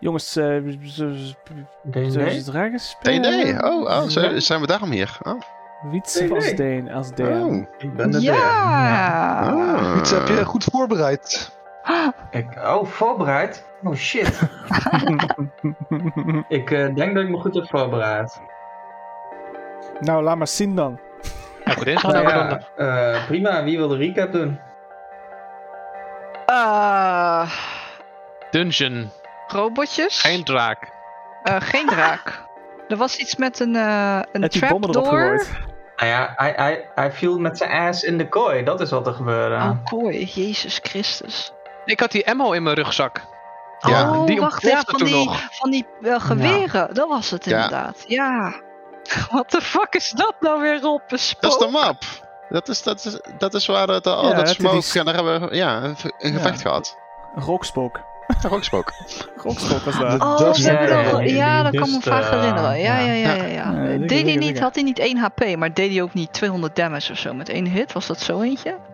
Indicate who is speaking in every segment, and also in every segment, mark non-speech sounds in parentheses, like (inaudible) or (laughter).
Speaker 1: Jongens, eh, z- z- zullen ze
Speaker 2: D&D?
Speaker 1: dragen
Speaker 3: D&D.
Speaker 1: spelen?
Speaker 3: Oh, oh zo-
Speaker 2: Ja.
Speaker 3: zijn we daarom hier? Oh.
Speaker 1: Wietse als Deen, als Deen.
Speaker 3: Oh.
Speaker 2: Ik ben de
Speaker 4: Ja!
Speaker 3: Ah.
Speaker 5: Iets heb je goed voorbereid.
Speaker 2: D. Ik, oh, voorbereid? Oh shit. (laughs)
Speaker 3: Oh.
Speaker 2: ik eh, denk dat ik me goed heb voorbereid.
Speaker 1: (laughs) nou, laat maar zien dan.
Speaker 6: Nou goed, deze gaan
Speaker 2: Nou
Speaker 6: we
Speaker 2: ja,
Speaker 6: dan.
Speaker 2: eh, prima, wie wil de recap doen?
Speaker 4: Eh,
Speaker 6: Dungeon.
Speaker 4: robotjes?
Speaker 6: Geen draak.
Speaker 4: Eh, geen draak. Er was iets met een, eh een
Speaker 1: Heb die bommen erop
Speaker 4: trapdoor.
Speaker 1: gegooid.
Speaker 2: Nou ja, hij, hij, hij viel met zijn ass in de kooi. Dat is wat er gebeurde.
Speaker 4: Oh, kooi. Jezus Christus.
Speaker 6: Ik had die ammo in mijn rugzak.
Speaker 3: Ja.
Speaker 4: oh,
Speaker 6: die
Speaker 4: wacht
Speaker 6: ontplofte
Speaker 4: even. Van
Speaker 6: toen
Speaker 4: die,
Speaker 6: nog.
Speaker 4: van die eh, geweren. Dat was het
Speaker 3: Ja.
Speaker 4: inderdaad. Ja. (laughs) What the fuck is dat nou weer op? Een
Speaker 3: Dat is
Speaker 4: spook?
Speaker 3: de map. Dat is, dat is, dat is waar het, al
Speaker 1: Ja,
Speaker 3: dat
Speaker 1: het is-
Speaker 3: smoke... En daar hebben we ja, een, v- een gevecht
Speaker 4: (laughs)
Speaker 3: gehad.
Speaker 1: Een rokspook.
Speaker 3: Ja, ook smoke.
Speaker 1: Rokspook was
Speaker 5: De
Speaker 1: dat.
Speaker 4: Oh,
Speaker 5: dust-
Speaker 4: ja,
Speaker 2: ja,
Speaker 4: ja,
Speaker 2: ja,
Speaker 4: ja,
Speaker 2: die- die
Speaker 4: dat kan me
Speaker 2: dust,
Speaker 4: vaak
Speaker 2: eh,
Speaker 4: herinneren. Ja, ja,
Speaker 2: ja.
Speaker 4: ja, ja.
Speaker 1: Ja,
Speaker 4: Eh,
Speaker 1: dikke,
Speaker 4: deed hij
Speaker 1: dikke,
Speaker 4: niet,
Speaker 1: dikke.
Speaker 4: had hij niet 1 HP, maar deed hij ook niet 200 damage of zo met één hit? Was dat zo eentje?
Speaker 1: (laughs)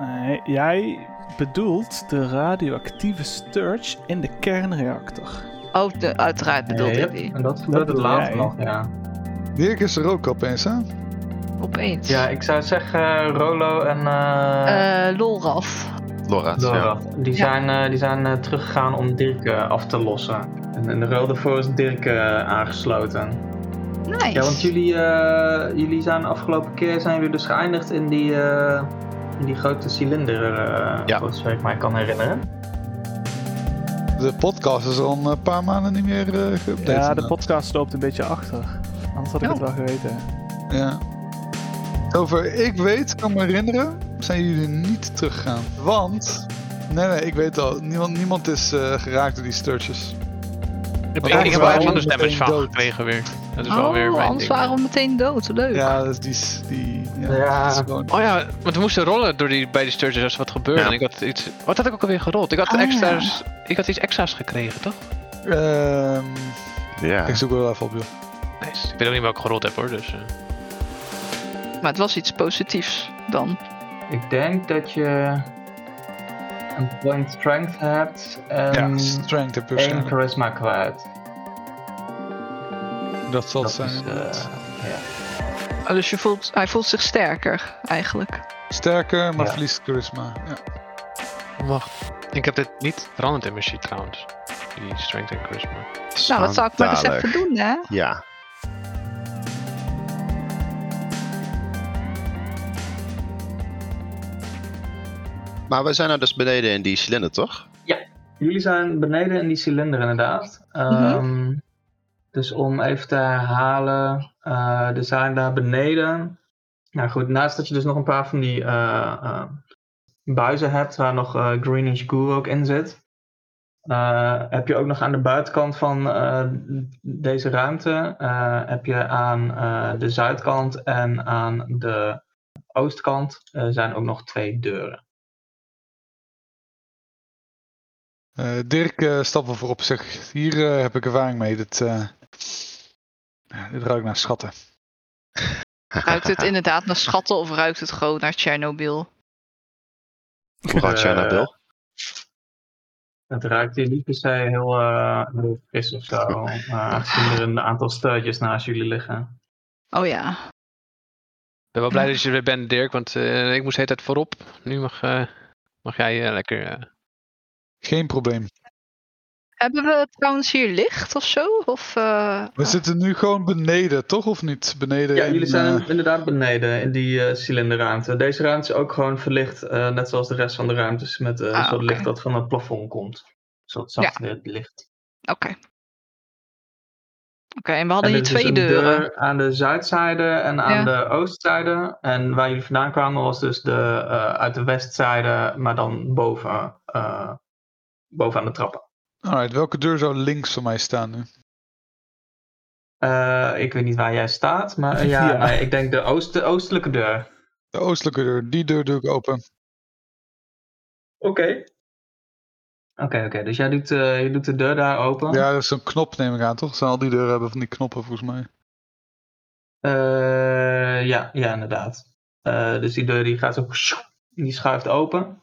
Speaker 1: Nee, jij bedoelt de radioactieve sturge in de kernreactor.
Speaker 4: Oh, de, uiteraard bedoelde
Speaker 2: Ja,
Speaker 4: ik die.
Speaker 2: En dat gebeurde
Speaker 1: bedoel
Speaker 2: later
Speaker 1: jij.
Speaker 2: nog, ja.
Speaker 5: Dirk is er ook opeens, hè?
Speaker 4: Opeens.
Speaker 2: Ja, ik zou zeggen eh, Rolo en eh
Speaker 4: Eh, Lolraf.
Speaker 3: Lorat, ja.
Speaker 2: Dora. Die zijn, eh, die zijn eh, teruggegaan om Dirk eh, af te lossen. En, en de ruil daarvoor is Dirk eh, aangesloten.
Speaker 4: Nice.
Speaker 2: Ja, want jullie, eh, jullie zijn afgelopen keer zijn jullie dus geëindigd in die, eh, in die grote cilinder, eh
Speaker 3: Ja.
Speaker 2: voor zover ik mij kan herinneren.
Speaker 5: De podcast is al een eh, paar maanden niet meer eh geüpdate.
Speaker 1: Ja, de
Speaker 5: inderdaad.
Speaker 1: podcast loopt een beetje achter. Anders had ik het wel geweten.
Speaker 5: Ja. Over ik weet, kan me herinneren, zijn jullie niet teruggegaan. Want, nee nee, ik weet al, niemand, niemand is eh, geraakt door die sturges.
Speaker 6: Ik,
Speaker 5: anders
Speaker 6: ik
Speaker 5: waren
Speaker 6: heb wel
Speaker 5: we
Speaker 6: iets anders
Speaker 5: meteen
Speaker 6: damage van
Speaker 5: dood.
Speaker 6: gekregen weer. Dat is wel weer
Speaker 4: oh,
Speaker 6: mijn
Speaker 4: anders
Speaker 6: ding.
Speaker 4: waren we meteen dood. Leuk.
Speaker 5: Ja, dus die, die ja,
Speaker 2: Ja.
Speaker 5: dat is gewoon-
Speaker 6: Oh ja, want we moesten rollen door die, bij die sturges als er wat gebeurde.
Speaker 3: Ja.
Speaker 6: En ik had iets... Wat had ik ook alweer gerold? Ik had,
Speaker 4: Oh ja.
Speaker 6: extra's, ik had iets extra's gekregen, toch?
Speaker 5: Ehm,
Speaker 3: Ja.
Speaker 5: Ik zoek wel even op, joh.
Speaker 6: Nice. Ik weet ook niet welke gerold heb hoor, dus... eh.
Speaker 4: Maar het was iets positiefs dan.
Speaker 2: Ik denk dat je een point strength hebt en
Speaker 5: Ja, strength heb
Speaker 2: één
Speaker 5: je waarschijnlijk.
Speaker 2: charisma kwijt.
Speaker 5: Dat zal het
Speaker 2: Dat
Speaker 5: zijn.
Speaker 2: is,
Speaker 5: inderdaad.
Speaker 2: eh, ja.
Speaker 4: Ah, dus je voelt, hij voelt zich sterker, eigenlijk.
Speaker 5: Sterker, maar
Speaker 2: ja.
Speaker 5: verliest charisma. Ja.
Speaker 6: Oh, Wacht. Ik heb dit niet veranderd in mijn sheet trouwens. Die strength en
Speaker 4: (laughs)
Speaker 6: charisma.
Speaker 4: Nou, dat zou ik maar eens
Speaker 3: Schandalig.
Speaker 4: even doen,
Speaker 6: (laughs)
Speaker 4: hè?
Speaker 3: Ja. Maar we zijn nou dus beneden in die cilinder, toch?
Speaker 2: Jullie zijn beneden in die cilinder inderdaad. Ehm, Dus om even te herhalen, eh, er zijn daar beneden. Nou goed, naast dat je dus nog een paar van die eh, eh, buizen hebt waar nog eh, greenish goo ook in zit, eh, heb je ook nog aan de buitenkant van eh, deze ruimte, eh, heb je aan eh, de zuidkant en aan de oostkant eh, zijn ook nog twee deuren.
Speaker 5: Eh, Dirk eh stapt wel voorop. Zeg, hier eh, heb ik ervaring mee. Dit, eh, dit ruikt naar schatten.
Speaker 4: Ruikt het inderdaad naar schatten of ruikt het gewoon naar Tsjernobyl?
Speaker 3: Hoe gaat jij naar Bill?
Speaker 2: Het ruikt hier niet per se heel, eh, heel fris of zo. eh, Aangezien er een aantal stuitjes naast jullie liggen.
Speaker 4: Oh ja.
Speaker 6: Ik ben wel blij dat je er weer bent, Dirk, want eh, ik moest de hele tijd voorop. Nu mag, eh, mag jij eh, lekker... eh,
Speaker 5: Geen probleem.
Speaker 4: Hebben we trouwens hier licht of zo? Of, eh,
Speaker 5: We zitten nu gewoon beneden, toch? Of niet? Beneden.
Speaker 2: Ja,
Speaker 5: in,
Speaker 2: jullie zijn
Speaker 5: eh,
Speaker 2: inderdaad beneden in die eh, cilinderruimte. Deze ruimte is ook gewoon verlicht, eh, net zoals de rest van de ruimtes, met eh, een
Speaker 4: Ah,
Speaker 2: soort
Speaker 4: oké.
Speaker 2: licht dat van het plafond komt. Een soort
Speaker 4: Ja.
Speaker 2: zacht wit licht.
Speaker 4: Oké. Oké, en we hadden hier
Speaker 2: er is
Speaker 4: twee
Speaker 2: een
Speaker 4: deuren.
Speaker 2: deur aan de zuidzijde en aan de oostzijde. En waar jullie vandaan kwamen was dus de, eh, uit de westzijde, maar dan boven, eh, boven aan de trappen.
Speaker 5: Alright, welke deur zou links van mij staan nu?
Speaker 2: Eh, ik weet niet waar jij staat, maar eh, ja,
Speaker 1: Ja.
Speaker 2: nee, ik denk de, oost, de oostelijke deur.
Speaker 5: De oostelijke deur. Die deur doe ik open.
Speaker 2: Oké. Oké, oké. Dus jij doet, eh, je doet de deur daar open.
Speaker 5: Ja, dat is zo'n knop, neem ik aan, toch? Zijn al die deuren hebben van die knoppen, volgens mij.
Speaker 2: Eh, ja, ja, inderdaad. Eh, dus die deur die gaat zo... Die schuift open.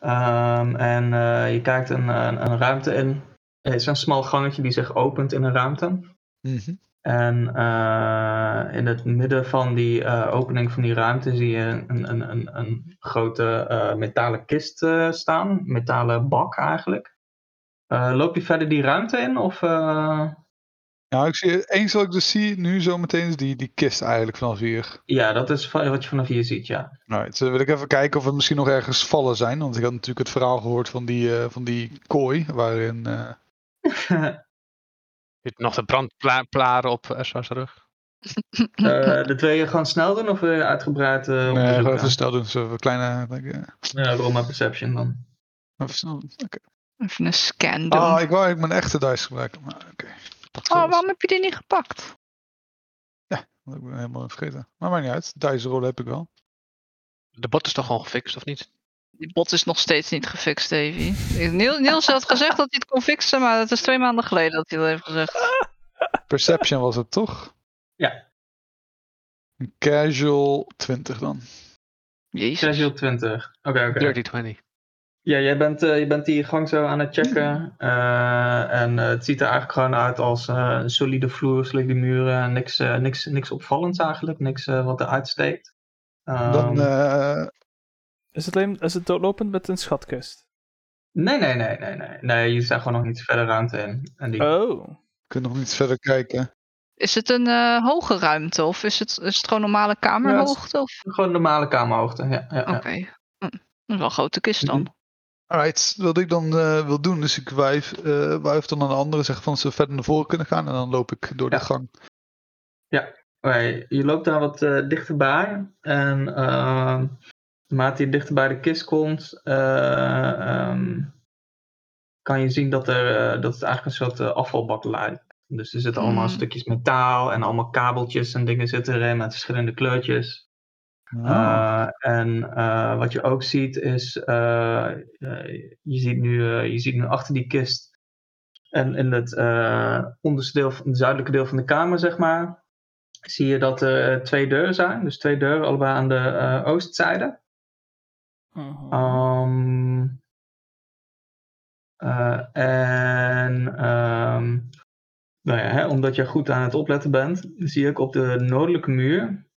Speaker 2: Ehm, en eh, je kijkt een, een, een ruimte in. Het is een smal gangetje die zich opent in een ruimte.
Speaker 5: Mhm.
Speaker 2: En eh, in het midden van die eh, opening van die ruimte zie je een, een, een, een grote eh, metalen kist eh, staan. Metalen bak eigenlijk. Eh, loop je verder die ruimte in? Of, eh,
Speaker 5: Nou, ik zie, eens wat ik dus zie nu zometeen is die, die kist eigenlijk vanaf hier.
Speaker 2: Ja, dat is va- wat je vanaf hier ziet,
Speaker 5: (laughs)
Speaker 2: ja.
Speaker 5: Right, wil ik even kijken of er misschien nog ergens vallen zijn. Want ik had natuurlijk het verhaal gehoord van die, eh, van die kooi. Waarin. eh,
Speaker 6: Zit nog de brandplaren op Esra's rug.
Speaker 2: Eh dat wil je gewoon snel doen of wil je uitgebreid eh
Speaker 5: nee,
Speaker 2: onderzoeken?
Speaker 5: gewoon even snel doen. Zo even kleine. like, eh,
Speaker 2: Ja, rol maar perception dan.
Speaker 5: even snel doen. Oké.
Speaker 4: Even een scan doen.
Speaker 5: Ah,
Speaker 4: Oh,
Speaker 5: ik wou eigenlijk mijn echte dice gebruiken. Maar oké. dat zal
Speaker 4: waarom heb je die niet gepakt?
Speaker 5: wel. Ik ben helemaal vergeten. Maar maakt niet uit. Dice rollen heb ik wel.
Speaker 6: De bot is toch al gefixt, of niet?
Speaker 4: Die bot is nog steeds niet gefixt, Davy. Niel- Niels had gezegd dat hij het kon fixen, maar het is twee maanden geleden dat hij dat heeft gezegd.
Speaker 5: Perception was het toch?
Speaker 2: Ja.
Speaker 5: Een Casual 20 dan.
Speaker 4: Jezus.
Speaker 2: Casual 20. Oké, oké.
Speaker 6: Dirty 20.
Speaker 2: Ja, jij bent, eh, je bent die gang zo aan het
Speaker 5: Mhm.
Speaker 2: checken. eh, en eh, het ziet er eigenlijk gewoon uit als eh, een solide vloer, solide muren. Niks, eh, niks, niks opvallends eigenlijk. Niks eh, wat eruit steekt. Ehm,
Speaker 5: Dan, eh,
Speaker 1: Is het, alleen, is het doodlopend met een schatkist?
Speaker 2: Nee, nee, nee, nee, nee. Nee, jullie zijn gewoon nog niet verder ruimte in. En die...
Speaker 1: Oh.
Speaker 5: Ik kan nog niet verder kijken.
Speaker 4: Is het een eh, hoge ruimte of is het, is het gewoon normale kamerhoogte? Of?
Speaker 2: Gewoon normale kamerhoogte. Ja, ja,
Speaker 4: Oké.
Speaker 2: ja. Mhm.
Speaker 4: Hm. Dat is wel een grote kist dan.
Speaker 5: Alright, wat ik dan eh, wil doen, dus ik wijf, eh, wuif dan aan de anderen, zeg van ze verder naar voren kunnen gaan en dan loop ik door
Speaker 2: Ja.
Speaker 5: de gang.
Speaker 2: Oké, je loopt daar wat eh, dichterbij. En ehm, naarmate je dichter bij de kist komt, eh, ehm, kan je zien dat, er, eh, dat het eigenlijk een soort eh, afvalbak lijkt. Dus er zitten allemaal
Speaker 4: Mm.
Speaker 2: stukjes metaal en allemaal kabeltjes en dingen zitten erin met verschillende kleurtjes.
Speaker 5: Ah,
Speaker 2: Eh, en eh, wat je ook ziet is, eh, eh, je, ziet nu, eh, je ziet nu achter die kist en in het eh, onderste deel, van, het zuidelijke deel van de kamer, zeg maar, zie je dat er eh, twee deuren zijn. Dus twee deuren, allebei aan de eh, oostzijde.
Speaker 1: Oh.
Speaker 3: Ah.
Speaker 2: Ehm, eh, en ehm, nou ja, hè, omdat je goed aan het opletten bent, zie ik op de noordelijke muur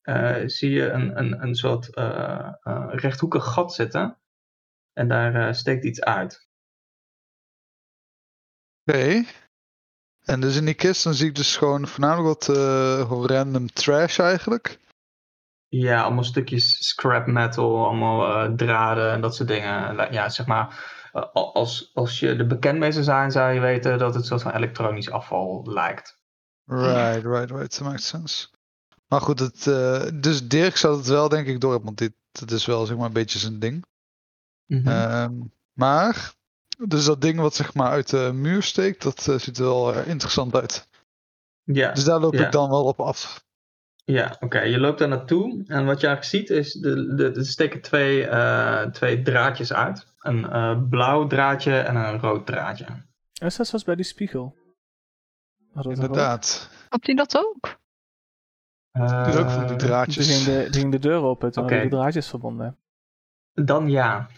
Speaker 2: eh, zie je een, een, een soort eh, eh, rechthoekig gat zitten. En daar eh, steekt iets uit.
Speaker 5: Oké. En dus in die kist, dan zie ik dus gewoon voornamelijk wat eh, gewoon random trash eigenlijk.
Speaker 2: Ja, allemaal stukjes scrap metal, allemaal eh, draden en dat soort dingen. Ja, zeg maar, eh, al- als, als je er bekend mee zou zijn, zou je weten dat het een soort van elektronisch afval lijkt.
Speaker 5: Right, right, right, dat maakt sens. Maar goed, het, eh, dus Dirk zal het wel denk ik door hebben, want dit, dit is wel zeg maar een beetje zijn ding.
Speaker 2: Mhm.
Speaker 5: Ehm, maar, dus dat ding wat zeg maar uit de muur steekt, dat eh, ziet er wel eh, interessant uit.
Speaker 2: ja,
Speaker 5: Dus daar loop
Speaker 2: Ja.
Speaker 5: ik dan wel op af.
Speaker 2: ja oké. Je loopt daar naartoe en wat je eigenlijk ziet is, de, de, er steken twee, eh, twee draadjes uit. Een eh, blauw draadje en een rood draadje.
Speaker 1: Is dat zoals bij die spiegel? Had dat
Speaker 5: Inderdaad.
Speaker 4: Had hij dat ook?
Speaker 5: Dus ook van die
Speaker 2: Eh,
Speaker 1: ook? Die
Speaker 5: draadjes.
Speaker 1: ging, de, die ging de deur open, toen hadden
Speaker 2: Oké.
Speaker 1: de draadjes verbonden.
Speaker 2: Eh, Dan
Speaker 1: (laughs)
Speaker 2: ja.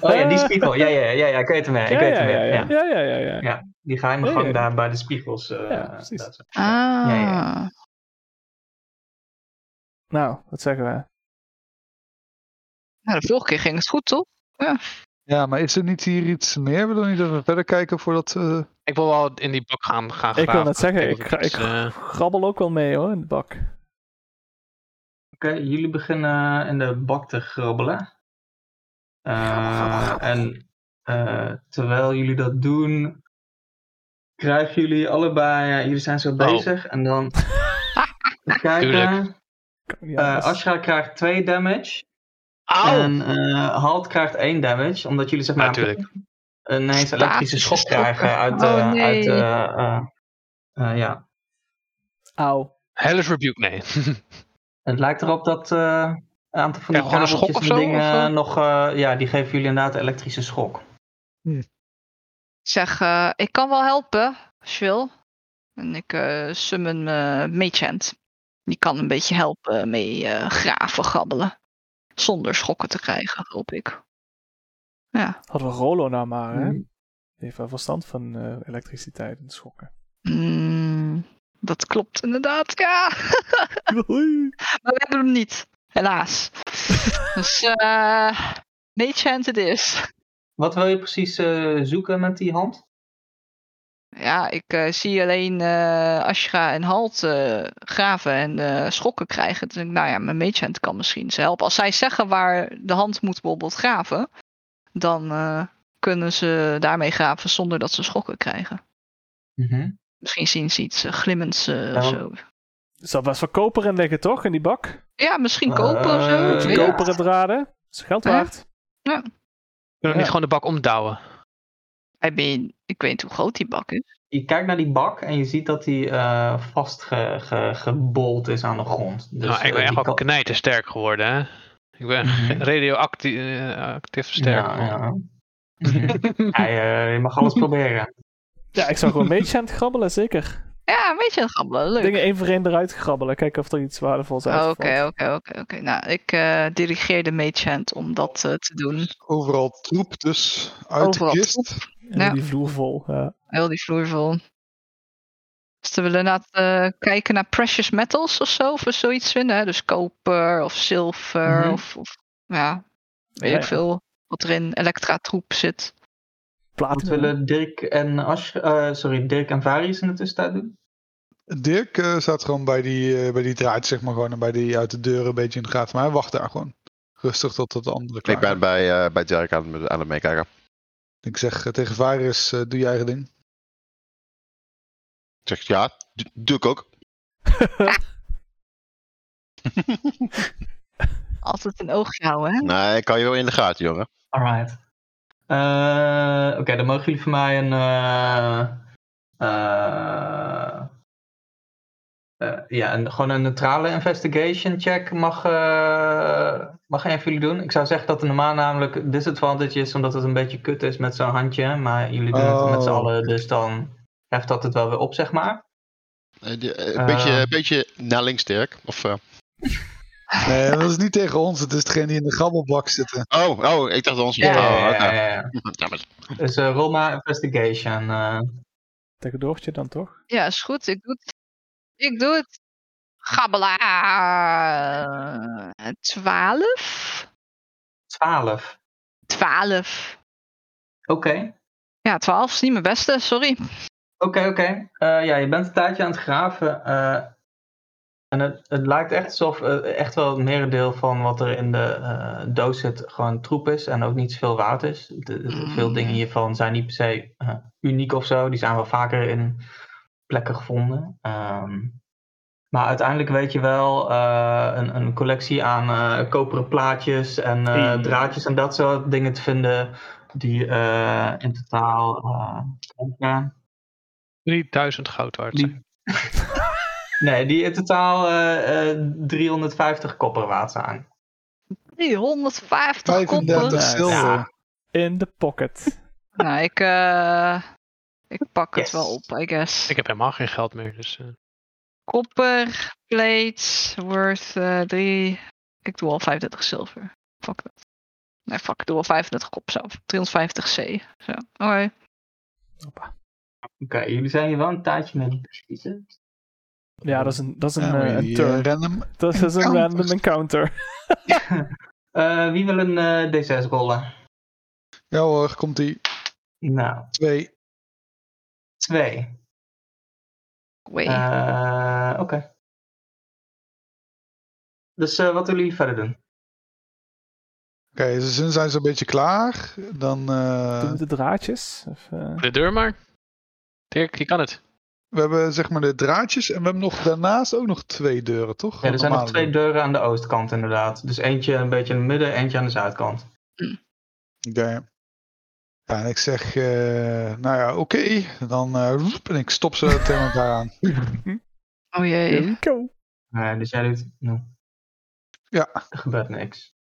Speaker 2: Oh ja, die spiegel. Ja, ja, ja, ja, ja ik weet hem weer. Ik weet
Speaker 1: ja,
Speaker 2: hem
Speaker 1: ja,
Speaker 2: weer.
Speaker 1: ja,
Speaker 2: Ja.
Speaker 1: ja, ja, ja, ja.
Speaker 2: Ja. Die geheime
Speaker 1: Ja, ja,
Speaker 2: gang
Speaker 1: ja.
Speaker 2: daar bij de spiegels. eh,
Speaker 1: Ja, precies.
Speaker 2: daar zo.
Speaker 4: Ah.
Speaker 2: Ja, ja, ja.
Speaker 1: Nou, wat zeggen we?
Speaker 4: Nou, de vorige keer ging het goed, toch?
Speaker 5: Ja, maar is er niet hier iets meer? We willen niet even verder kijken voordat... eh,
Speaker 6: Ik wil wel in die bak gaan, gaan
Speaker 1: Ik wil
Speaker 6: graven,
Speaker 1: net zeggen, ik,
Speaker 6: kijken
Speaker 1: ga,
Speaker 6: of
Speaker 1: ik
Speaker 6: iets, eh,
Speaker 1: grabbel ook wel mee hoor, in de bak.
Speaker 2: Oké, jullie beginnen in de bak te grabbelen.
Speaker 4: (laughs)
Speaker 2: Eh, en eh, terwijl jullie dat doen, krijgen jullie allebei, eh, jullie zijn zo bezig en
Speaker 6: (laughs)
Speaker 2: dan Even kijken.
Speaker 6: Oh. Tuurlijk.
Speaker 1: Kan niet
Speaker 2: Eh
Speaker 1: anders.
Speaker 2: Ashra krijgt 2 damage
Speaker 6: Auw!
Speaker 2: en eh Halt krijgt 1 damage, omdat jullie zeg maar
Speaker 6: Natuurlijk.
Speaker 2: ineens een elektrische schok
Speaker 4: Statische
Speaker 2: krijgen uit de,
Speaker 4: Oh, nee.
Speaker 2: uit de, eh, eh, ja,
Speaker 1: Auw.
Speaker 6: Hellish Rebuke, nee. (laughs)
Speaker 2: Het lijkt erop dat eh, een aantal van die
Speaker 6: Krijg je gewoon een schok
Speaker 2: kabeltjes en
Speaker 6: of zo,
Speaker 2: dingen
Speaker 6: of zo?
Speaker 2: nog... eh, ja, die geven jullie inderdaad elektrische schok.
Speaker 4: Zeg, eh, ik kan wel helpen, als je wil. En ik eh, summon eh Machant. Die kan een beetje helpen mee eh, graven, gabbelen. Zonder schokken te krijgen, hoop ik.
Speaker 1: Hadden we Rolo nou maar, hè? heeft wel verstand van eh, elektriciteit en schokken.
Speaker 4: Mm, dat klopt inderdaad, ja. (laughs) Maar we hebben hem niet, helaas. (laughs) dus, eh mage hand het is.
Speaker 2: Wat wil je precies eh, zoeken met die hand?
Speaker 4: Ja, ik eh, zie alleen eh Ashra en Halt eh, graven en eh, schokken krijgen. Dus ik, nou ja, mijn mage hand kan misschien ze helpen. Als zij zeggen waar de hand moet bijvoorbeeld graven, dan eh, kunnen ze daarmee graven zonder dat ze schokken krijgen. Misschien zien ze iets eh, glimmends eh,
Speaker 2: Ja.
Speaker 4: of zo.
Speaker 1: Er zal best wel koper in liggen, toch? In die bak?
Speaker 4: Ja, misschien koper of zo.
Speaker 2: Eh,
Speaker 1: Beetje
Speaker 4: ja.
Speaker 2: weet
Speaker 1: koper en draden. Dat is geld
Speaker 4: Ja.
Speaker 1: waard.
Speaker 6: we
Speaker 1: Ja.
Speaker 6: niet gewoon de bak omdouwen?
Speaker 4: I mean, ik weet niet hoe groot die bak is.
Speaker 2: Je kijkt naar die bak en je ziet dat die eh vastgebold is aan de grond. Dus,
Speaker 6: nou, ik
Speaker 2: eh,
Speaker 6: ben echt
Speaker 2: die kan-
Speaker 6: wel knijtersterk geworden, hè? Ik ben (laughs)
Speaker 2: Mhm.
Speaker 6: radioactief eh, actief sterk.
Speaker 2: Ja,
Speaker 6: man.
Speaker 2: ja. Hij, eh, je mag alles proberen.
Speaker 1: Ja, ik zou gewoon mage hand grabbelen, zeker.
Speaker 4: Ja, een beetje een grabbelen. Leuk.
Speaker 1: Dingen één voor één eruit grabbelen. Kijken of er iets waardevols
Speaker 4: Oh,
Speaker 1: uit
Speaker 4: Oké, oké, oké, oké. Nou, ik eh, dirigeer de mage hand om dat eh, te doen.
Speaker 5: Overal troep dus uit
Speaker 4: Overal
Speaker 5: de kist.
Speaker 1: En
Speaker 4: Ja.
Speaker 1: die vloer vol. Ja.
Speaker 4: Heel die vloer vol. Dus we willen inderdaad eh, kijken naar precious metals of zo. Of we zoiets vinden. Hè? Dus koper of zilver.
Speaker 2: Mhm.
Speaker 4: Of, of ja, weet
Speaker 1: Ja,
Speaker 4: ik
Speaker 1: ja.
Speaker 4: veel. Wat er in Elektra troep zit.
Speaker 1: Plaat
Speaker 2: Wat willen Dirk en Ash, eh, sorry, Dirk en Varius in de tussentijd doen?
Speaker 5: Dirk eh, staat gewoon bij die, eh, bij die draad, zeg maar gewoon. En bij die uit de deur een beetje in de gaten. Maar hij wacht daar gewoon. Rustig tot tot de andere klaar
Speaker 3: Ik ben
Speaker 5: zijn.
Speaker 3: bij, eh, bij Dirk aan, het- aan het meekijken.
Speaker 5: Ik zeg eh, tegen Varus, eh, doe je eigen ding.
Speaker 3: Ik zeg, ja, d- doe ik ook.
Speaker 4: Altijd een oogje houden, hè?
Speaker 3: Nee, ik kan je wel in de gaten, jongen.
Speaker 2: Alright. Eh, Oké, dan mogen jullie voor mij een. eh, eh, eh, ja, een, gewoon een neutrale investigation check mag, eh, mag een van jullie doen. Ik zou zeggen dat het normaal namelijk disadvantage is, omdat het een beetje kut is met zo'n handje. Maar jullie doen het met z'n
Speaker 5: Oh.
Speaker 2: allen, dus dan heft dat het wel weer op, zeg maar.
Speaker 3: Eh, die- eh,
Speaker 2: Eh.
Speaker 3: een, beetje, een beetje naar links, Dirk. Of, eh,
Speaker 5: Nee, dat is niet tegen ons. Het is degene die in de grabbelbak zitten.
Speaker 3: Oh, oh, ik dacht ons. oh, oké.
Speaker 2: ja, ja.
Speaker 3: (laughs) Ja, maar-
Speaker 2: Eh, Dus eh rol maar investigation. eh.
Speaker 1: Tegen Doortje dan toch?
Speaker 4: Ja, is goed. Ik doe het. Ik doe het. Gabbela. Twaalf?
Speaker 2: 12.
Speaker 4: Twaalf.
Speaker 2: Oké.
Speaker 4: Ja, twaalf is niet mijn beste, sorry.
Speaker 2: Oké, oké. Eh, ja, je bent een tijdje aan het graven. eh, en het, het lijkt echt alsof eh, echt wel het merendeel van wat er in de eh, doos zit gewoon troep is en ook niet zoveel waard is. De- de- Veel dingen hiervan zijn niet per se eh, uniek of zo. Die zijn wel vaker in plekken gevonden. Ehm, maar uiteindelijk weet je wel eh, een, een collectie aan eh, koperen plaatjes en eh,
Speaker 1: Hey.
Speaker 2: draadjes en dat soort dingen te vinden. Die eh, in totaal eh, ja,
Speaker 6: 3000 goud waard zijn.
Speaker 2: die... nee, die in totaal eh, eh, 350 kopper waard zijn.
Speaker 4: 350 koppen.
Speaker 5: 35
Speaker 1: Nice.
Speaker 5: zilver.
Speaker 2: Ja.
Speaker 1: In de pocket.
Speaker 4: Nou, ik, eh, ik pak het wel
Speaker 2: Yes.
Speaker 4: op, I guess.
Speaker 6: Ik heb helemaal geen geld meer, dus... eh,
Speaker 4: Kopper, plates, worth eh, 3. Ik doe al 35 zilver. Fuck dat. Nee, fuck, ik doe al 35 kop zelf. 350 C. Zo, Oh, oké.
Speaker 1: Hoppa.
Speaker 2: Oké, jullie zijn hier wel een tijdje mee bezig.
Speaker 1: Ja, dat is een, dat is een,
Speaker 5: Ja, maar
Speaker 1: eh, een
Speaker 5: die, eh,
Speaker 1: turn.
Speaker 5: random.
Speaker 1: dat is dus een
Speaker 5: encounters.
Speaker 1: random encounter.
Speaker 2: Eh, wie wil een eh, D6 rollen?
Speaker 5: Ja hoor, komt die.
Speaker 2: Nou,
Speaker 5: Twee.
Speaker 2: twee.
Speaker 4: Wait.
Speaker 2: Eh, Oké. Dus eh, wat willen jullie verder doen?
Speaker 5: Oké, dus dan zijn ze een beetje klaar. Dan, eh,
Speaker 1: Doen we de draadjes? Of, eh,
Speaker 6: De deur maar. Dirk, je kan het.
Speaker 5: we hebben zeg maar de draadjes en we hebben nog daarnaast ook nog twee deuren, toch?
Speaker 2: Ja, er zijn nog
Speaker 5: Normale
Speaker 2: twee deuren aan de oostkant inderdaad. Dus eentje een beetje in het midden, eentje aan de zuidkant.
Speaker 5: Oké. Ja, en ik zeg, eh, nou ja, oké. Dan eh, roep, en ik stop ze tegen elkaar
Speaker 1: (laughs)
Speaker 5: aan.
Speaker 4: Oh jee.
Speaker 1: here we go.
Speaker 2: Eh, dus jij doet... nou,
Speaker 5: Ja.
Speaker 2: Er gebeurt niks.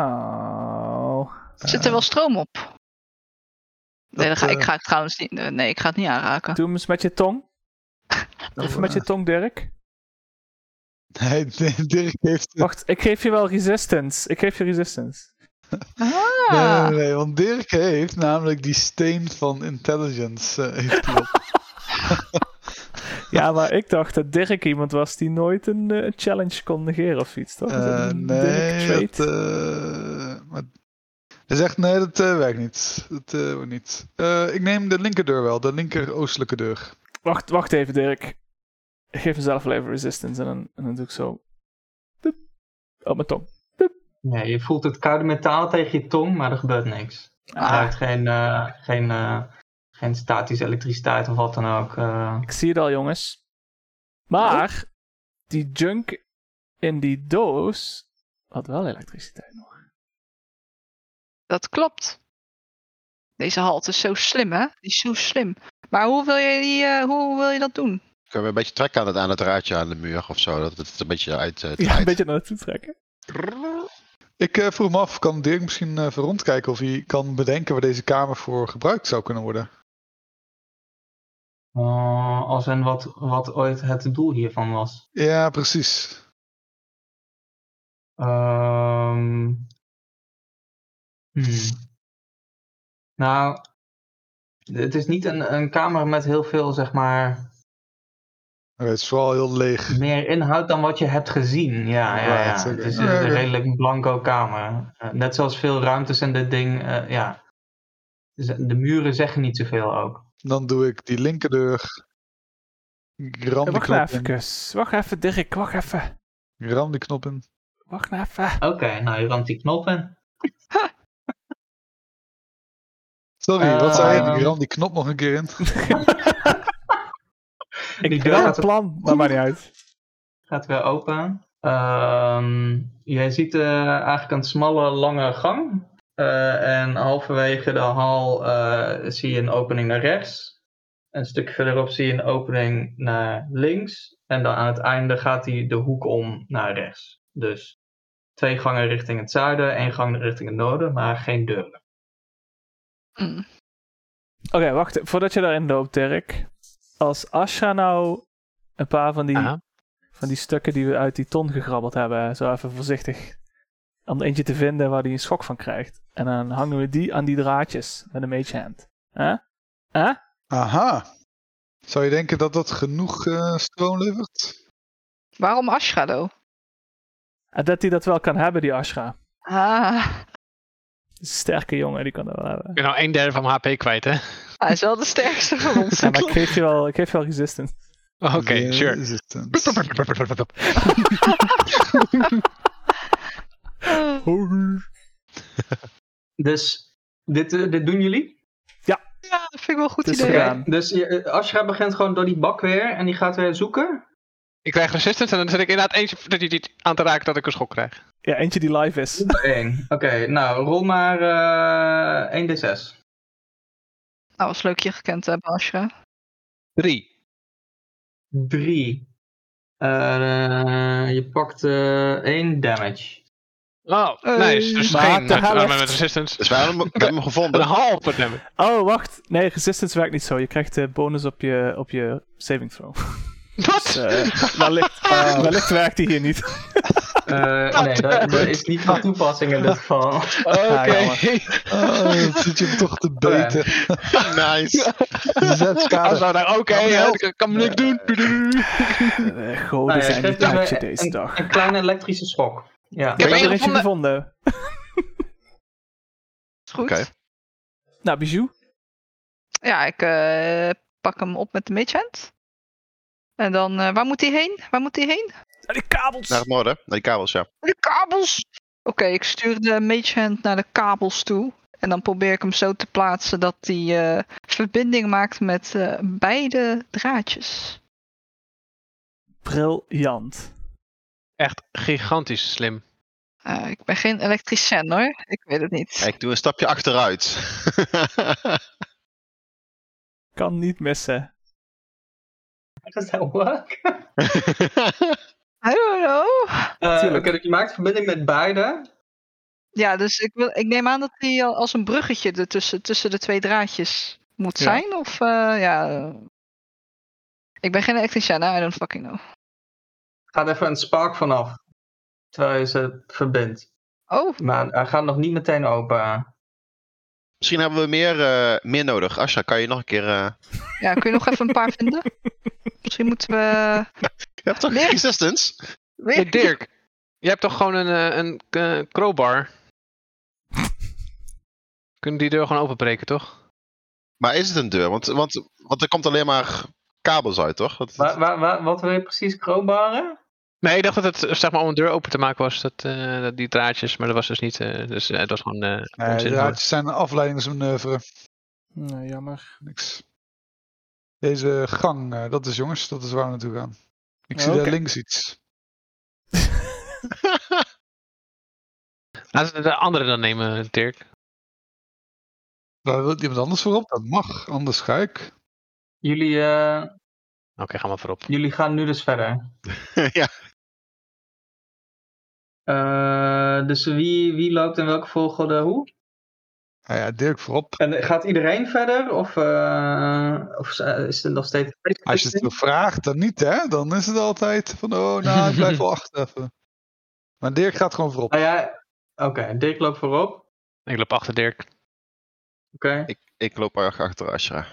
Speaker 1: Oh.
Speaker 4: Zit er wel stroom op? Nee, dan
Speaker 5: dat,
Speaker 4: ga, ik
Speaker 5: eh,
Speaker 4: ga het trouwens niet. Nee, ik ga het niet aanraken.
Speaker 1: Doe hem eens met je tong.
Speaker 5: Oh,
Speaker 1: Even met je tong, Dirk.
Speaker 5: (laughs) Nee, Dirk heeft...
Speaker 1: Oh, Wacht, ik geef je wel resistance. Ik geef je resistance.
Speaker 4: Ah,
Speaker 5: Nee,
Speaker 4: Ah,
Speaker 5: nee, nee, want Dirk heeft namelijk die steen van intelligence eh, heeft hij op. (laughs)
Speaker 1: Ja, maar ik dacht dat Dirk iemand was die nooit een eh, challenge kon negeren of iets, toch? Is (laughs) dat
Speaker 5: Eh,
Speaker 1: een
Speaker 5: nee,
Speaker 1: Dirk
Speaker 5: dat,
Speaker 1: trait?
Speaker 5: eh, maar... Hij zegt, nee, dat eh, werkt niet. Dat eh, wordt niet. Eh, ik neem de linkerdeur wel, de linker oostelijke deur.
Speaker 1: Wacht, wacht even, Dirk. Ik geef mezelf wel even resistance en dan, en dan doe ik zo. Doep. Op mijn tong.
Speaker 2: Nee, je voelt het koude metaal tegen je tong, maar er gebeurt niks.
Speaker 1: Ah.
Speaker 2: Je ruikt geen, eh, geen, eh, geen statische elektriciteit of wat dan ook. eh.
Speaker 1: Ik zie het al, jongens. Maar die junk in die doos had wel elektriciteit nog.
Speaker 4: dat klopt. Deze halt is zo slim, hè? Die is zo slim. Maar hoe wil je, die, eh, hoe wil je dat doen?
Speaker 3: Kunnen we een beetje trekken aan het, aan het raadje aan de muur of zo? Dat het een beetje uit eh,
Speaker 1: Ja, een
Speaker 3: draait.
Speaker 1: beetje naar naartoe trekken.
Speaker 5: Ik eh, vroeg me af, kan Dirk misschien eh, even rondkijken of hij kan bedenken waar deze kamer voor gebruikt zou kunnen worden?
Speaker 2: Eh, als en wat, wat ooit het doel hiervan was.
Speaker 5: Ja, precies.
Speaker 2: Ehm, hmm. Nou, het is niet een, een kamer met heel veel, zeg maar,
Speaker 5: Het is vooral heel leeg.
Speaker 2: meer inhoud dan wat je hebt gezien. Ja, ja, ja.
Speaker 5: Right, oké.
Speaker 2: Het is een
Speaker 5: Ja, ja.
Speaker 2: redelijk blanco kamer. Eh, net zoals veel ruimtes en dit ding, eh, ja. Dus De muren zeggen niet zoveel ook.
Speaker 5: Dan doe ik die linkerdeur. Ik Ram de
Speaker 1: wacht nou
Speaker 5: knop
Speaker 1: even,
Speaker 5: in.
Speaker 1: kus. Wacht even, Dirk. Wacht even.
Speaker 5: Ik Ram die knop in.
Speaker 1: Wacht nou even.
Speaker 2: Oké, nou je ramt die knop in.
Speaker 5: Sorry,
Speaker 2: Eh,
Speaker 5: wat zei je?
Speaker 2: ehm.
Speaker 5: Ik Ram die knop nog een keer in.
Speaker 2: die
Speaker 1: Ik heb
Speaker 2: deur
Speaker 1: wel
Speaker 2: gaat
Speaker 1: een plan, maar maakt niet uit.
Speaker 2: gaat weer open. Ehm, jij ziet eh, eigenlijk een smalle, lange gang. Eh, en halverwege de hal eh, zie je een opening naar rechts. Een stuk verderop zie je een opening naar links. En dan aan het einde gaat hij de hoek om naar rechts. Dus twee gangen richting het zuiden, één gang richting het noorden, maar geen deuren.
Speaker 4: Hm.
Speaker 1: Oké, wacht. Voordat je daarin loopt, Dirk. Als Asha nou een paar van die,
Speaker 6: Aha.
Speaker 1: van die stukken die we uit die ton gegrabbeld hebben, zo even voorzichtig. Om er eentje te vinden waar hij een schok van krijgt. En dan hangen we die aan die draadjes met een mage hand. Hè? Hè?
Speaker 5: Aha. Zou je denken dat dat genoeg eh, stroom levert?
Speaker 4: Waarom Ashradow?
Speaker 1: En dat hij dat wel kan hebben, die Ashra.
Speaker 4: Ah,
Speaker 1: Sterke jongen, die kan dat wel hebben.
Speaker 6: Ik ben nou een derde van mijn HP kwijt, hè? (laughs)
Speaker 4: hij is wel de sterkste van ons.
Speaker 1: Ja, maar ik geef je wel, ik geef je wel resistance.
Speaker 6: Oké,
Speaker 5: Resistance.
Speaker 6: sure.
Speaker 4: (laughs) Eh,
Speaker 2: Dus dit, eh, dit doen jullie?
Speaker 4: Ja, dat vind ik wel een goed
Speaker 1: Het is
Speaker 4: idee.
Speaker 1: gedaan.
Speaker 2: Dus je- eh, Ashra begint gewoon door die bak weer en die gaat weer zoeken.
Speaker 6: Ik krijg resistance en dan zet ik inderdaad eentje dat je dit aan te raken dat ik een schok krijg.
Speaker 1: Ja, eentje die live is.
Speaker 2: Eén. Oké, nou rol maar eh 1d6.
Speaker 4: Nou, was leuk je gekend te hebben, Ashra.
Speaker 6: Drie.
Speaker 2: 3. Eh, je pakt eh 1 damage.
Speaker 6: Oh,
Speaker 4: Eh,
Speaker 6: nice. Dus
Speaker 1: maar
Speaker 6: geen
Speaker 1: de
Speaker 6: met,
Speaker 1: helft.
Speaker 6: met resistance.
Speaker 3: Dus we hebben hem, we hebben hem
Speaker 6: Een
Speaker 3: gevonden.
Speaker 6: halve damage.
Speaker 1: Oh, wacht. Nee, resistance werkt niet zo. Je krijgt de bonus op je, op je saving throw. Dus,
Speaker 6: Wat?
Speaker 1: eh, wellicht,
Speaker 2: (laughs)
Speaker 1: wellicht werkt die hier niet.
Speaker 2: Eh, nee, dat, dat is niet van toepassing in dit geval.
Speaker 1: ja,
Speaker 6: (laughs) Oké.
Speaker 5: Oh, dat zit je hem toch te beten.
Speaker 3: (laughs) Nice.
Speaker 5: Zes
Speaker 6: Als
Speaker 5: kader.
Speaker 6: nou dan, oké,
Speaker 5: Kan
Speaker 6: hè,
Speaker 5: wel.
Speaker 6: ik kan me niks
Speaker 1: (laughs)
Speaker 6: doen.
Speaker 1: Eh, goden
Speaker 2: Nou ja,
Speaker 1: zijn
Speaker 2: geef
Speaker 1: niet
Speaker 2: hem
Speaker 1: uit je
Speaker 2: een-
Speaker 1: deze dag.
Speaker 2: Een kleine elektrische schok. Ja.
Speaker 6: Ik heb
Speaker 1: Ik heb
Speaker 6: één
Speaker 1: er eentje
Speaker 6: gevonden.
Speaker 1: gevonden.
Speaker 4: Is goed.
Speaker 3: Oké.
Speaker 1: Nou, Bijou.
Speaker 4: Ja, ik eh, pak hem op met de midhand. En dan, eh, waar moet hij heen? Waar moet hij heen?
Speaker 1: Ah, Die kabels.
Speaker 3: Naar het noorden, naar die kabels, ja.
Speaker 4: De kabels! Oké, ik stuur de magehand naar de kabels toe. En dan probeer ik hem zo te plaatsen dat hij eh, verbinding maakt met eh, beide draadjes.
Speaker 1: Briljant.
Speaker 6: Echt gigantisch slim.
Speaker 4: Eh, ik ben geen elektricien hoor, ik weet het niet.
Speaker 3: Ik doe een stapje achteruit.
Speaker 1: Kan niet missen.
Speaker 2: Does that work?
Speaker 4: I don't know.
Speaker 2: Eh, Oké,
Speaker 1: Tuurlijk.
Speaker 2: dus je maakt verbinding met beide.
Speaker 4: Ja, dus ik, wil, ik neem aan dat hij al als een bruggetje ertussen, tussen de twee draadjes moet
Speaker 1: Ja.
Speaker 4: zijn. Of eh, ja. eh, Ik ben geen elektricien, I don't fucking know.
Speaker 2: Gaat even een spark vanaf. Terwijl je ze verbindt.
Speaker 4: Oh,
Speaker 2: Maar hij gaat nog niet meteen open.
Speaker 3: (laughs) Misschien hebben we meer, eh, meer nodig. Asha, kan je nog een keer... eh,
Speaker 4: Ja, kun je nog even een paar
Speaker 1: (laughs)
Speaker 4: vinden? Misschien moeten we...
Speaker 3: Je hebt toch
Speaker 4: Meer?
Speaker 3: resistance?
Speaker 6: Hey, Dirk, jij hebt toch gewoon een, eh, een eh,
Speaker 5: (laughs)
Speaker 6: crowbar? Kunnen die deur gewoon openbreken, toch?
Speaker 3: Maar is het een deur? Want, want, want er komt alleen maar kabels uit,
Speaker 2: (laughs)
Speaker 3: toch? Dat,
Speaker 2: Wa- wa- wa- wat wil je precies crowbaren?
Speaker 6: Nee, ik dacht dat het eh, zeg maar, om een deur open te maken was, dat, eh, dat die draadjes, maar dat was dus niet. eh, dus eh, het was gewoon. eh,
Speaker 5: Nee,
Speaker 6: onzin.
Speaker 5: ja, het zijn een afleidingsmanoeuvre.
Speaker 1: Nee, (laughs) jammer.
Speaker 5: Niks. Deze gang, eh, dat is jongens, dat is waar we naartoe gaan. Ik
Speaker 1: Ja,
Speaker 5: zie
Speaker 1: Oh, oké.
Speaker 5: daar links iets.
Speaker 6: Laten we de andere dan nemen, Dirk.
Speaker 5: Daar wil iemand anders voorop? Dat mag, anders ga ik.
Speaker 2: Jullie, eh,
Speaker 6: Oké, ga maar voorop.
Speaker 2: jullie gaan nu dus verder.
Speaker 3: ja.
Speaker 2: Eh, dus wie, wie loopt in welke volgorde hoe?
Speaker 5: Nou ja, Dirk voorop.
Speaker 2: En gaat iedereen verder? Of, eh, of eh, is het nog steeds...
Speaker 5: Als je het me vraagt, dan niet hè. Dan is het altijd van, oh nou, ik
Speaker 1: (laughs)
Speaker 5: blijf wel achter even. Maar Dirk gaat gewoon voorop.
Speaker 2: Nou ja, oké. Dirk loopt voorop. Oké.
Speaker 6: Ik loop achter Dirk.
Speaker 3: ik, ik loop erg achter Asha.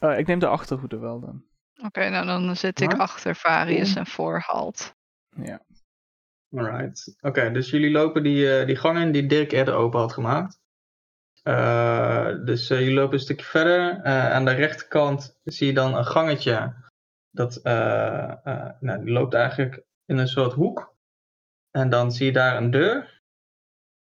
Speaker 1: Eh, ik neem de achterhoede wel dan.
Speaker 4: Oké, nou dan zit ik
Speaker 2: Maar?
Speaker 4: achter Varius
Speaker 2: Oeh.
Speaker 4: en voor Halt.
Speaker 1: Ja.
Speaker 2: Alright. Oké, dus jullie lopen die, eh, die gang in die Dirk eerder open had gemaakt. Eh, dus eh, jullie lopen een stukje verder. Eh, aan de rechterkant zie je dan een gangetje. Dat eh, eh, nou, die loopt eigenlijk in een soort hoek. En dan zie je daar een deur.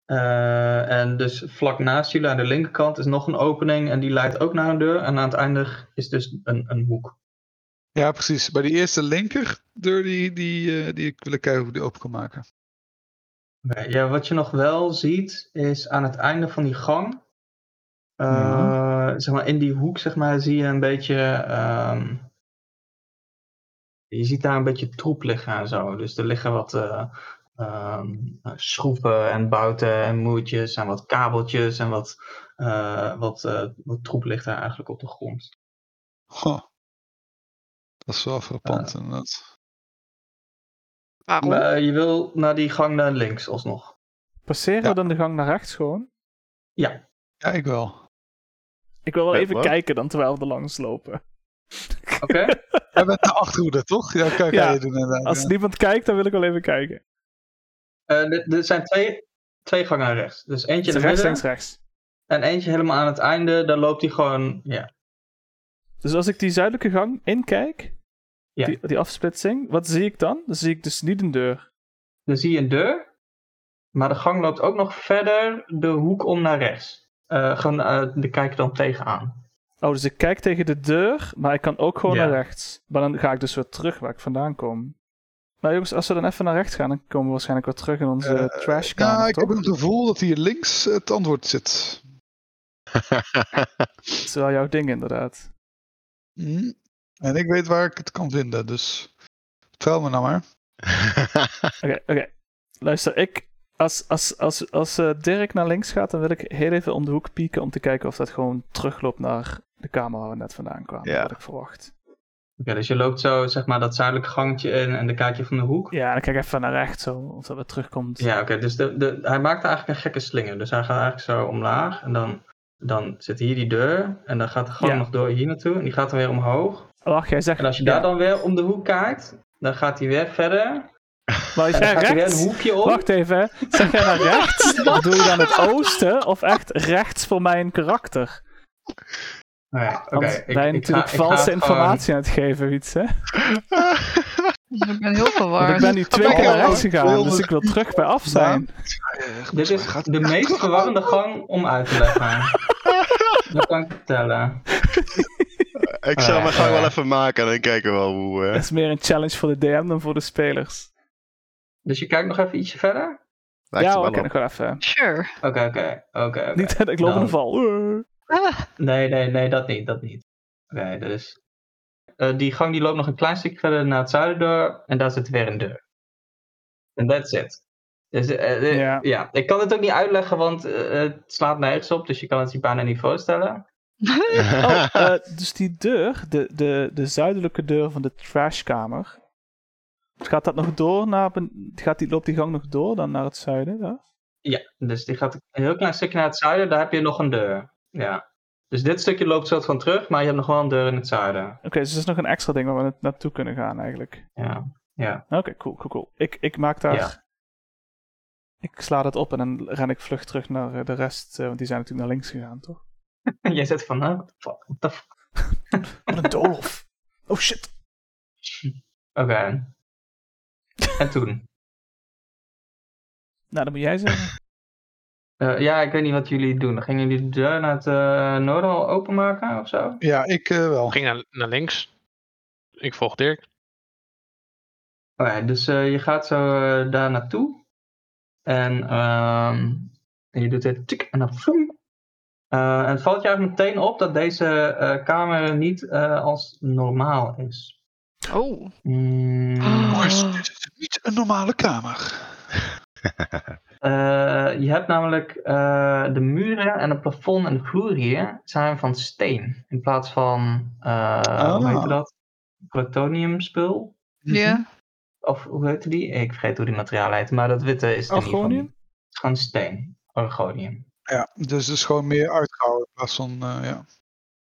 Speaker 2: Eh, en dus vlak naast jullie aan de linkerkant is nog een opening. En die leidt ook naar een deur. En aan het einde is dus een, een hoek.
Speaker 5: Ja, precies. Bij die eerste linker deur die, die, eh, die ik wil kijken hoe die open kan maken.
Speaker 2: Nee, Eh, Ja, wat je nog wel ziet is aan het einde van die gang, eh, zeg maar in die hoek, zeg maar, zie je een beetje, ehm, je ziet daar een beetje troep liggen en zo. Dus er liggen wat eh, ehm, schroeven en bouten en moertjes en wat kabeltjes en wat, eh, wat, eh, wat troep ligt daar eigenlijk op de grond.
Speaker 5: Goh. Dat is wel frappant inderdaad.
Speaker 4: Waarom?
Speaker 2: Maar eh, je wil naar die gang naar links alsnog.
Speaker 1: Passeren
Speaker 5: Ja.
Speaker 1: we dan de gang naar rechts gewoon?
Speaker 2: Ja,
Speaker 5: Ja, ik wel.
Speaker 1: Ik wil wel
Speaker 2: Eh,
Speaker 3: Wait,
Speaker 1: even
Speaker 3: what?
Speaker 1: kijken dan terwijl we er langs lopen.
Speaker 2: oké.
Speaker 5: Jij bent de achterhoede, toch? Ja, kijk,
Speaker 1: Ja,
Speaker 5: ja, je doen inderdaad.
Speaker 1: Als
Speaker 5: ja.
Speaker 1: niemand kijkt, dan wil ik wel even kijken.
Speaker 2: Eh, er er zijn twee, twee gangen naar rechts. Dus eentje
Speaker 1: Dus
Speaker 2: in de
Speaker 1: rechts,
Speaker 2: midden.
Speaker 1: links, rechts.
Speaker 2: En eentje helemaal aan het einde, daar loopt hij gewoon. Ja.
Speaker 1: Dus als ik die zuidelijke gang inkijk,
Speaker 2: Ja.
Speaker 1: die, die afsplitsing, wat zie ik dan? Dan zie ik dus niet een deur.
Speaker 2: Dan zie je een deur. Maar de gang loopt ook nog verder de hoek om naar rechts. Eh gewoon, eh, de kijker dan tegenaan.
Speaker 1: Oh, dus ik kijk tegen de deur, maar ik kan ook gewoon
Speaker 2: Ja.
Speaker 1: naar rechts. Maar dan ga ik dus weer terug waar ik vandaan kom. Maar jongens, als we dan even naar rechts gaan, dan komen we waarschijnlijk weer terug in onze
Speaker 5: Eh,
Speaker 1: trashkamer,
Speaker 5: Nou, ik
Speaker 1: toch?
Speaker 5: heb het gevoel dat hier links het antwoord zit.
Speaker 1: Dat is wel jouw ding, inderdaad.
Speaker 5: Hm. En ik weet waar ik het kan vinden, dus vertrouw me nou maar.
Speaker 1: Oké, oké. Luister, ik... Als, als, als, als eh, Dirk naar links gaat, dan wil ik heel even om de hoek pieken om te kijken of dat gewoon terugloopt naar de kamer waar we net vandaan kwamen,
Speaker 3: Ja.
Speaker 1: wat ik verwacht.
Speaker 2: Oké, dus je loopt zo zeg maar dat zuidelijke gangetje in en dan kijk je van de hoek. Ja,
Speaker 1: Ja, dan kijk ik even naar rechts, zo, of dat weer terugkomt.
Speaker 2: oké. dus de, de, hij maakt eigenlijk een gekke slinger. Dus hij gaat eigenlijk zo omlaag. En dan, dan zit hier die deur. En dan gaat de gang
Speaker 1: Ja.
Speaker 2: nog door hier naartoe. En die gaat dan weer omhoog.
Speaker 1: Wacht, jij zegt...
Speaker 2: En als je daar
Speaker 1: ja,
Speaker 2: dan weer om de hoek kijkt, dan gaat hij weer verder.
Speaker 1: Maar je
Speaker 2: En dan
Speaker 1: zegt
Speaker 2: gaat hij weer
Speaker 1: rechts.
Speaker 2: een hoekje om.
Speaker 1: Wacht even, hè. zeg jij naar
Speaker 2: (laughs)
Speaker 1: rechts? Of doe je dan het oosten? Of echt rechts voor mijn karakter?
Speaker 2: Nee, Nou oké.
Speaker 1: Want
Speaker 2: ik-
Speaker 1: wij
Speaker 2: ik
Speaker 1: natuurlijk
Speaker 2: ga- ehm, ik ga
Speaker 1: valse
Speaker 2: gewoon-
Speaker 1: informatie aan het geven, iets hè?
Speaker 4: Dus Ik ben heel
Speaker 1: Want ik
Speaker 4: verward.
Speaker 1: ben nu twee
Speaker 5: ik
Speaker 1: keer naar
Speaker 5: heb
Speaker 1: rechts
Speaker 5: ook
Speaker 1: gegaan, dus
Speaker 5: honderd-
Speaker 1: ik wil terug bij af zijn.
Speaker 5: Eh,
Speaker 2: Dit is de meest verwarrende gang om uit te leggen. Dat kan ik vertellen.
Speaker 3: (laughs) ik zal
Speaker 2: Ah,
Speaker 3: mijn gang wel
Speaker 2: ah.
Speaker 3: even maken en dan kijken we wel hoe... eh,
Speaker 1: Dat is meer een challenge voor de DM dan voor de spelers.
Speaker 2: Dus je kijkt nog even ietsje verder?
Speaker 3: lijkt
Speaker 1: ja,
Speaker 3: het
Speaker 1: we
Speaker 3: wel
Speaker 1: kunnen
Speaker 3: op. Nou.
Speaker 1: nog wel even. eh,
Speaker 4: Sure.
Speaker 2: Oké, oké. oké, oké.
Speaker 1: Niet dat ik loop in
Speaker 2: Dan-
Speaker 1: een val. Uh.
Speaker 4: Ah,
Speaker 2: Nee, nee, nee, dat niet, dat niet. Oké, dus... eh, die gang die loopt nog een klein stukje verder naar het zuiden door. En daar zit weer een deur. En that's it. Dus, eh, eh,
Speaker 1: Ja.
Speaker 2: ja. ik kan het ook niet uitleggen, want eh, het slaat nergens op. Dus je kan het je bijna niet voorstellen.
Speaker 1: Oh, eh, dus die deur, de, de, de zuidelijke deur van de trashkamer. Gaat dat nog door naar. ben- Gaat die, loopt die gang nog door dan naar het zuiden? Daar?
Speaker 2: Ja, dus die gaat een heel klein stukje naar het zuiden. Daar heb je nog een deur. Ja. Dus dit stukje loopt soort van terug, maar je hebt nog wel een deur in het zuiden.
Speaker 1: Oké, dus dat is nog een extra ding waar we na- naartoe kunnen gaan eigenlijk.
Speaker 2: Ja. (laughs) Ja.
Speaker 1: Oké, cool, cool, cool. Ik, ik maak daar...
Speaker 2: Ja.
Speaker 1: Ik sla dat op en dan ren ik vlug terug naar eh, de rest, eh, want die zijn natuurlijk naar links gegaan, toch?
Speaker 2: Jij zit van, huh? What the fuck? What the fuck?
Speaker 1: Wat een doolhof! Oh shit!
Speaker 2: Oké. En toen?
Speaker 1: Nou, dat moet jij zeggen.
Speaker 2: Eh, ja, ik weet niet wat jullie doen. Gingen jullie de deur naar het eh, noorden al openmaken of zo?
Speaker 5: Ja, ik eh, wel.
Speaker 6: Ging naar, naar links. Ik volg Dirk.
Speaker 2: Oké, dus eh, je gaat zo eh, daar naartoe. En, ehm, en je doet dit tik en dan vloem. Eh, en het valt je eigenlijk meteen op dat deze eh, kamer niet eh, als normaal is.
Speaker 4: Oh.
Speaker 2: Mm,
Speaker 5: Jongens, dit is niet een normale kamer.
Speaker 2: eh, je hebt namelijk eh, de muren en het plafond en de vloer hier zijn van steen. In plaats van, eh hoe heet dat? Plutoniumspul.
Speaker 4: Ja.
Speaker 2: Of hoe heette die? Ik vergeet hoe die materiaal heet, maar dat witte is het in ieder geval
Speaker 1: Argonium?
Speaker 2: niet. Het is gewoon steen. Argonium.
Speaker 5: Ja, dus het is gewoon meer uitgehouden in plaats van, eh, ja.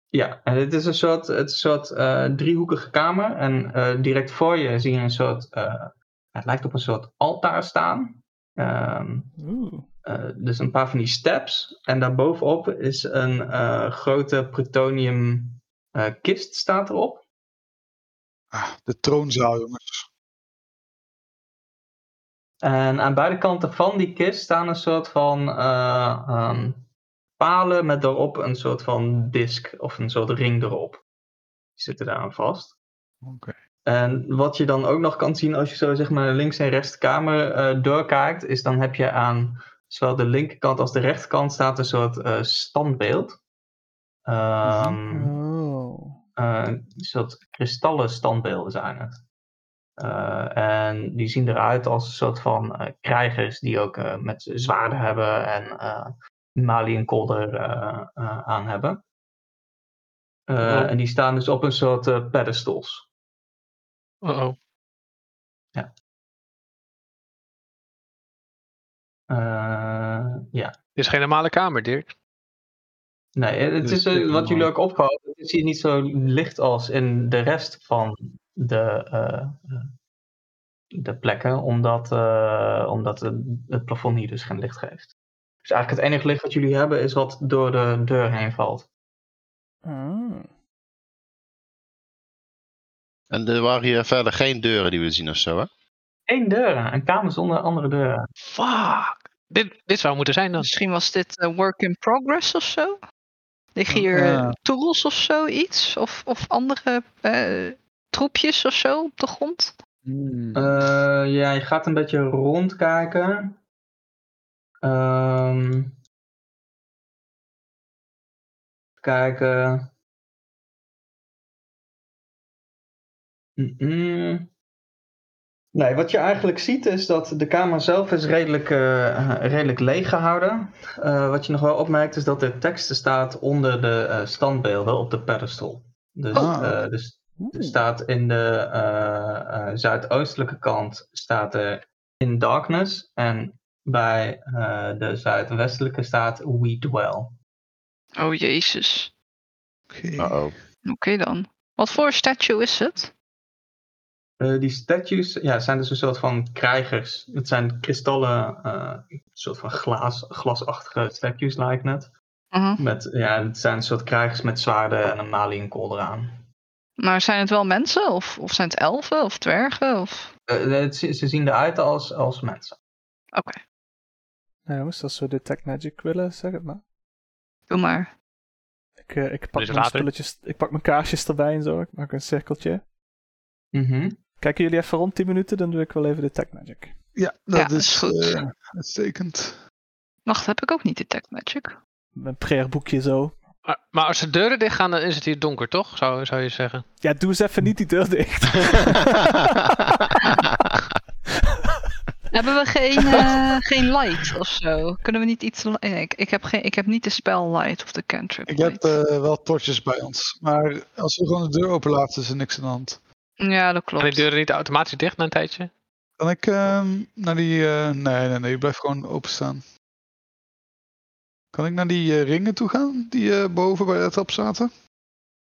Speaker 2: Ja, en het is een soort, het is een soort eh, driehoekige kamer. En eh, direct voor je zie je een soort, eh, het lijkt op een soort altaar staan. Ehm,
Speaker 1: Oeh.
Speaker 2: eh, dus een paar van die steps. En daarbovenop is een eh, grote plutonium eh, kist staat erop.
Speaker 5: Ah, de troonzaal, jongens.
Speaker 2: En aan beide kanten van die kist staan een soort van eh, ehm, palen met daarop een soort van disk of een soort ring erop. Die zitten daaraan vast.
Speaker 5: Oké.
Speaker 2: En wat je dan ook nog kan zien als je zo zeg maar links en rechts de kamer eh, doorkijkt, is dan heb je aan zowel de linkerkant als de rechterkant staat een soort eh, standbeeld. Ehm
Speaker 1: Oh.
Speaker 2: eh, een soort kristallen standbeelden zijn het. Eh, en die zien eruit als een soort van eh, krijgers die ook eh, met zwaarden hebben en eh Mali en Kolder eh, eh, aan hebben. Eh,
Speaker 6: Oh.
Speaker 2: En die staan dus op een soort eh, pedestals.
Speaker 6: Oh oh.
Speaker 2: Eh, ja,
Speaker 6: Dit is geen normale kamer, Dirk.
Speaker 2: nee, eh, het
Speaker 5: Dus
Speaker 2: is eh,
Speaker 5: dit is
Speaker 2: wat jullie
Speaker 5: mooi.
Speaker 2: ook opvallen. Het is hier niet zo licht als in de rest van de, eh, eh, de plekken, omdat, eh, omdat het, het plafond hier dus geen licht geeft. Dus eigenlijk het enige licht wat jullie hebben is wat door de deur heen valt.
Speaker 1: Ah.
Speaker 3: (laughs) En er waren hier verder geen deuren die we zien of zo, hè?
Speaker 2: Eén deur, een kamer zonder andere deuren.
Speaker 6: Fuck. Dus- Dit, dit zou moeten zijn dan.
Speaker 4: Misschien was dit eh, work in progress of zo. Liggen hier eh,
Speaker 5: Ja.
Speaker 4: tools of zo iets? Of, of andere eh, troepjes of zo op de grond?
Speaker 2: Eh, ja, je gaat een beetje rondkijken. Ehm, even kijken. Mm-mm. Mm, Nee, wat je eigenlijk ziet is dat de kamer zelf is redelijk, eh, redelijk leeg gehouden. Eh, wat je nog wel opmerkt is dat er teksten staat onder de eh, standbeelden op de pedestal. Dus,
Speaker 5: Oh.
Speaker 2: eh, dus er
Speaker 1: Oeh.
Speaker 2: staat in de eh, eh, zuidoostelijke kant staat er In Darkness. En bij eh, de zuidwestelijke staat We Dwell.
Speaker 4: Oh jezus.
Speaker 5: Oké.
Speaker 3: Uh-oh.
Speaker 4: Oké dan. Wat voor statue is het?
Speaker 2: Eh, die statues ja, zijn dus een soort van krijgers. Het zijn kristallen, eh, een soort van glaas, glasachtige statues lijkt het.
Speaker 4: Mhm.
Speaker 2: Met, ja, het zijn een soort krijgers met zwaarden en een maliënkolder aan.
Speaker 4: Maar zijn het wel mensen? Of, of zijn het elfen? Of dwergen? Of...
Speaker 2: Eh, het- ze, ze zien eruit als, als mensen.
Speaker 4: Oké,
Speaker 1: Nou jongens, als we detect magic willen, zeg het maar.
Speaker 4: doe maar.
Speaker 1: Ik, eh, ik, pak
Speaker 6: Dus
Speaker 1: mijn
Speaker 6: later.
Speaker 1: spulletjes, ik pak mijn kaarsjes erbij en zo. Ik maak een cirkeltje.
Speaker 2: Mhm.
Speaker 1: Kijken jullie even rond 10 minuten, dan doe ik wel even detect magic.
Speaker 5: Ja, dat
Speaker 4: Ja,
Speaker 5: is
Speaker 4: is goed.
Speaker 5: eh, uitstekend.
Speaker 4: Wacht, heb ik ook niet detect magic?
Speaker 1: Mijn prayerboekje zo.
Speaker 6: Maar, maar als de deuren dicht gaan, dan is het hier donker, toch? Zou, zou je zeggen.
Speaker 1: Ja, doe eens even niet die deur
Speaker 3: (laughs)
Speaker 1: dicht.
Speaker 4: Hebben we geen, (laughs) eh, geen light of zo? Kunnen we niet iets... li- Nee, ik, ik, heb geen, ik heb niet de spel light of de cantrip
Speaker 5: Ik
Speaker 4: light.
Speaker 5: heb eh, wel torches bij ons. Maar als we gewoon de deur open laten, is er niks aan de hand.
Speaker 4: Ja, dat
Speaker 6: Gaan die
Speaker 4: klopt.
Speaker 6: deuren niet automatisch dicht na een tijdje?
Speaker 5: Kan ik ehm, naar die... eh, nee, nee, nee. Blijf gewoon openstaan. Kan ik naar die eh, ringen toe gaan die eh, boven bij de trap zaten?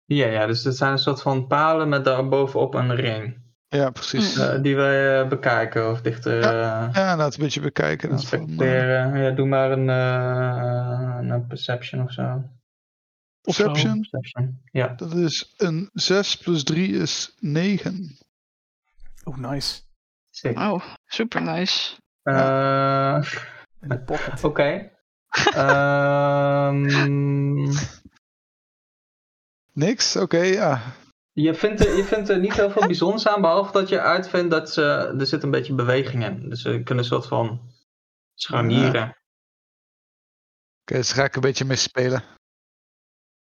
Speaker 2: Ja, ja, dus dat zijn een soort van palen met daarbovenop een ring.
Speaker 5: Ja, precies.
Speaker 2: eh, die wij eh, bekijken of dichter eh,
Speaker 5: Ja, laat een beetje bekijken. dan van, eh,
Speaker 2: inspecteren. Ja, doe maar een, eh, een perception of zo.
Speaker 1: Of zo.
Speaker 5: perception.
Speaker 2: Perception. Ja.
Speaker 5: Dat is een 6 plus 3 is 9.
Speaker 1: Oh, nice.
Speaker 2: Sick.
Speaker 5: Ah,
Speaker 4: Oh, super nice.
Speaker 2: Eh,
Speaker 1: In de pocket.
Speaker 2: (laughs) Oké. Ehm,
Speaker 5: Niks? Oké, ja.
Speaker 2: je, vindt er, je vindt er niet heel veel bijzonders aan, behalve dat je uitvindt dat ze, er zit een beetje beweging in. Dus ze kunnen een soort van scharnieren.
Speaker 5: Oké, dus ga ik een beetje mee spelen.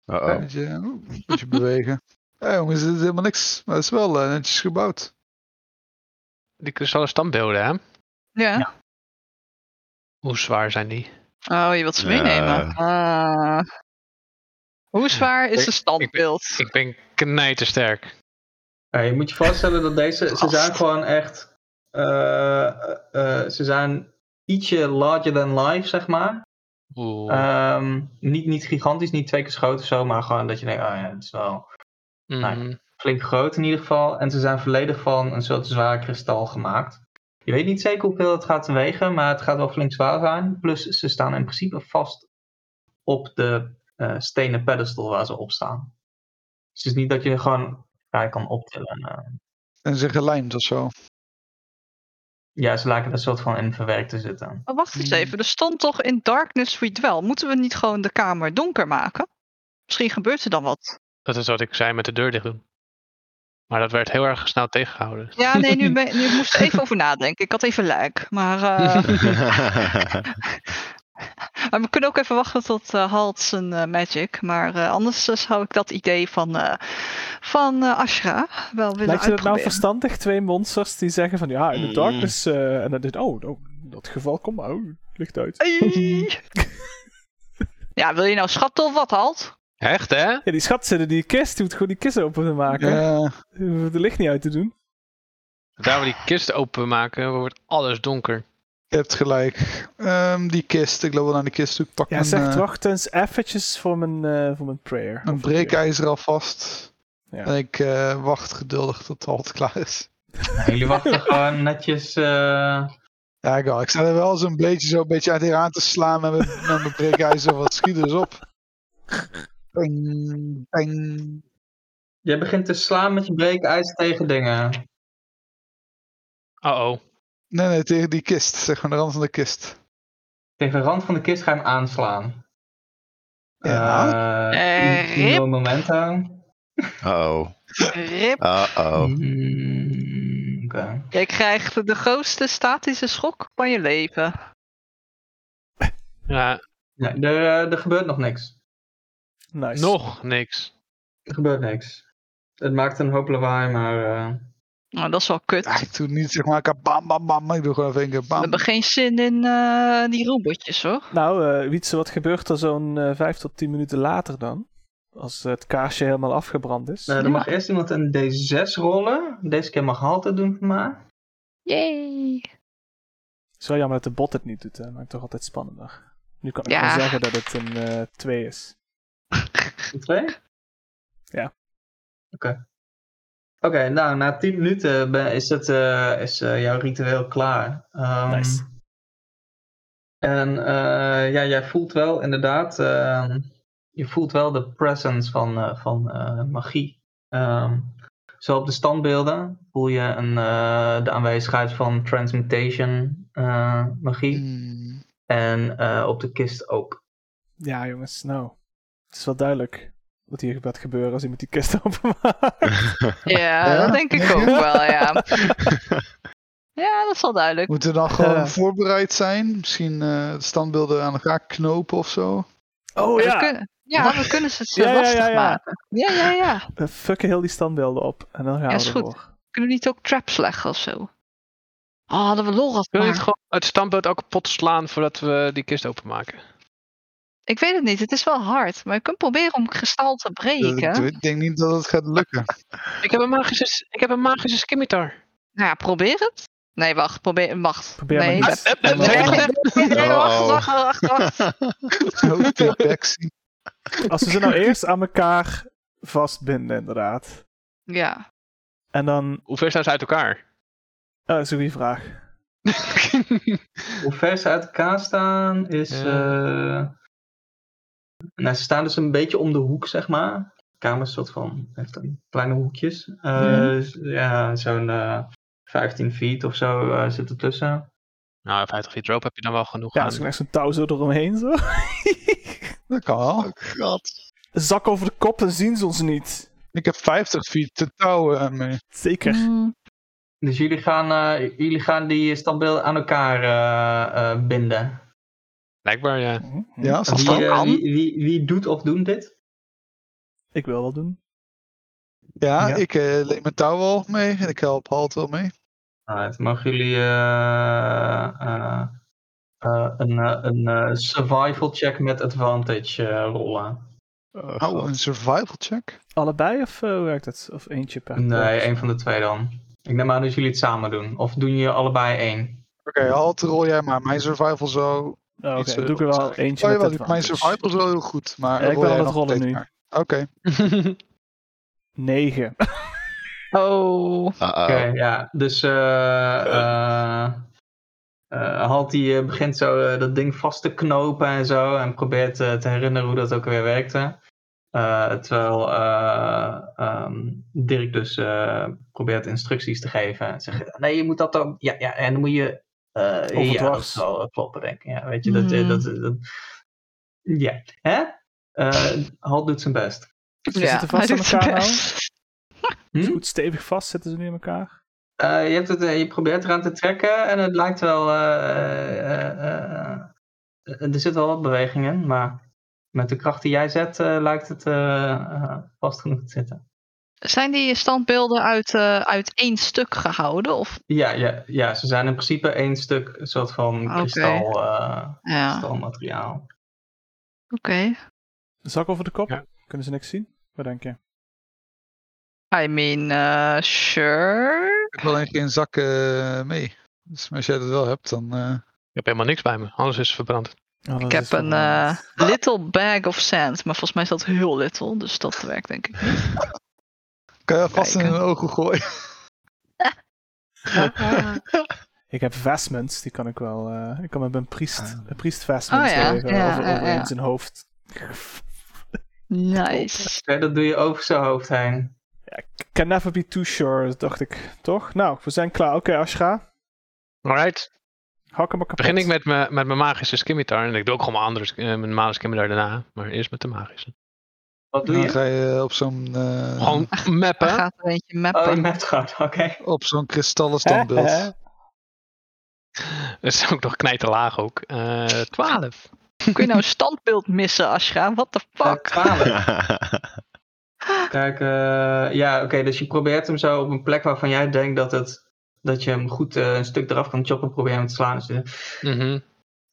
Speaker 5: Een
Speaker 1: Oh.
Speaker 5: (laughs)
Speaker 3: Uh-oh.
Speaker 5: beetje, oh, een beetje
Speaker 1: (laughs)
Speaker 5: bewegen. Ja, jongens, dit is helemaal niks. Maar het is wel eh, netjes gebouwd.
Speaker 6: Die kristallen standbeelden, hè?
Speaker 4: Ja.
Speaker 6: Hoe zwaar zijn die?
Speaker 4: Oh, je wilt ze meenemen. Ah. Hoe zwaar is
Speaker 6: Ik-
Speaker 4: een standbeeld?
Speaker 6: Ik ben knijtersterk.
Speaker 2: Ja, Eh, je moet je voorstellen dat deze, ze zijn gewoon echt, eh, eh, ze zijn ietsje larger than life, zeg maar.
Speaker 6: Oeh.
Speaker 2: Ehm, niet, niet gigantisch, niet twee keer zo groot of zo, maar gewoon dat je denkt, oh ja, het is wel
Speaker 6: Mhm.
Speaker 2: flink groot in ieder geval. En ze zijn volledig van een soort zwaar kristal gemaakt. Je weet niet zeker hoeveel het gaat wegen, maar het gaat wel flink zwaar zijn. Plus ze staan in principe vast op de eh, stenen pedestal waar ze op staan. Dus het is niet dat je er gewoon vrij kan optillen. eh.
Speaker 5: En ze zijn gelijmd of zo.
Speaker 2: Ja, ze lijken er een soort van in verwerkt te zitten.
Speaker 4: Maar Oh, wacht eens even, er stond toch in Darkness We Dwell. Moeten we niet gewoon de kamer donker maken? Misschien gebeurt er dan wat.
Speaker 6: Dat is wat ik zei met de deur dicht doen. Maar dat werd heel erg snel tegengehouden.
Speaker 4: Ja, nee, nu, ben- nu moest ik even over nadenken. Ik had even luik. Maar,
Speaker 3: (laughs)
Speaker 4: eh, maar we kunnen ook even wachten tot eh Halt zijn eh, magic. Maar eh, anders eh, zou ik dat idee van, eh, van eh, Ashra wel willen
Speaker 1: Lijkt je dat nou
Speaker 4: uitproberen.
Speaker 1: verstandig? Twee monsters die zeggen van ja, in de
Speaker 3: Mm.
Speaker 1: darkness. eh, en dan dit, oh, nou, in dat geval, kom maar, oh, licht uit.
Speaker 4: Ei. ja, wil je nou schatten of wat, Halt?
Speaker 6: Echt, hè?
Speaker 1: Ja, die schat zit in die kist, die moet gewoon die kist open te maken.
Speaker 5: Ja,
Speaker 1: Je hoeft het licht niet uit te doen.
Speaker 6: Daar we die kist openmaken, wordt alles donker.
Speaker 5: je hebt gelijk. Ehm, die kist, ik loop wel naar de kist toe. Ik pak
Speaker 1: Ja,
Speaker 5: een,
Speaker 1: zegt
Speaker 5: eh,
Speaker 1: wacht eens eventjes voor mijn, eh, voor mijn prayer.
Speaker 5: een
Speaker 1: Of-
Speaker 5: breekijzer alvast.
Speaker 1: Ja.
Speaker 5: En ik eh, wacht geduldig tot het klaar is.
Speaker 2: En jullie (laughs) wachten gewoon netjes. eh,
Speaker 5: Ja, ik, wel. ik sta er wel zo'n beetje zo een beetje uit aan te slaan met mijn, met mijn breekijzer. Wat schiet dus op? Ping, ping.
Speaker 2: Jij begint te slaan met je breekijzer tegen dingen.
Speaker 6: Uh-oh.
Speaker 5: Nee, nee, tegen die kist. Zeg maar de rand van de kist.
Speaker 2: Tegen de rand van de kist ga je hem aanslaan.
Speaker 5: Ja.
Speaker 2: Eh,
Speaker 4: Eh,
Speaker 2: in- in
Speaker 4: rip.
Speaker 2: een momento.
Speaker 3: Uh-oh.
Speaker 4: Rip.
Speaker 3: Uh-oh.
Speaker 2: Mm, Oké.
Speaker 4: Jij krijgt de grootste statische schok van je leven.
Speaker 6: Ja,
Speaker 2: Nee, er, eh, er gebeurt nog niks.
Speaker 1: Nice.
Speaker 6: nog niks.
Speaker 2: Er gebeurt niks. Het maakt een hoop lawaai, maar. eh,
Speaker 4: Nou, dat is wel kut.
Speaker 5: Ja, ik doe niet zeg maar ik heb bam bam bam, maar ik doe gewoon even een keer
Speaker 4: We
Speaker 5: bam.
Speaker 4: hebben geen zin in eh, die robotjes hoor.
Speaker 1: Nou, eh, Wietse, wat gebeurt er zo'n eh, vijf tot tien minuten later dan? Als eh, het kaarsje helemaal afgebrand is.
Speaker 2: nou,
Speaker 4: Ja.
Speaker 2: er mag eerst iemand een D6 rollen. Deze keer mag Halte doen voor mij.
Speaker 4: Yay.
Speaker 1: Het is wel jammer dat de bot het niet doet, hè. Maakt het toch altijd spannender. Nu kan ik
Speaker 4: Ja.
Speaker 1: wel zeggen dat het een eh, twee is.
Speaker 2: Een Twee?
Speaker 1: Ja.
Speaker 2: Oké. Oké, nou, na 10 minuten ben- is, het, eh, is eh, jouw ritueel klaar. Ehm,
Speaker 1: Nice.
Speaker 2: En eh, ja, jij voelt wel inderdaad, ehm, je voelt wel de presence van, eh, van eh, magie. Ehm, zo op de standbeelden voel je een, eh, de aanwezigheid van transmutation eh, magie.
Speaker 1: Mm.
Speaker 5: Hmm.
Speaker 2: En eh, op de kist ook.
Speaker 1: Ja, jongens, nou. Het is wel duidelijk wat hier gaat gebeuren als iemand die kist (laughs) openmaakt.
Speaker 4: Ja,
Speaker 5: Ja?
Speaker 4: dat denk ik ook wel, ja. Ja, dat is wel duidelijk.
Speaker 5: Moeten we dan gewoon
Speaker 1: Eh.
Speaker 5: voorbereid zijn? Misschien eh, de standbeelden aan elkaar knopen of zo?
Speaker 1: Oh
Speaker 4: We
Speaker 1: ja,
Speaker 4: kunnen, ja, we kunnen ze te
Speaker 1: Ja, ja,
Speaker 4: lastig
Speaker 1: ja, ja.
Speaker 4: maken. Ja, ja, ja.
Speaker 1: we fucken heel die standbeelden op. En dan gaan
Speaker 4: Ja,
Speaker 1: we
Speaker 4: is goed.
Speaker 1: ervoor.
Speaker 4: Kunnen we niet ook traps leggen of zo? Oh, hadden we Lorat
Speaker 6: Wil
Speaker 4: maar.
Speaker 6: je het gewoon het standbeeld ook kapot slaan voordat we die kist openmaken?
Speaker 4: Ik weet het niet, het is wel hard. Maar je kunt proberen om kristal te
Speaker 5: Dus
Speaker 4: breken.
Speaker 5: ik weet- ik denk niet dat het gaat lukken.
Speaker 6: Ik heb een magische, ik heb een magische skimitar.
Speaker 4: Nou ja, probeer het. Nee, wacht. Probeer. Wacht.
Speaker 1: Probeer maar
Speaker 4: nee,
Speaker 1: niet.
Speaker 4: wacht,
Speaker 1: eh,
Speaker 4: wacht,
Speaker 1: eh,
Speaker 4: wacht,
Speaker 3: eh,
Speaker 4: wacht,
Speaker 3: oh.
Speaker 4: wacht, wacht, wacht.
Speaker 5: Oh, (laughs) die Bexy.
Speaker 1: Als we ze nou eerst aan elkaar vastbinden, inderdaad.
Speaker 4: Ja.
Speaker 1: En dan,
Speaker 6: Hoe ver staan ze uit
Speaker 4: (laughs)
Speaker 6: elkaar?
Speaker 1: eh, dat is een goede vraag.
Speaker 2: Hoe ver ze uit elkaar staan is. eh, nou, ze staan dus een beetje om de hoek, zeg maar. De kamer is een soort van. heeft dan kleine hoekjes. Eh,
Speaker 1: Mhm.
Speaker 2: s- Ja, zo'n eh 15 feet of zo eh, zit er tussen.
Speaker 6: nou, 50 feet rope heb je dan wel genoeg
Speaker 1: Ja,
Speaker 6: aan.
Speaker 1: als ik echt zo'n touw zo eromheen zo. (laughs)
Speaker 5: Dat kan wel.
Speaker 3: Oh god.
Speaker 1: Zak over de kop, dan zien ze ons niet.
Speaker 5: Ik heb 50 feet te touwen eh, mee.
Speaker 1: Zeker.
Speaker 4: Mm,
Speaker 2: Dus jullie gaan, eh, jullie gaan die standbeelden aan elkaar eh, eh, binden.
Speaker 4: (laughs)
Speaker 6: Blijkbaar, ja.
Speaker 5: Ja, als dat
Speaker 2: Wie, eh,
Speaker 5: kan.
Speaker 2: wie, wie, wie doet of doen dit?
Speaker 1: Ik wil wel doen.
Speaker 5: Ja,
Speaker 2: ja.
Speaker 5: ik eh, leem mijn touw al mee en ik help Halt wel mee.
Speaker 2: Alright, mogen jullie eh, eh, eh, een, eh, een eh, survival check met advantage eh, rollen?
Speaker 5: Oh, een survival check.
Speaker 1: Allebei of eh, hoe werkt het? Of eentje per?
Speaker 2: Nee, één van de twee dan. Ik neem aan dat jullie het samen doen. Of doen jullie allebei één?
Speaker 5: Oké, Halt, rol jij maar mijn survival zo.
Speaker 1: Oh, Oké,
Speaker 5: Iets,
Speaker 1: dan
Speaker 5: eh,
Speaker 1: doe ik er wel
Speaker 5: opzij.
Speaker 1: eentje
Speaker 5: Oh,
Speaker 1: met
Speaker 5: jawel, die- mijn
Speaker 1: advantage.
Speaker 5: survival is wel heel goed, maar
Speaker 1: Ja, ik
Speaker 5: rol
Speaker 1: ben
Speaker 5: jij
Speaker 1: aan het
Speaker 5: nog
Speaker 1: rollen
Speaker 5: steeds
Speaker 1: nu.
Speaker 5: maar. Oké,
Speaker 1: Negen. (laughs)
Speaker 4: Oh.
Speaker 3: Uh-oh.
Speaker 2: Oké,
Speaker 3: (laughs)
Speaker 2: ja. Dus eh eh, eh, Halt die eh, begint zo eh, dat ding vast te knopen en zo. En probeert eh, te herinneren hoe dat ook weer werkte. Eh, terwijl eh, ehm, Dirk dus eh, probeert instructies te geven. En zegt, nee, je moet dat dan... Ja, ja en dan moet je... eh ja, dat
Speaker 1: Overdwars.
Speaker 2: zal wel kloppen, denk ik. Ja, weet je, dat... eh,
Speaker 4: Hmm.
Speaker 2: dat, dat ja, hè? Eh, Halt doet zijn best.
Speaker 1: Ze
Speaker 4: ja,
Speaker 1: zitten vast
Speaker 4: hij
Speaker 1: aan
Speaker 4: doet zijn
Speaker 1: elkaar nou.
Speaker 4: best.
Speaker 1: Is
Speaker 2: Hm?
Speaker 1: Goed stevig vast zitten ze nu in elkaar.
Speaker 2: Eh, je, hebt het, eh, je probeert eraan te trekken en het lijkt wel. eh, eh, eh, er zit wel wat beweging in, maar met de kracht die jij zet, eh, lijkt het eh, eh, vast genoeg te zitten.
Speaker 4: Zijn die standbeelden uit, eh, uit één stuk gehouden? Of?
Speaker 2: Ja, ja, ja, ze zijn in principe één stuk een soort van
Speaker 4: Oké.
Speaker 2: kristal, eh,
Speaker 4: Ja, oké.
Speaker 2: kristalmateriaal.
Speaker 1: Zak over de kop.
Speaker 6: Ja.
Speaker 1: Kunnen ze niks zien? Wat denk je?
Speaker 4: I mean, eh,
Speaker 1: Oh,
Speaker 4: sure.
Speaker 5: ik heb alleen geen zak eh, mee. Dus als jij dat wel hebt, dan...
Speaker 1: (laughs)
Speaker 5: eh,
Speaker 6: Ik heb helemaal niks bij me. Alles
Speaker 4: (laughs)
Speaker 6: is verbrand.
Speaker 1: Oh, dat
Speaker 4: Ik
Speaker 1: is
Speaker 4: heb
Speaker 1: wel
Speaker 4: een
Speaker 1: raar.
Speaker 4: eh, little bag of sand, maar volgens mij is dat heel little, dus dat werkt denk ik.
Speaker 5: kan je vast in
Speaker 4: Kijken.
Speaker 5: een ogen gooien.
Speaker 1: Ik heb vestments, die kan ik wel. eh, ik kan met mijn priest, een priest vestments
Speaker 4: Oh ja,
Speaker 1: geven,
Speaker 4: ja,
Speaker 1: over,
Speaker 4: ja,
Speaker 1: over in
Speaker 4: ja.
Speaker 1: zijn hoofd.
Speaker 4: (laughs) nice.
Speaker 2: Oké, dat doe je over zijn hoofd heen.
Speaker 1: Can never be too sure, dacht ik. Toch? Nou, we zijn klaar. Oké, Ashra,
Speaker 6: Alright.
Speaker 1: hak hem maar kapot.
Speaker 6: Begin ik met, mijn met mijn magische skimitar. En ik doe ook gewoon mijn, andere, sk- eh, mijn normale skimitar daarna. Maar eerst met de magische.
Speaker 2: Wat doe
Speaker 5: Dan
Speaker 2: je?
Speaker 5: ga je op zo'n eh,
Speaker 6: Gewoon
Speaker 4: Hij
Speaker 6: mappen.
Speaker 4: gaat er eentje
Speaker 2: Oh, je
Speaker 4: mappen.
Speaker 2: met gaat, oké.
Speaker 5: op zo'n kristallen standbeeld.
Speaker 1: Hè?
Speaker 6: Dat is ook nog knijten laag ook. Eh 12.
Speaker 4: Kun je nou een standbeeld missen, Ashra? What the fuck?
Speaker 2: Eh, 12. Kijk, eh, ja, oké, dus je probeert hem zo op een plek waarvan jij denkt dat, het, dat je hem goed eh, een stuk eraf kan choppen, probeer hem te slaan. Dus, eh,
Speaker 4: (laughs)
Speaker 6: Mhm.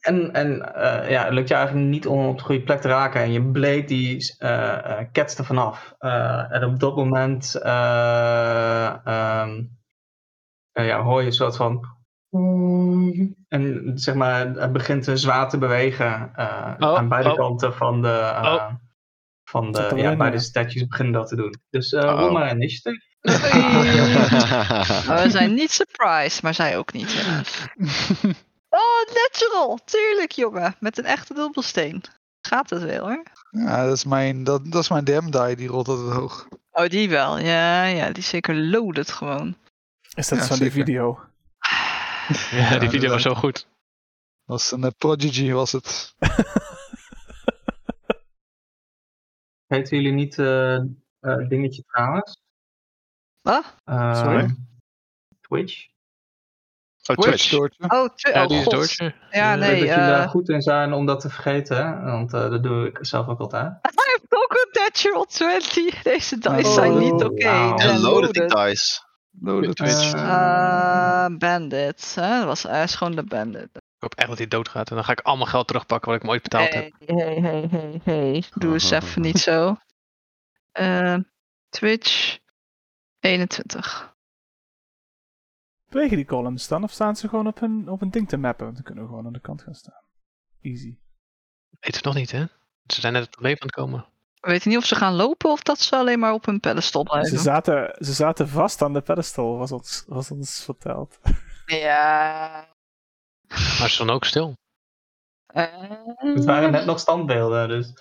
Speaker 2: En, en eh, ja, het lukt je eigenlijk niet om op de goede plek te raken. En je bleed die eh eh kets er vanaf. Eh, en op dat moment eh, ehm, eh, ja, hoor je een soort van... En zeg maar, het begint eh, zwaar te bewegen eh,
Speaker 6: Oh,
Speaker 2: aan beide
Speaker 6: oh.
Speaker 2: kanten van de... eh,
Speaker 6: Oh.
Speaker 2: Van
Speaker 1: Zit
Speaker 2: de,
Speaker 1: er wel
Speaker 2: ja,
Speaker 1: in,
Speaker 2: beide
Speaker 1: ja.
Speaker 2: statues beginnen dat te doen. Dus eh
Speaker 3: Oh.
Speaker 2: rol maar een initiative.
Speaker 1: (laughs)
Speaker 4: Oei. Maar we zijn niet surprised, maar zij ook niet. helaas. Oh, natural! Tuurlijk, jongen. Met een echte dubbelsteen. Gaat het wel, hoor.
Speaker 5: Ja, dat is mijn, dat, dat is mijn DM die, die rolt altijd hoog.
Speaker 4: Oh, die wel. Ja, ja, die is zeker loaded gewoon.
Speaker 1: Is dat
Speaker 5: Ja,
Speaker 1: van die
Speaker 5: zeker.
Speaker 1: video?
Speaker 6: Ja, die video
Speaker 5: dat-
Speaker 6: was zo goed.
Speaker 5: Dat was een eh, Prodigy, was het.
Speaker 2: Heten jullie niet eh, eh, dingetje trouwens?
Speaker 4: Wat?
Speaker 2: Eh,
Speaker 1: Sorry?
Speaker 2: Twitch?
Speaker 3: oh, Twitch.
Speaker 5: Doortje.
Speaker 4: Oh, tw-
Speaker 6: Ja,
Speaker 4: oh,
Speaker 6: die is
Speaker 4: god.
Speaker 6: doortje.
Speaker 4: Ja,
Speaker 6: Eh,
Speaker 2: Ik
Speaker 4: nee.
Speaker 2: weet dat jullie
Speaker 4: eh, (laughs)
Speaker 2: daar goed in zijn om dat te vergeten, hè? want eh, dat doe ik zelf ook altijd.
Speaker 4: Hij heeft ook een natural 20. Deze dice
Speaker 5: Oh,
Speaker 4: zijn niet oké.
Speaker 2: wauw.
Speaker 4: Ze
Speaker 3: En
Speaker 4: zijn
Speaker 3: loaded die dice.
Speaker 5: Lode Twitch.
Speaker 2: Eh,
Speaker 4: Eh, bandit. Hè? Dat was, hij is gewoon de bandit.
Speaker 6: Ik hoop echt dat hij doodgaat. En dan ga ik al mijn geld terugpakken wat ik hem ooit betaald heb.
Speaker 4: Hey, hey, hey, hey, hey. Doe eens even niet zo. Eh, Twitch 21.
Speaker 1: Bewegen die columns dan? Of staan ze gewoon op een, op een ding te mappen? Dan kunnen we gewoon aan de kant gaan staan. Easy.
Speaker 6: Weet het nog niet, hè? Ze zijn net op het leven aan het komen.
Speaker 4: We weten niet of ze gaan lopen of dat ze alleen maar op hun pedestal
Speaker 1: Ze
Speaker 4: blijven.
Speaker 1: zaten, ze zaten vast aan de pedestal, was ons, was ons verteld.
Speaker 4: Ja.
Speaker 6: Maar ze staan ook stil.
Speaker 4: Eh. Mhm.
Speaker 2: Het waren net nog standbeelden, dus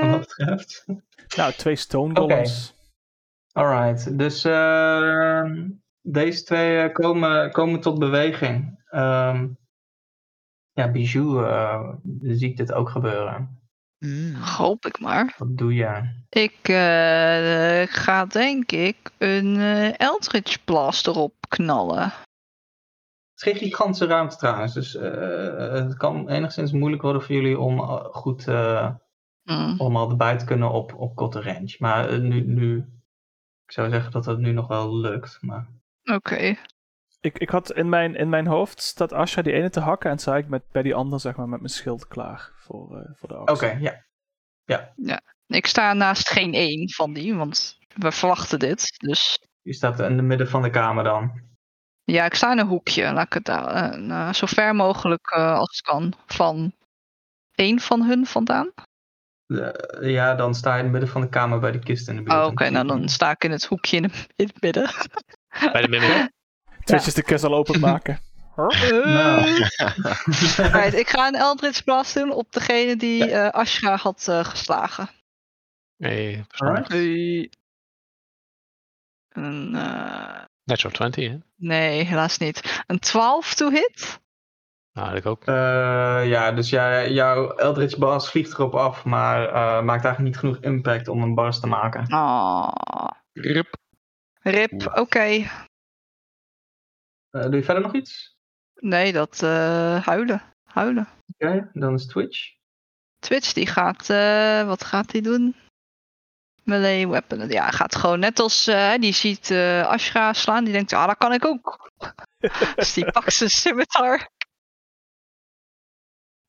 Speaker 2: wat dat betreft.
Speaker 1: Nou, twee stone golems.
Speaker 2: Alright, dus eh, deze twee eh, komen, komen tot beweging. Ehm, ja, Bijou eh, ziet dit ook gebeuren.
Speaker 5: Mm.
Speaker 4: Hoop ik maar.
Speaker 2: Wat doe je?
Speaker 4: Ik eh, ga denk ik een eh, Eldritch Blast erop knallen.
Speaker 2: Het is geen gigantische ruimte trouwens, dus eh, het kan enigszins moeilijk worden voor jullie om eh, goed eh,
Speaker 4: Hm.
Speaker 2: allemaal erbij te kunnen op, op korte range. Maar eh, nu, nu, ik zou zeggen dat dat nu nog wel lukt. Maar
Speaker 4: Oké.
Speaker 1: Ik, ik had in mijn, in mijn hoofd staat Asha die ene te hakken en zei ik met, bij die andere zeg maar met mijn schild klaar voor, eh, voor de
Speaker 2: oké,
Speaker 1: actie.
Speaker 2: ja.
Speaker 4: Ik sta naast geen één van die, want we verwachten dit. Dus
Speaker 2: Je staat in het midden van de kamer dan.
Speaker 4: ja, ik sta in een hoekje. Laat ik het daar, eh, nou, zo ver mogelijk eh, als het kan van één van hun vandaan.
Speaker 2: Eh, ja, dan sta je in het midden van de kamer bij de kist in de buurt.
Speaker 4: Oh, Oké, nou dan sta ik in het hoekje in, (laughs) het- in het midden.
Speaker 6: Bij de mimic.
Speaker 1: Twitch is de kessel openmaken.
Speaker 2: Nou.
Speaker 4: (laughs) Right, ik ga een Eldritch Blast doen op degene die eh Ashra had eh, geslagen.
Speaker 6: Nee, verstandig.
Speaker 2: Alright.
Speaker 4: Een, eh,
Speaker 6: Natural 20, hè?
Speaker 4: nee, helaas niet. Een 12 to hit.
Speaker 6: Nou, ik ook.
Speaker 2: Eh, ja, dus jij, jouw Eldritch Bars vliegt erop af, maar eh, maakt eigenlijk niet genoeg impact om een bars te maken.
Speaker 4: Oh,
Speaker 6: Rup.
Speaker 4: rip,
Speaker 3: Oeh.
Speaker 4: oké.
Speaker 2: Eh, doe je verder nog iets?
Speaker 4: Nee, dat eh, huilen. Huilen.
Speaker 2: Oké, dan is Twitch.
Speaker 4: Twitch die gaat, eh, wat gaat hij doen? Melee weapon. Ja, hij gaat gewoon net als, eh, die ziet eh Ashra slaan. Die denkt, ah, dat kan ik ook. (laughs) dus die pakt zijn scimitar.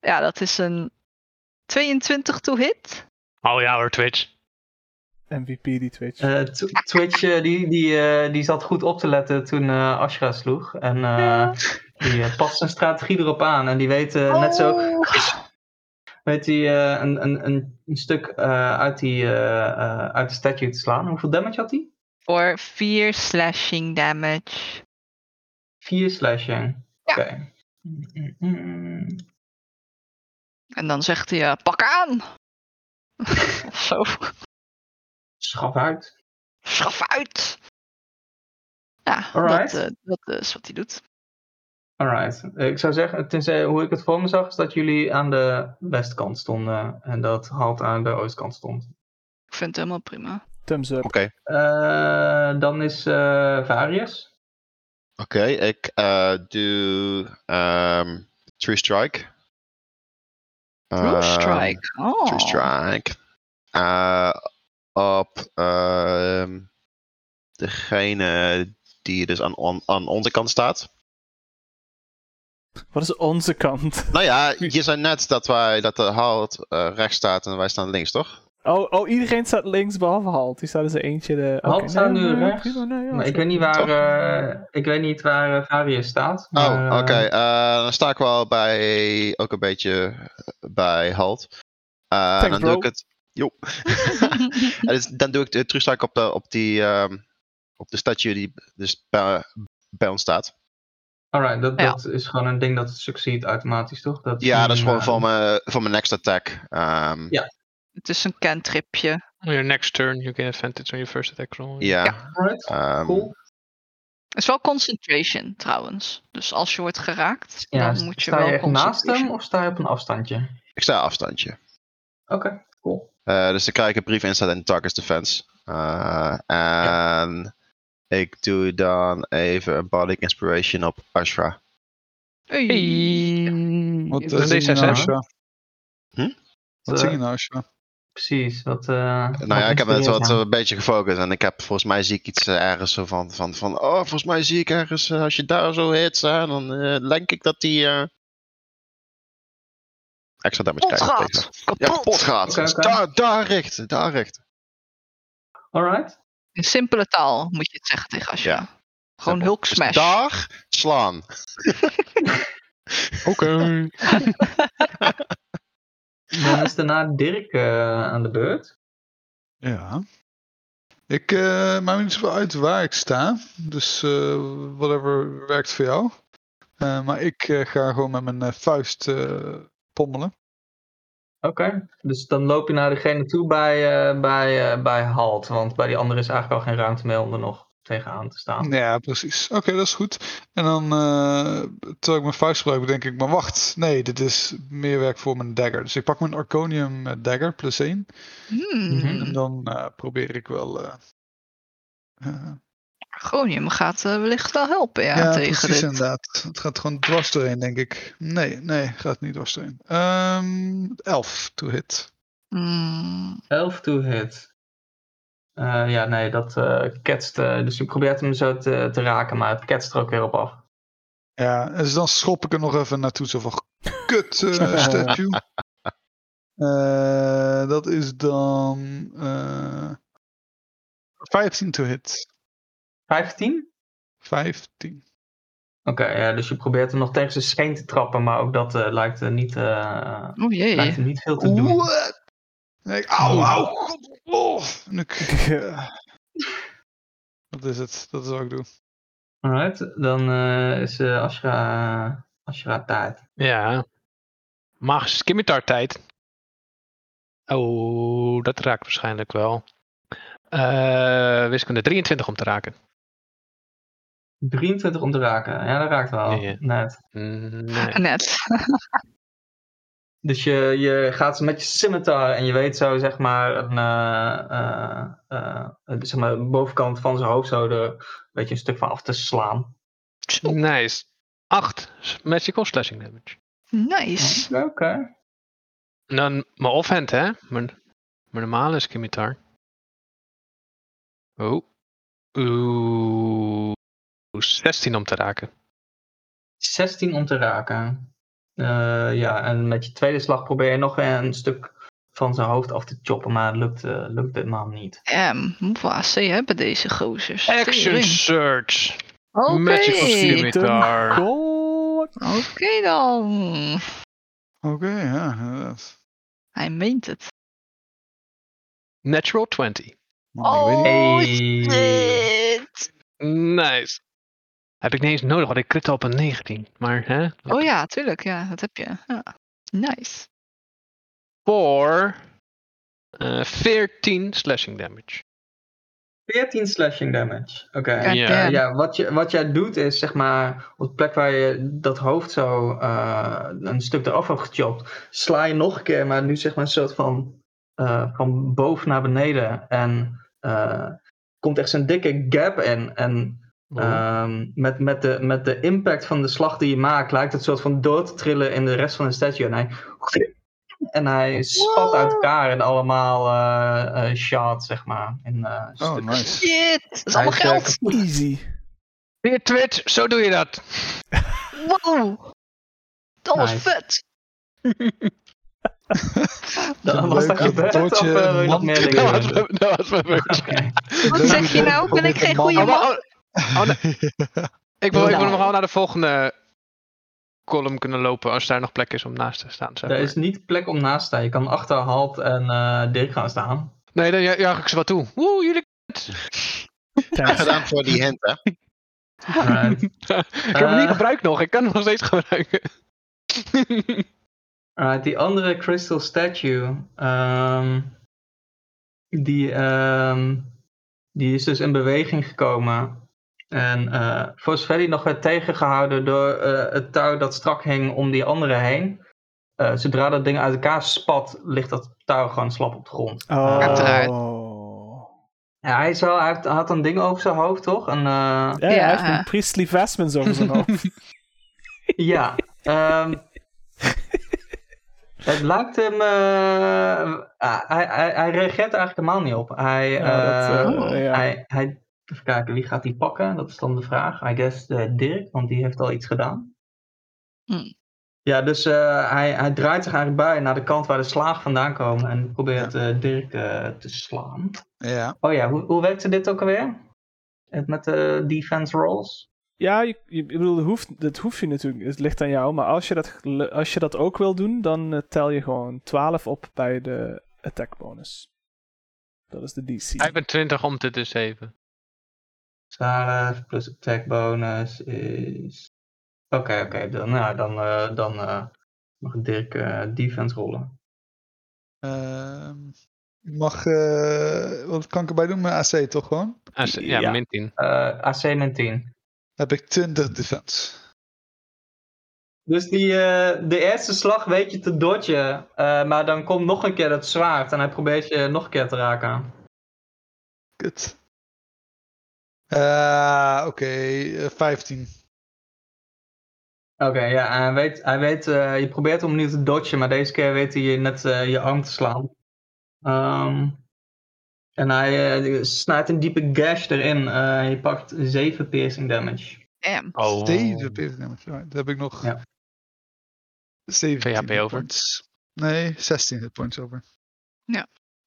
Speaker 4: Ja, dat is een 22 to hit.
Speaker 6: Oh ja hoor, Twitch.
Speaker 1: MVP die Twitch.
Speaker 2: Eh, Tw- Twitch eh, die, die, eh, die zat goed op te letten toen eh, Ashra sloeg. En eh,
Speaker 4: Ja.
Speaker 2: die eh, past zijn strategie erop aan. En die weet eh, net
Speaker 4: Oh.
Speaker 2: zo weet die, eh, een, een, een, een stuk eh, uit, die, eh, eh, uit de statue te slaan. Hoeveel damage had hij?
Speaker 4: Voor 4 slashing damage.
Speaker 2: Vier slashing.
Speaker 4: Ja.
Speaker 2: Oké. Mm, mm, mm.
Speaker 4: En dan zegt hij, eh, pak aan! (laughs) of zo.
Speaker 2: Schaf uit.
Speaker 4: Schaf uit! Ja,
Speaker 2: Alright.
Speaker 4: dat, eh, dat is wat hij doet.
Speaker 2: Alright. Ik zou zeggen, tenzij hoe ik het voor me zag, is dat jullie aan de westkant stonden. En dat Halt aan de oostkant stond.
Speaker 4: Ik vind het helemaal prima.
Speaker 1: Thumbs
Speaker 3: Oké,
Speaker 1: up.
Speaker 2: Eh, dan is eh, Varius.
Speaker 3: oké. Ik eh, doe ehm True Strike.
Speaker 4: True
Speaker 3: Ehm,
Speaker 4: strike. Oh.
Speaker 3: True Strike. Eh, op ehm, degene die dus aan, on- aan onze kant staat.
Speaker 1: Wat is onze kant?
Speaker 3: Nou ja, je zei net dat, wij, dat de halt eh, rechts staat en wij staan links, toch?
Speaker 1: Oh, oh, iedereen staat links behalve Halt. Die staat dus eentje de.
Speaker 2: Halt
Speaker 1: oké,
Speaker 2: staat nu
Speaker 1: nee,
Speaker 2: rechts,
Speaker 1: prima, nee, ja,
Speaker 2: Maar ik
Speaker 1: zo.
Speaker 2: weet niet waar,
Speaker 3: Toch?
Speaker 2: eh, ik weet niet waar eh, Varius staat.
Speaker 3: Oh,
Speaker 2: maar,
Speaker 3: oké.
Speaker 2: eh,
Speaker 3: eh, dan sta ik wel bij, ook een beetje bij halt. Eh,
Speaker 1: Thanks,
Speaker 3: dan doe ik
Speaker 1: bro.
Speaker 3: het. Jo. (laughs) Ja, dus dan doe ik de terugstaak op de, op die, ehm, op de statue die dus bij, bij ons staat.
Speaker 2: Alright, dat,
Speaker 4: Ja.
Speaker 2: dat is gewoon een ding dat succeed automatisch, toch? Dat
Speaker 3: Ja, dat is gewoon
Speaker 2: eh,
Speaker 3: voor mijn, voor mijn next attack. Ehm,
Speaker 2: Ja.
Speaker 4: Het is een cantripje.
Speaker 6: On your next turn, you get advantage on your first attack roll.
Speaker 3: Ja.
Speaker 2: alright,
Speaker 3: ehm,
Speaker 2: cool.
Speaker 4: Het is wel concentration trouwens. Dus als je wordt geraakt,
Speaker 2: Ja,
Speaker 4: dan moet je
Speaker 2: sta
Speaker 4: wel
Speaker 2: je echt naast
Speaker 4: concentration.
Speaker 2: hem of sta je op een afstandje?
Speaker 3: Ik sta afstandje.
Speaker 2: Oké, cool.
Speaker 3: Eh, dus dan krijg ik een brief in staat in Target's Defense. Eh, en ik doe dan even een Bardic Inspiration op Ashra.
Speaker 4: Hey.
Speaker 5: Wat
Speaker 6: Doe
Speaker 5: eh, zing je
Speaker 6: D6,
Speaker 5: nou,
Speaker 6: hè?
Speaker 5: Asha?
Speaker 3: Hm?
Speaker 5: Wat
Speaker 2: Eh,
Speaker 5: zing je nou, Asha?
Speaker 2: Precies, wat... eh, wat
Speaker 3: Nou ja, ik heb het
Speaker 2: inspireert
Speaker 3: wat,
Speaker 2: hem?
Speaker 3: een beetje gefocust. En ik heb volgens mij zie ik iets eh, ergens zo van, van, van... Oh, volgens mij zie ik ergens, eh, als je daar zo hits, hè, dan eh, denk ik dat die... eh, extra damage
Speaker 4: Kapot
Speaker 3: krijgt.
Speaker 4: gaat!
Speaker 3: Ja,
Speaker 4: Kapot!
Speaker 3: kapot gaat.
Speaker 2: Oké,
Speaker 3: Dus
Speaker 2: oké.
Speaker 3: Daar, daar richten, daar richten.
Speaker 2: Alright,
Speaker 3: eh,
Speaker 4: In simpele taal moet je het zeggen tegen Asja.
Speaker 3: Ja.
Speaker 4: Gewoon
Speaker 3: Simpel. Dus
Speaker 4: Hulk smash.
Speaker 3: Dag, slaan.
Speaker 6: Oké.
Speaker 2: Dan is daarna Dirk eh, aan de beurt.
Speaker 5: (laughs) Ja. Ik eh maak me niet zoveel uit waar ik sta. Dus eh, whatever werkt voor jou. Eh, maar ik eh, ga gewoon met mijn eh, vuist eh, pommelen.
Speaker 2: Oké, dus dan loop je naar degene toe bij, eh, bij, eh, bij Halt. Want bij die andere is eigenlijk al geen ruimte meer om er nog tegenaan te staan.
Speaker 5: Ja, precies. Oké, dat is goed. En dan, eh, terwijl ik mijn vuist gebruik, denk ik, maar wacht. Nee, dit is meer werk voor mijn dagger. Dus ik pak mijn Arconium eh, dagger, plus 1.
Speaker 4: Hmm.
Speaker 2: Mhm.
Speaker 5: En dan eh, probeer ik wel... eh, eh,
Speaker 4: Argonium gaat eh, wellicht wel helpen ja,
Speaker 5: Ja,
Speaker 4: tegen
Speaker 5: precies
Speaker 4: dit.
Speaker 5: inderdaad. Het gaat gewoon dwars doorheen, denk ik. Nee, nee, gaat niet dwars doorheen. Ehm, elf to hit.
Speaker 4: Hmm.
Speaker 2: 11 to hit. Eh, ja, nee, dat eh ketst. eh, dus je probeert hem zo te, te raken, maar het ketst er ook weer op af.
Speaker 5: Ja, dus dan schop ik er nog even naartoe. Zo van,
Speaker 2: (laughs)
Speaker 5: kut eh statue. Eh, dat is dan eh 15 to hit.
Speaker 2: 15?
Speaker 5: 15.
Speaker 2: Oké, ja, dus je probeert hem nog tegen zijn scheen te trappen, maar ook dat eh, lijkt, er niet, eh,
Speaker 4: Oh
Speaker 2: lijkt
Speaker 4: jee.
Speaker 2: hem niet veel te doen.
Speaker 5: What? eh. Nee, ik- au, au, god. Oh. En ik, eh, dat is het, dat is wat ik doe.
Speaker 2: Alright, dan eh, is eh Ashra, Ashra tijd.
Speaker 6: ja. Maar skimitar tijd. Oh, dat raakt waarschijnlijk wel. Eh wiskunde 23 om te raken.
Speaker 2: 23 om te raken. Ja, dat raakt wel.
Speaker 6: Ja.
Speaker 2: Net.
Speaker 6: Mm, Nee.
Speaker 4: (laughs) Net.
Speaker 2: Dus je, je gaat ze met je scimitar en je weet zo, zeg maar, een, eh, eh, eh, het- zeg maar, de bovenkant van zijn hoofd zo er een beetje een stuk van af te slaan.
Speaker 6: Nice. 8 magical slashing damage.
Speaker 4: Nice.
Speaker 2: Oké.
Speaker 6: En dan mijn Nou, offhand, hè? Mijn, mijn normale skimitar. Oh. Oeh. 16 om te raken.
Speaker 2: 16 om te raken. Eh, ja, en met je tweede slag probeer je nog weer een stuk van zijn hoofd af te choppen, maar het lukt, eh, lukt ditmaal niet.
Speaker 4: Em, hoeveel AC hebben deze gozers?
Speaker 6: Action
Speaker 4: Tering.
Speaker 6: search.
Speaker 4: Oké.
Speaker 6: Magical
Speaker 4: Oké
Speaker 6: skimitar.
Speaker 1: (laughs) God.
Speaker 4: dan.
Speaker 5: Oké, ja, inderdaad.
Speaker 4: Hij meent het.
Speaker 6: Natural 20.
Speaker 5: Maar
Speaker 4: Oh,
Speaker 5: ik weet niet-
Speaker 2: Hey.
Speaker 4: shit.
Speaker 6: Nice. Heb ik niet eens nodig, want ik crit op een 19. Maar hè?
Speaker 4: Oh ja, tuurlijk. Ja, dat heb je. Ja. Nice.
Speaker 6: Voor eh, 14 slashing damage.
Speaker 2: 14 slashing damage. Oké.
Speaker 4: God
Speaker 6: Ja.
Speaker 4: damn.
Speaker 2: Ja, wat, je, wat jij doet is, zeg maar, op de plek waar je dat hoofd zo eh, een stuk eraf hebt gechopt, sla je nog een keer, maar nu zeg maar een soort van eh, van boven naar beneden. En eh, komt echt zo'n dikke gap in. En ehm, met, met, de, met de impact van de slag die je maakt, lijkt het soort van door te trillen in de rest van de statue. En hij, (laughs) en hij spat uit elkaar in allemaal eh eh, shards, zeg maar. In, eh,
Speaker 5: Oh,
Speaker 2: stukken.
Speaker 5: nice.
Speaker 6: (laughs)
Speaker 4: Shit. Dat is
Speaker 2: Hij
Speaker 4: allemaal
Speaker 2: is, eh,
Speaker 4: geld.
Speaker 1: Easy.
Speaker 6: Weer Twitch, zo doe je dat.
Speaker 4: Wow. Dat was
Speaker 2: Nice.
Speaker 4: vet.
Speaker 2: (laughs) Dat was dat
Speaker 5: Leuk,
Speaker 2: je bed
Speaker 5: dat
Speaker 2: of
Speaker 5: wordt je
Speaker 2: eh, wil je nog
Speaker 5: man (laughs)
Speaker 2: meer dingen doen?
Speaker 6: (laughs) Dat was mijn- (laughs) dat was mijn
Speaker 2: (laughs)
Speaker 6: beurt.
Speaker 2: Oké.
Speaker 4: Wat zeg je nou? Ben ik geen goede
Speaker 6: Oh, maar-
Speaker 4: man?
Speaker 6: oh, oh, nee. Ik wil, ik wil
Speaker 2: Nou.
Speaker 6: nog wel naar de volgende column kunnen lopen als daar nog plek is om naast te staan. zeg
Speaker 2: Er
Speaker 6: maar.
Speaker 2: is niet plek om naast te staan. Je kan achter Halt en eh, Dirk gaan staan.
Speaker 6: Nee, dan ju- juich ik ze wat toe. Woe, jullie. (laughs)
Speaker 1: Thanks.
Speaker 3: (laughs) Gedaan voor die hint, hè?
Speaker 2: Eh,
Speaker 6: ik heb hem niet
Speaker 2: Eh.
Speaker 6: gebruikt nog, ik kan hem nog steeds gebruiken. (laughs)
Speaker 2: Alright, die andere crystal statue. ehm, die, ehm, die is dus in beweging gekomen. En eh, voor zover die nog werd tegengehouden door eh, het touw dat strak hing om die andere heen. Eh, zodra dat ding uit elkaar spat, ligt dat touw gewoon slap op de grond.
Speaker 4: Uiteraard.
Speaker 1: Oh.
Speaker 2: Ja, hij, zou, hij had- had een ding over zijn hoofd, toch? Een, eh,
Speaker 1: Ja, hij heeft
Speaker 4: Ja.
Speaker 1: een priestly vestments over zijn
Speaker 2: (laughs)
Speaker 1: hoofd.
Speaker 2: Ja,
Speaker 1: (laughs)
Speaker 2: ehm, het lijkt hem. eh, hij, hij, hij reageert eigenlijk helemaal niet op. Hij,
Speaker 1: Ja, dat,
Speaker 2: eh,
Speaker 1: eh, ja.
Speaker 2: hij, hij, even kijken, wie gaat die pakken? Dat is dan de vraag. I guess eh, Dirk, want die heeft al iets gedaan.
Speaker 4: Hmm.
Speaker 2: Ja, dus eh, hij, hij draait zich eigenlijk bij naar de kant waar de slaag vandaan komen en probeert eh, Dirk eh, te slaan.
Speaker 5: Ja.
Speaker 2: Oh ja, hoe, hoe werkte dit ook alweer? Het Met de defense rolls.
Speaker 1: Ja, je, je- ik bedoel, dat hoeft, dat hoeft je natuurlijk. Het ligt aan jou. Maar als je dat, gel- als je dat ook wil doen, dan eh, tel je gewoon 12 op bij de attack bonus. Dat is de DC.
Speaker 6: Ik ben 20 om te zeven.
Speaker 2: 12 plus attack bonus is. Oké, oké. dan, nou, dan, eh, dan eh, mag Dirk eh, defense rollen.
Speaker 5: Ehm, ik mag, eh, wat kan ik erbij doen? Mijn AC toch gewoon?
Speaker 6: Ah, ze- ja,
Speaker 1: Ja.
Speaker 6: min 10.
Speaker 2: Eh, AC 19.
Speaker 5: Heb ik 20 defense.
Speaker 2: Dus die, eh, de eerste slag weet je te dodgen. eh, maar dan komt nog een keer dat zwaard. En hij probeert je nog een keer te raken.
Speaker 5: Kut. Eh, Oké, eh, 15.
Speaker 2: Oké, ja. en Hij weet, hij weet eh, je probeert hem nu te dodgen. Maar deze keer weet hij je net eh, je arm te slaan. Ehm, en hij eh, snijdt een diepe gash erin. Eh, je pakt 7 piercing damage.
Speaker 4: Damn.
Speaker 6: Oh.
Speaker 5: 7 piercing damage. Right, daar heb ik nog.
Speaker 2: Ja.
Speaker 5: 17
Speaker 6: HP
Speaker 5: hit
Speaker 6: over?
Speaker 5: points. Nee, 16 hit points over.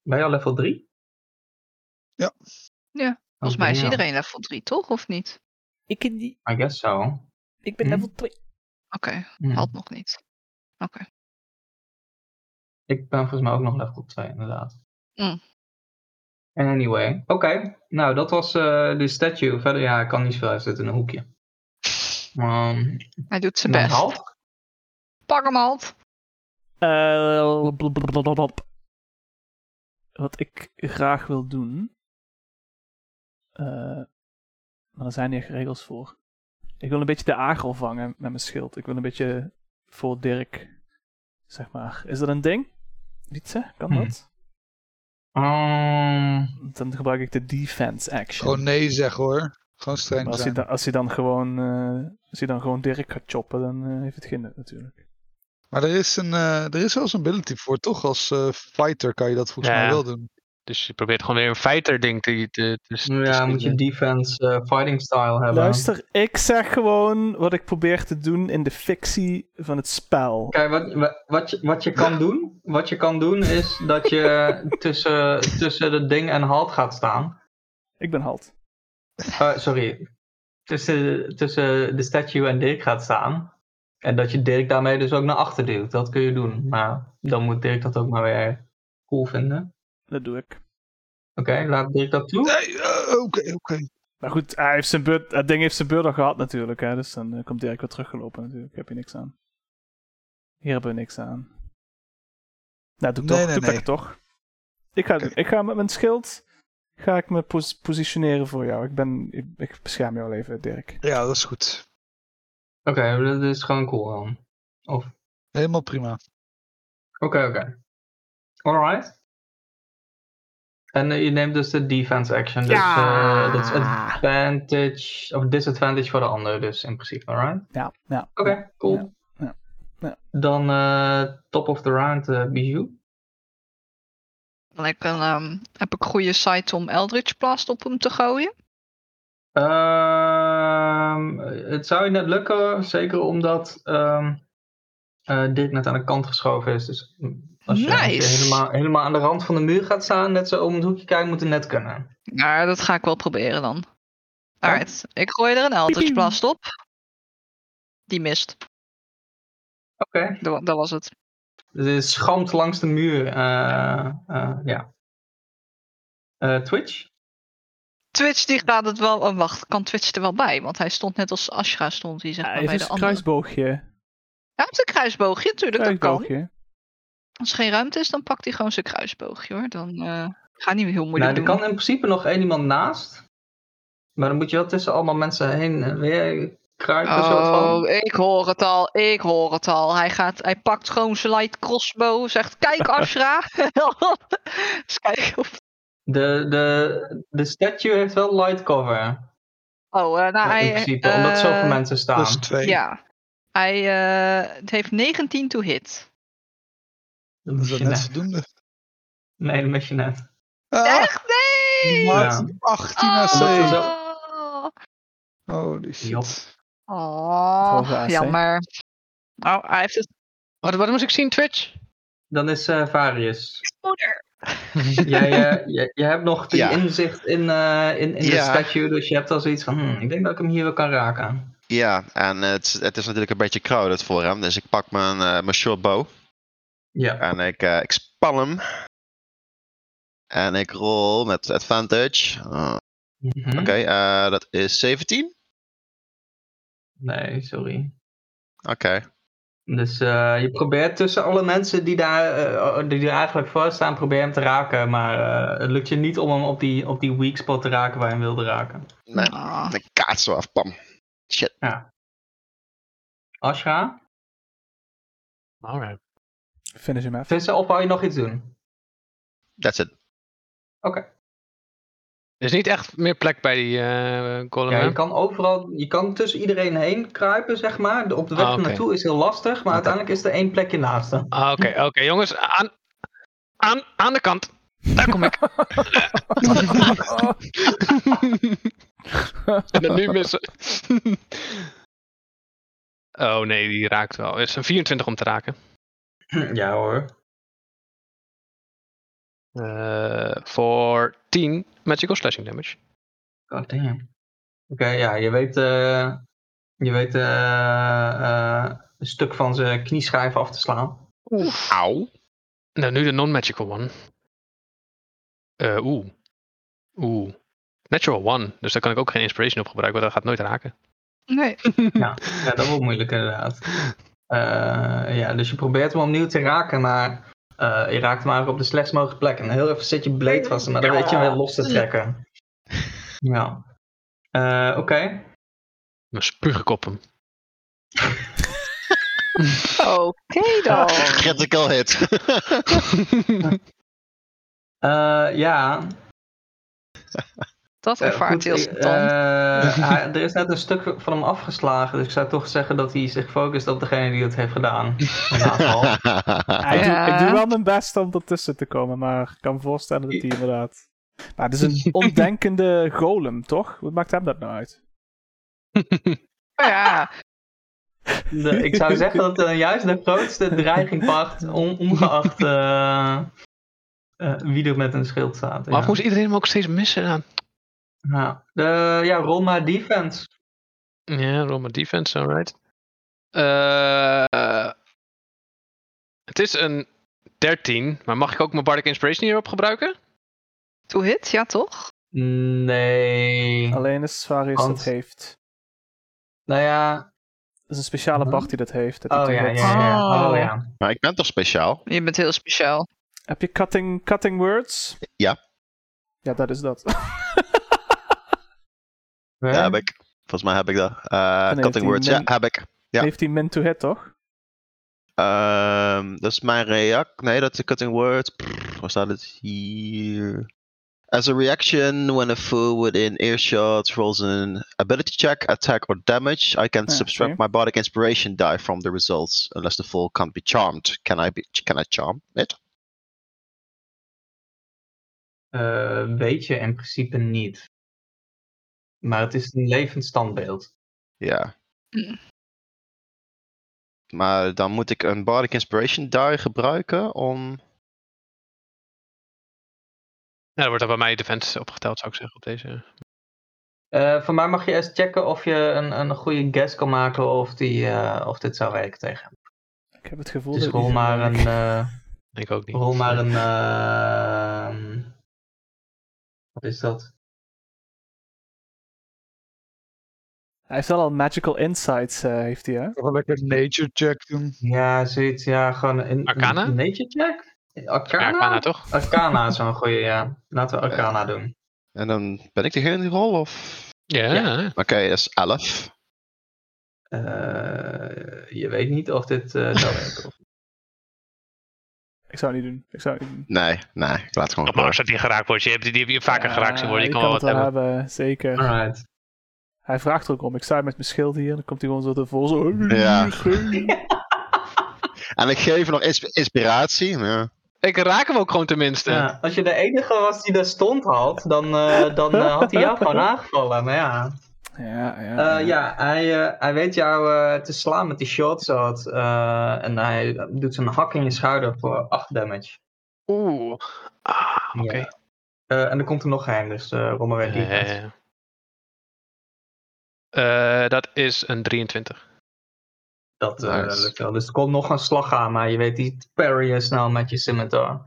Speaker 2: Ben je al level 3?
Speaker 5: Ja.
Speaker 4: Ja, Volgens mij is iedereen level 3, toch? Of niet?
Speaker 1: Ik, ken die,
Speaker 2: Oh, I guess so.
Speaker 1: ik
Speaker 2: ben Hm? level
Speaker 1: 2.
Speaker 4: Oké,
Speaker 2: Hm.
Speaker 4: had nog niet. Oké.
Speaker 2: Ik ben volgens mij ook nog level 2, inderdaad.
Speaker 4: Mm.
Speaker 2: Anyway, oké. Nou, dat was eh, de statue. Verder, ja, ik kan niet veel. Hij zit in een
Speaker 4: (laughs)
Speaker 2: hoekje. Ehm
Speaker 4: Hij doet zijn
Speaker 2: nou,
Speaker 4: best.
Speaker 2: Halt?
Speaker 4: Pak hem halt.
Speaker 1: Eh, wat ik graag wil doen. eh, maar er zijn hier regels voor. Ik wil een beetje de agel vangen met mijn schild. Ik wil een beetje voor Dirk, zeg maar. Is dat een ding? Wietse, kan
Speaker 2: Hm.
Speaker 1: dat?
Speaker 2: Ehm,
Speaker 1: Dan gebruik ik de defense action.
Speaker 5: Gewoon nee zeg hoor. Gewoon
Speaker 1: Maar
Speaker 5: streng
Speaker 1: als hij,
Speaker 5: zijn.
Speaker 1: dan, als, hij dan gewoon, eh, als hij dan gewoon Dirk gaat choppen, dan eh, heeft het geen nut natuurlijk.
Speaker 5: Maar er is, een, eh, er is zelfs een ability voor. Toch als eh, fighter kan je dat volgens mij
Speaker 6: Ja.
Speaker 5: wel doen.
Speaker 6: Dus je probeert gewoon weer een fighter ding te, te, te, te
Speaker 2: ja, moet je
Speaker 6: schieten.
Speaker 2: defense eh, fighting style hebben.
Speaker 1: Luister, ik zeg gewoon wat ik probeer te doen in de fictie van het spel.
Speaker 2: Kijk, wat, wa- wat, je, wat je kan doen, wat je kan doen is dat je tussen, tussen het ding en halt gaat staan.
Speaker 1: Ik ben halt.
Speaker 2: Eh, sorry. Tussen, tussen de statue en Dirk gaat staan. En dat je Dirk daarmee dus ook naar achter duwt. Dat kun je doen. Maar dan moet Dirk dat ook maar weer cool vinden.
Speaker 1: Dat doe ik.
Speaker 2: Oké, laat Dirk dat toe.
Speaker 5: Nee, eh, oké, oké.
Speaker 1: Maar goed, hij heeft zijn beurt, dat ding heeft zijn beurt al gehad natuurlijk. Hè, dus dan eh, komt Dirk weer teruggelopen natuurlijk. Heb je niks aan. Hier hebben we niks aan. Nou, doe ik
Speaker 5: Nee,
Speaker 1: toch.
Speaker 5: nee,
Speaker 1: doe ik
Speaker 5: nee.
Speaker 1: lekker toch. Ik ga,
Speaker 5: Oké.
Speaker 1: ik ga met mijn schild ga ik me pos- positioneren voor jou. Ik, ben, ik, ik bescherm jou wel even, Dirk.
Speaker 5: Ja, dat is goed.
Speaker 2: Oké, dat is gewoon cool dan. Of, oké,
Speaker 5: Helemaal prima.
Speaker 2: oké. Alright. En eh, je neemt dus de defense action. Dus eh, dat is advantage of disadvantage voor de ander dus in principe, alright?
Speaker 1: Ja, ja.
Speaker 2: Oké, cool.
Speaker 1: ja, ja.
Speaker 2: Dan eh, top of the round, eh Bijou.
Speaker 4: Dan heb ik, een, ehm, heb ik goede sight om Eldritch Blast op hem te gooien.
Speaker 2: Ehm, het zou je net lukken, zeker omdat ehm eh, Dirk net aan de kant geschoven is. Dus als je, als je
Speaker 4: Nice.
Speaker 2: helemaal, helemaal aan de rand van de muur gaat staan, net zo om het hoekje kijken, moet het net kunnen.
Speaker 4: Nou, dat ga ik wel proberen dan. Alright, ik gooi er een Eldritch
Speaker 1: Piepiew.
Speaker 4: Blast op. Die mist.
Speaker 2: Oké,
Speaker 4: Dat, dat was het.
Speaker 2: dus het schampt langs de muur. eh, eh, ja. Eh, Twitch?
Speaker 4: Twitch die gaat het wel. Oh, wacht, kan Twitch er wel bij? Want hij stond net als Ashra stond. Die zeg maar
Speaker 1: Hij heeft
Speaker 4: bij
Speaker 1: een
Speaker 4: de andere.
Speaker 1: kruisboogje.
Speaker 4: Hij heeft een kruisboogje, natuurlijk. Dat kan.
Speaker 1: Kruisboogje.
Speaker 4: Als er geen ruimte is, dan pakt hij gewoon zijn kruisboogje hoor. Dan eh ga niet heel moeilijk
Speaker 2: Nou, er
Speaker 4: doen.
Speaker 2: kan in principe nog één iemand naast. Maar dan moet je wel tussen allemaal mensen heen eh, weer kruipen. soort van.
Speaker 4: Oh, ik hoor het al, ik hoor het al. Hij, gaat, hij pakt gewoon zijn light crossbow, zegt kijk Ashra. (laughs) Eens kijken of...
Speaker 2: De, de, de statue heeft wel light cover.
Speaker 4: Oh, eh, nou,
Speaker 2: Ja,
Speaker 4: hij...
Speaker 2: in principe, omdat zoveel
Speaker 4: eh,
Speaker 2: mensen staan.
Speaker 5: Plus 2.
Speaker 4: Ja, hij eh, het heeft 19 to hit.
Speaker 2: dat
Speaker 5: Dat
Speaker 2: mis
Speaker 5: is dat
Speaker 2: je
Speaker 5: net
Speaker 2: net.
Speaker 5: voldoende.
Speaker 2: Nee, dat mis je net.
Speaker 5: Ah,
Speaker 4: Echt? Nee!
Speaker 5: maar
Speaker 2: Ja.
Speaker 5: 18 AC.
Speaker 2: Omdat ze
Speaker 4: Oh,
Speaker 5: Holy
Speaker 2: Jop.
Speaker 5: shit.
Speaker 1: Hoge
Speaker 4: oh
Speaker 1: AC.
Speaker 4: jammer. Nou, hij heeft het
Speaker 6: Wat, wat moest ik zien, Twitch?
Speaker 2: Dan is eh Varius. (laughs)
Speaker 4: moeder.
Speaker 2: jij, eh, jij, jij hebt nog die
Speaker 3: Ja.
Speaker 2: inzicht in, eh, in, in de
Speaker 3: Ja.
Speaker 2: statue, dus je hebt al zoiets van, hm, ik denk dat ik hem hier wel kan raken.
Speaker 3: Ja, en het, het is natuurlijk een beetje crowded voor hem. Dus ik pak mijn, eh mijn short bow
Speaker 2: Ja.
Speaker 3: en ik, eh, ik span hem. En ik rol met advantage. Ah,
Speaker 2: Mhm.
Speaker 3: Oké, eh, dat is 17.
Speaker 2: Nee, sorry.
Speaker 3: Oké.
Speaker 2: Dus eh, je probeert tussen alle mensen die daar, eh, die er eigenlijk voor staan, probeer hem te raken. Maar eh, het lukt je niet om hem op die, op die weak spot te raken waar je hem wilde raken.
Speaker 3: Nee,
Speaker 4: Ah.
Speaker 3: ik kaats zo af, pam. Shit.
Speaker 2: Ashra,
Speaker 6: Alright.
Speaker 1: Finish hem even.
Speaker 2: vissen of wou je nog iets doen?
Speaker 3: That's it.
Speaker 6: Er is niet echt meer plek bij die eh golem,
Speaker 2: Ja,
Speaker 6: hè?
Speaker 2: je kan overal, je kan tussen iedereen heen kruipen, zeg maar. Op de weg
Speaker 6: Ah, oké.
Speaker 2: naartoe is heel lastig, maar uiteindelijk is er één plekje naast
Speaker 6: (laughs)
Speaker 2: hem.
Speaker 6: Ah, Oké, oké, jongens. Aan, aan, aan de kant. Daar kom ik.
Speaker 1: (laughs)
Speaker 6: en dan nu missen. (laughs) oh nee, die raakt wel. Het is een 24 om te raken.
Speaker 2: Ja hoor.
Speaker 6: Eh, Voor 10 magical slashing damage.
Speaker 2: God damn. Oké, ja, je weet, eh, je weet eh, eh, een stuk van zijn knieschijf af te slaan.
Speaker 6: (laughs)
Speaker 3: Auw.
Speaker 6: Nou, nu de non-magical one. Eh, Oeh. Oeh. Natural one. Dus daar kan ik ook geen inspiration op gebruiken, want dat gaat nooit raken.
Speaker 4: Nee.
Speaker 2: Ja, dat wordt moeilijk inderdaad. Eh, ja, dus je probeert hem opnieuw te raken, maar eh, je raakt hem eigenlijk op de slechtst mogelijke plek. En heel even zit je bleed vast, maar dan weet je hem weer los te trekken. Ja. Eh, Oké.
Speaker 6: Mijn spuugkop hem.
Speaker 4: Oké (laughs) dan.
Speaker 3: Critical hit.
Speaker 2: Eh, ja.
Speaker 4: Dat
Speaker 2: eh,
Speaker 4: ervaart
Speaker 2: goed,
Speaker 4: heel
Speaker 2: eh,
Speaker 4: spontaan.
Speaker 2: eh, (laughs) hij- er is net een stuk van hem afgeslagen, dus ik zou toch zeggen dat hij zich focust op degene die het heeft
Speaker 3: (laughs)
Speaker 2: gedaan. Inderdaad al.
Speaker 1: Ah, ik, doe, ik doe
Speaker 4: Ja.
Speaker 1: wel mijn best om ertussen te komen, maar ik kan me voorstellen dat hij inderdaad... Maar het is
Speaker 2: (laughs)
Speaker 1: een ondenkende golem, toch? Wat maakt hem dat nou uit?
Speaker 4: Ja,
Speaker 2: De- ik zou zeggen dat eh, juist de grootste dreiging wacht, on- ongeacht eh, eh, wie er met een schild staat.
Speaker 6: Maar
Speaker 2: ja.
Speaker 6: moest iedereen hem ook steeds missen aan?
Speaker 2: Ja, de, ja rol maar defense.
Speaker 6: Ja, roll my defense, alright. Eh, het is een 13, maar mag ik ook mijn Bardic Inspiration hierop gebruiken?
Speaker 4: to hit, ja toch?
Speaker 2: Nee.
Speaker 1: Alleen is Svarius
Speaker 2: Want-
Speaker 1: dat heeft.
Speaker 2: Nou ja.
Speaker 1: Dat is een speciale
Speaker 2: Huh?
Speaker 1: bard die dat heeft. dat hij
Speaker 2: Oh
Speaker 1: toen
Speaker 2: ja, ja,
Speaker 1: dat-
Speaker 2: ja. Oh
Speaker 4: Oh.
Speaker 2: ja.
Speaker 3: maar ik ben toch speciaal?
Speaker 4: Je bent heel speciaal.
Speaker 1: Heb je cutting, cutting words?
Speaker 3: Ja.
Speaker 1: Ja, dat is
Speaker 6: (laughs)
Speaker 1: dat.
Speaker 3: Ja,
Speaker 2: Werk?
Speaker 3: heb ik. Volgens mij heb ik dat. Eh,
Speaker 1: heeft
Speaker 3: cutting
Speaker 1: hij
Speaker 3: words,
Speaker 1: min-
Speaker 3: ja, heb ik. Ja.
Speaker 1: Heeft hij min to hit, toch?
Speaker 3: Ehm, dat is mijn react. Nee, dat is de cutting word. Prrr, Waar staat het hier? As a reaction, when a foe within earshot rolls an ability check, attack or damage, I can
Speaker 1: Ah,
Speaker 3: subtract
Speaker 1: oké.
Speaker 3: my bardic inspiration die from the results, unless the foe can't be charmed. Can I be? Can I charm it?
Speaker 2: Eh, weet je in principe niet. Maar het is een levend standbeeld.
Speaker 3: Ja.
Speaker 4: Mm.
Speaker 3: Maar dan moet ik een bardic inspiration die gebruiken om.
Speaker 6: Ja, dan wordt dat bij mij defense opgeteld, zou ik zeggen, op deze.
Speaker 2: Eh voor mij mag je eerst checken of je een, een goede guess kan maken of, die, eh, of dit zou werken tegen hem.
Speaker 1: Ik heb het gevoel
Speaker 2: Dus
Speaker 1: dat hij
Speaker 2: rol
Speaker 1: zo-
Speaker 2: maar een, eh,
Speaker 6: Ik ook niet. Eh,
Speaker 2: rol maar een ehm, wat is dat?
Speaker 1: Hij heeft wel al magical insights, eh, heeft hij, hè?
Speaker 5: Gewoon lekker nature check doen.
Speaker 2: Ja, zoiets, ja, gewoon een
Speaker 6: Arcana?
Speaker 2: een nature check?
Speaker 6: Ja,
Speaker 2: Arcana?
Speaker 6: Aquana, toch?
Speaker 2: Arcana is wel een goede, ja. Laten we Arcana doen.
Speaker 3: En dan ben ik degene die rol of?
Speaker 6: Ja.
Speaker 3: Oké, dat is 11.
Speaker 2: Eh, je weet niet of dit eh, zou werken. of-
Speaker 1: Ik zou het niet doen. Ik zou het niet doen.
Speaker 3: Nee, nee, ik laat het gewoon.
Speaker 6: Maar als dat die geraakt wordt, je hebt die, die heb je vaker geraakt zien worden. Je
Speaker 1: Ja,
Speaker 6: kan wel
Speaker 1: het
Speaker 6: wat hebben.
Speaker 1: hebben, zeker.
Speaker 2: Alright.
Speaker 1: Hij vraagt er ook om. Ik sta met mijn schild hier en dan komt hij gewoon zo ervoor. Zo... "Oh,
Speaker 3: Ja. En ik geef nog ins- inspiratie. Ja.
Speaker 6: Ik raak hem ook gewoon tenminste.
Speaker 2: eh, Ja, als je de enige was die daar stond had, dan, eh, dan eh, had hij jou gewoon aangevallen. Maar ja,
Speaker 1: Ja, ja.
Speaker 2: Eh, ja hij, eh, hij weet jou eh, te slaan met die shot shot. eh, en hij doet zijn hak in je schouder voor 8 damage.
Speaker 6: Oeh. Ah,
Speaker 2: Ja.
Speaker 6: oké.
Speaker 2: Eh, en er komt er nog geheim, dus eh rommel weer die.
Speaker 6: Ja, ja, ja. Eh, dat is een 23.
Speaker 2: Dat eh,
Speaker 3: Nice.
Speaker 2: lukt wel. Dus er komt nog een slag aan, maar je weet die parry je snel met je scimitar.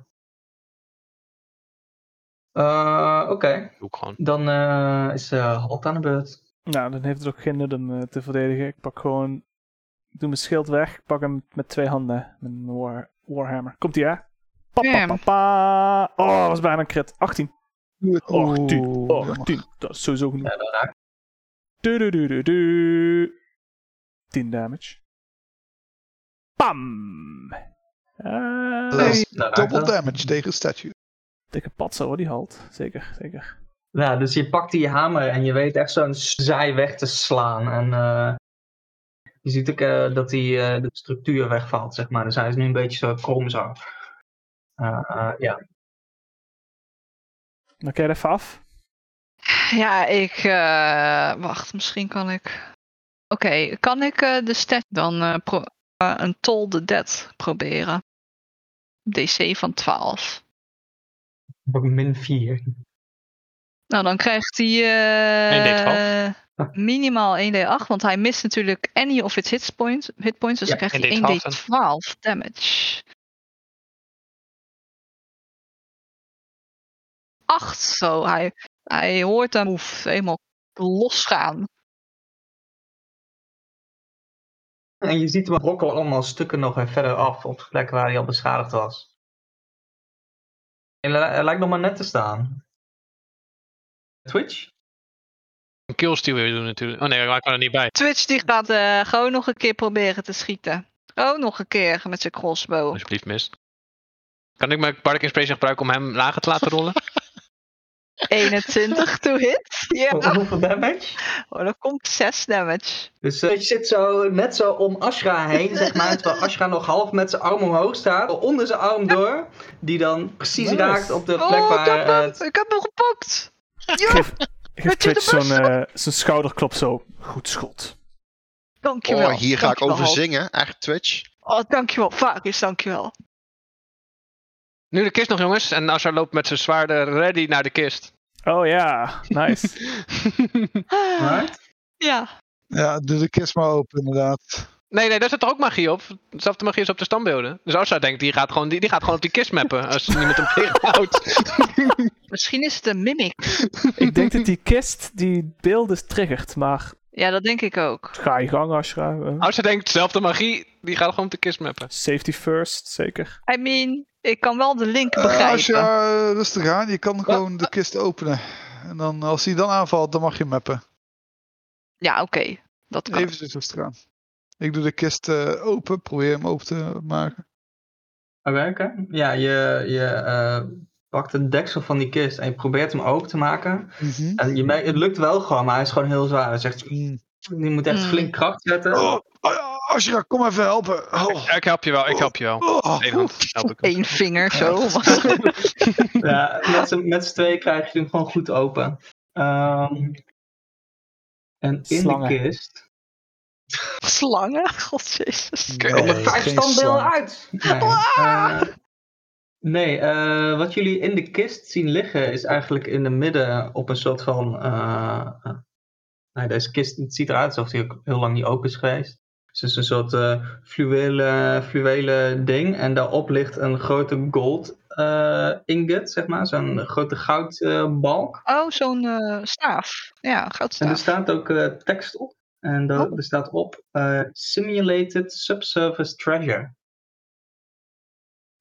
Speaker 2: Eh, Oké,
Speaker 6: Doe ik gewoon.
Speaker 2: dan eh, is eh Halt aan de beurt.
Speaker 1: Nou, dan heeft het ook geen nut om eh, te verdedigen. Ik pak gewoon... Ik doe mijn schild weg. Ik pak hem met twee handen. Mijn war, Warhammer. Komt ie, hè? Pa, pa,
Speaker 4: Bam.
Speaker 1: pa, pa. Oh, was bijna een crit. Oh, 18.
Speaker 5: Oeh,
Speaker 1: 18.
Speaker 5: jammer.
Speaker 1: 18. Dat is sowieso genoeg.
Speaker 2: Ja, dat raakt.
Speaker 1: Du, du, du, du, du. 10 damage. Pam! Eh,
Speaker 5: Dat is
Speaker 2: Nou, raakt
Speaker 5: double
Speaker 2: dat.
Speaker 5: damage tegen statue.
Speaker 1: Dikke patser hoor, die halt. Zeker, zeker.
Speaker 2: Nou, dus je pakt die hamer en je weet echt zo'n zij weg te slaan. En eh, je ziet ook eh, dat die, eh, de structuur wegvalt, zeg maar. Dus hij is nu een beetje zo krom zo. Eh, eh, ja,
Speaker 1: Dan kijk je even af.
Speaker 4: Ja, ik. eh, wacht, misschien kan ik. Oké, kan ik eh, de stat dan eh, pro- eh, een Toll the Dead proberen? DC van 12.
Speaker 2: ik heb ook min 4.
Speaker 4: Nou, dan krijgt hij.
Speaker 2: 1d12.
Speaker 4: d Minimaal 1d8, want hij mist natuurlijk any of its hit points. Hit points dus
Speaker 2: Ja,
Speaker 4: dan krijgt
Speaker 6: 1d12
Speaker 4: hij
Speaker 6: dan.
Speaker 4: 1d12 damage. 8 zo. Hij, hij hoort hem oef, helemaal losgaan.
Speaker 2: En je ziet hem brokkelen allemaal stukken nog weer verder af op de plek waar hij al beschadigd was. Hij li- hij lijkt nog maar net te staan. Twitch?
Speaker 6: Een killsteal weer doen natuurlijk. Oh nee, hij kan er niet bij.
Speaker 4: Twitch die gaat eh, gewoon nog een keer proberen te schieten. Oh, nog een keer met zijn
Speaker 3: (laughs)
Speaker 4: crossbow.
Speaker 6: Alsjeblieft, mist. Kan ik mijn Bardic Inspiration gebruiken om hem lager te laten
Speaker 2: (laughs)
Speaker 6: rollen?
Speaker 4: 21 to hit. Ja.
Speaker 3: Oh.
Speaker 2: Hoe- Hoeveel damage?
Speaker 4: Oh, dat komt 6 damage.
Speaker 2: Dus eh, je zit zo net zo om Ashra heen, zeg maar. Terwijl Ashra nog half met zijn arm omhoog staat. Onder zijn arm door. Die dan precies
Speaker 1: Nice.
Speaker 2: raakt op de plek
Speaker 4: Oh, ik
Speaker 2: waar... eh,
Speaker 4: heb hem!
Speaker 3: eh,
Speaker 2: het-
Speaker 4: Ik heb hem gepakt! Ja,
Speaker 1: Geef,
Speaker 4: je
Speaker 1: geef
Speaker 4: de
Speaker 1: Twitch
Speaker 4: bus?
Speaker 1: zo'n eh, zo'n schouderklop zo. Goed schot.
Speaker 4: dankjewel.
Speaker 3: Oh, hier ga ik
Speaker 4: dankjewel,
Speaker 3: over
Speaker 4: Hulk.
Speaker 3: zingen. Echt, Twitch.
Speaker 4: Oh, dankjewel. Varus, dankjewel.
Speaker 6: Nu de kist nog, jongens. En Asha loopt met zijn zwaarden ready naar de kist.
Speaker 1: Oh ja, nice.
Speaker 2: Right?
Speaker 4: (sighs) Ja.
Speaker 5: Ja, doe de kist maar open inderdaad.
Speaker 6: nee, nee, daar zit toch ook magie op? Zelfde magie is op de standbeelden. Dus Asha denkt, die gaat gewoon, die, die gaat gewoon op die kist mappen. Als niemand hem
Speaker 3: (laughs)
Speaker 6: tegenhoudt.
Speaker 4: Misschien is het een mimic.
Speaker 1: (laughs) ik denk dat die kist die beelden triggert, maar
Speaker 4: Ja, dat denk ik ook.
Speaker 1: ga je gang Ashra. Eh,
Speaker 6: Asha denkt, zelfde magie, die gaat gewoon op de kist mappen.
Speaker 1: safety first, zeker.
Speaker 4: I mean, ik kan wel de link
Speaker 5: Eh, als je
Speaker 3: Ah,
Speaker 4: begrijpen.
Speaker 5: eh, rustig aan, je kan gewoon de kist openen. En dan, als hij dan aanvalt, dan mag je mappen.
Speaker 4: Ja, oké. Dat kan.
Speaker 5: Even rustig aan. Ik doe de kist eh, open, probeer hem open te maken.
Speaker 2: Oké, oké. Ja, je, je eh, pakt het deksel van die kist en je probeert hem open te maken.
Speaker 5: Mhm.
Speaker 2: En je merkt, het lukt wel gewoon, maar hij is gewoon heel zwaar. Hij zegt,
Speaker 5: Mm.
Speaker 2: je moet echt
Speaker 4: Mm.
Speaker 2: flink kracht zetten.
Speaker 5: Oh, oh, Ashra, kom even helpen.
Speaker 3: Oh.
Speaker 6: Ik, ik help je wel, ik help je wel.
Speaker 5: Oh.
Speaker 6: Eén hand, help ik hem.
Speaker 4: Eén vinger zo.
Speaker 2: Ja, met z'n- met z'n tweeën krijg je hem gewoon goed open. Ehm, en in
Speaker 1: Slangen.
Speaker 2: de kist
Speaker 4: (laughs) Slangen? God jezus.
Speaker 5: Oké.
Speaker 2: komen
Speaker 5: Nee,
Speaker 2: vijf
Speaker 5: geen
Speaker 2: standbeelden uit. (laughs)
Speaker 5: slang.
Speaker 2: Nee, eh, nee eh, wat jullie in de kist zien liggen is eigenlijk in de midden op een soort van... eh, eh, nou, deze kist het ziet eruit alsof die ook heel lang niet open is geweest. Dus het is een soort eh fluwelen, fluwelen ding. En daarop ligt een grote gold eh, ingot, zeg maar. Zo'n grote goudbalk.
Speaker 4: Oh, zo'n eh, staaf. Ja,
Speaker 2: En er
Speaker 4: goudstaaf.
Speaker 2: staat ook eh, tekst op. En dat,
Speaker 4: Oh.
Speaker 2: er staat op eh, Simulated Subsurface Treasure.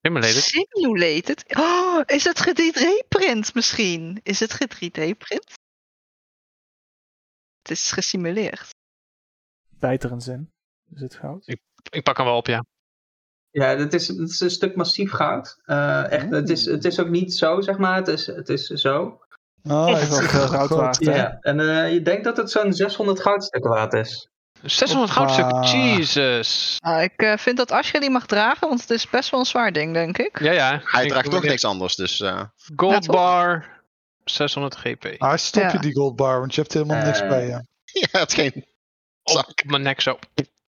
Speaker 6: Simulated.
Speaker 4: Simulated? Oh, is het 3D-print misschien? Is het 3D-print? Het is gesimuleerd.
Speaker 1: Bijt er een zin. Is het goud?
Speaker 6: Ik pak hem wel op, ja.
Speaker 2: Ja, dat is, dat is een stuk massief goud. Eh, echt, het, is, het is ook niet zo, zeg maar. Het is, het is zo.
Speaker 5: Ah,
Speaker 1: Echt wel veel goud waard.
Speaker 2: Ja.
Speaker 1: Ja.
Speaker 2: En eh, je denkt dat het zo'n 600 goudstukken waard is.
Speaker 6: 600 goudstukken,
Speaker 5: Hoppa.
Speaker 6: Jesus.
Speaker 4: Ah, ik eh, vind dat Asje die mag dragen, want het is best wel een zwaar ding, denk ik.
Speaker 6: Ja, ja.
Speaker 3: Hij
Speaker 6: Ik
Speaker 3: draagt
Speaker 6: doe
Speaker 3: toch niks anders, dus... eh, (laughs)
Speaker 4: Ja,
Speaker 6: Gold
Speaker 4: toch?
Speaker 6: bar, 600 GP.
Speaker 5: Ah, stop je
Speaker 4: Ja.
Speaker 5: die gold bar, want je hebt er helemaal niks
Speaker 2: Eh.
Speaker 5: bij. Ja.
Speaker 3: ja, het is geen...
Speaker 6: Op mijn nek zo.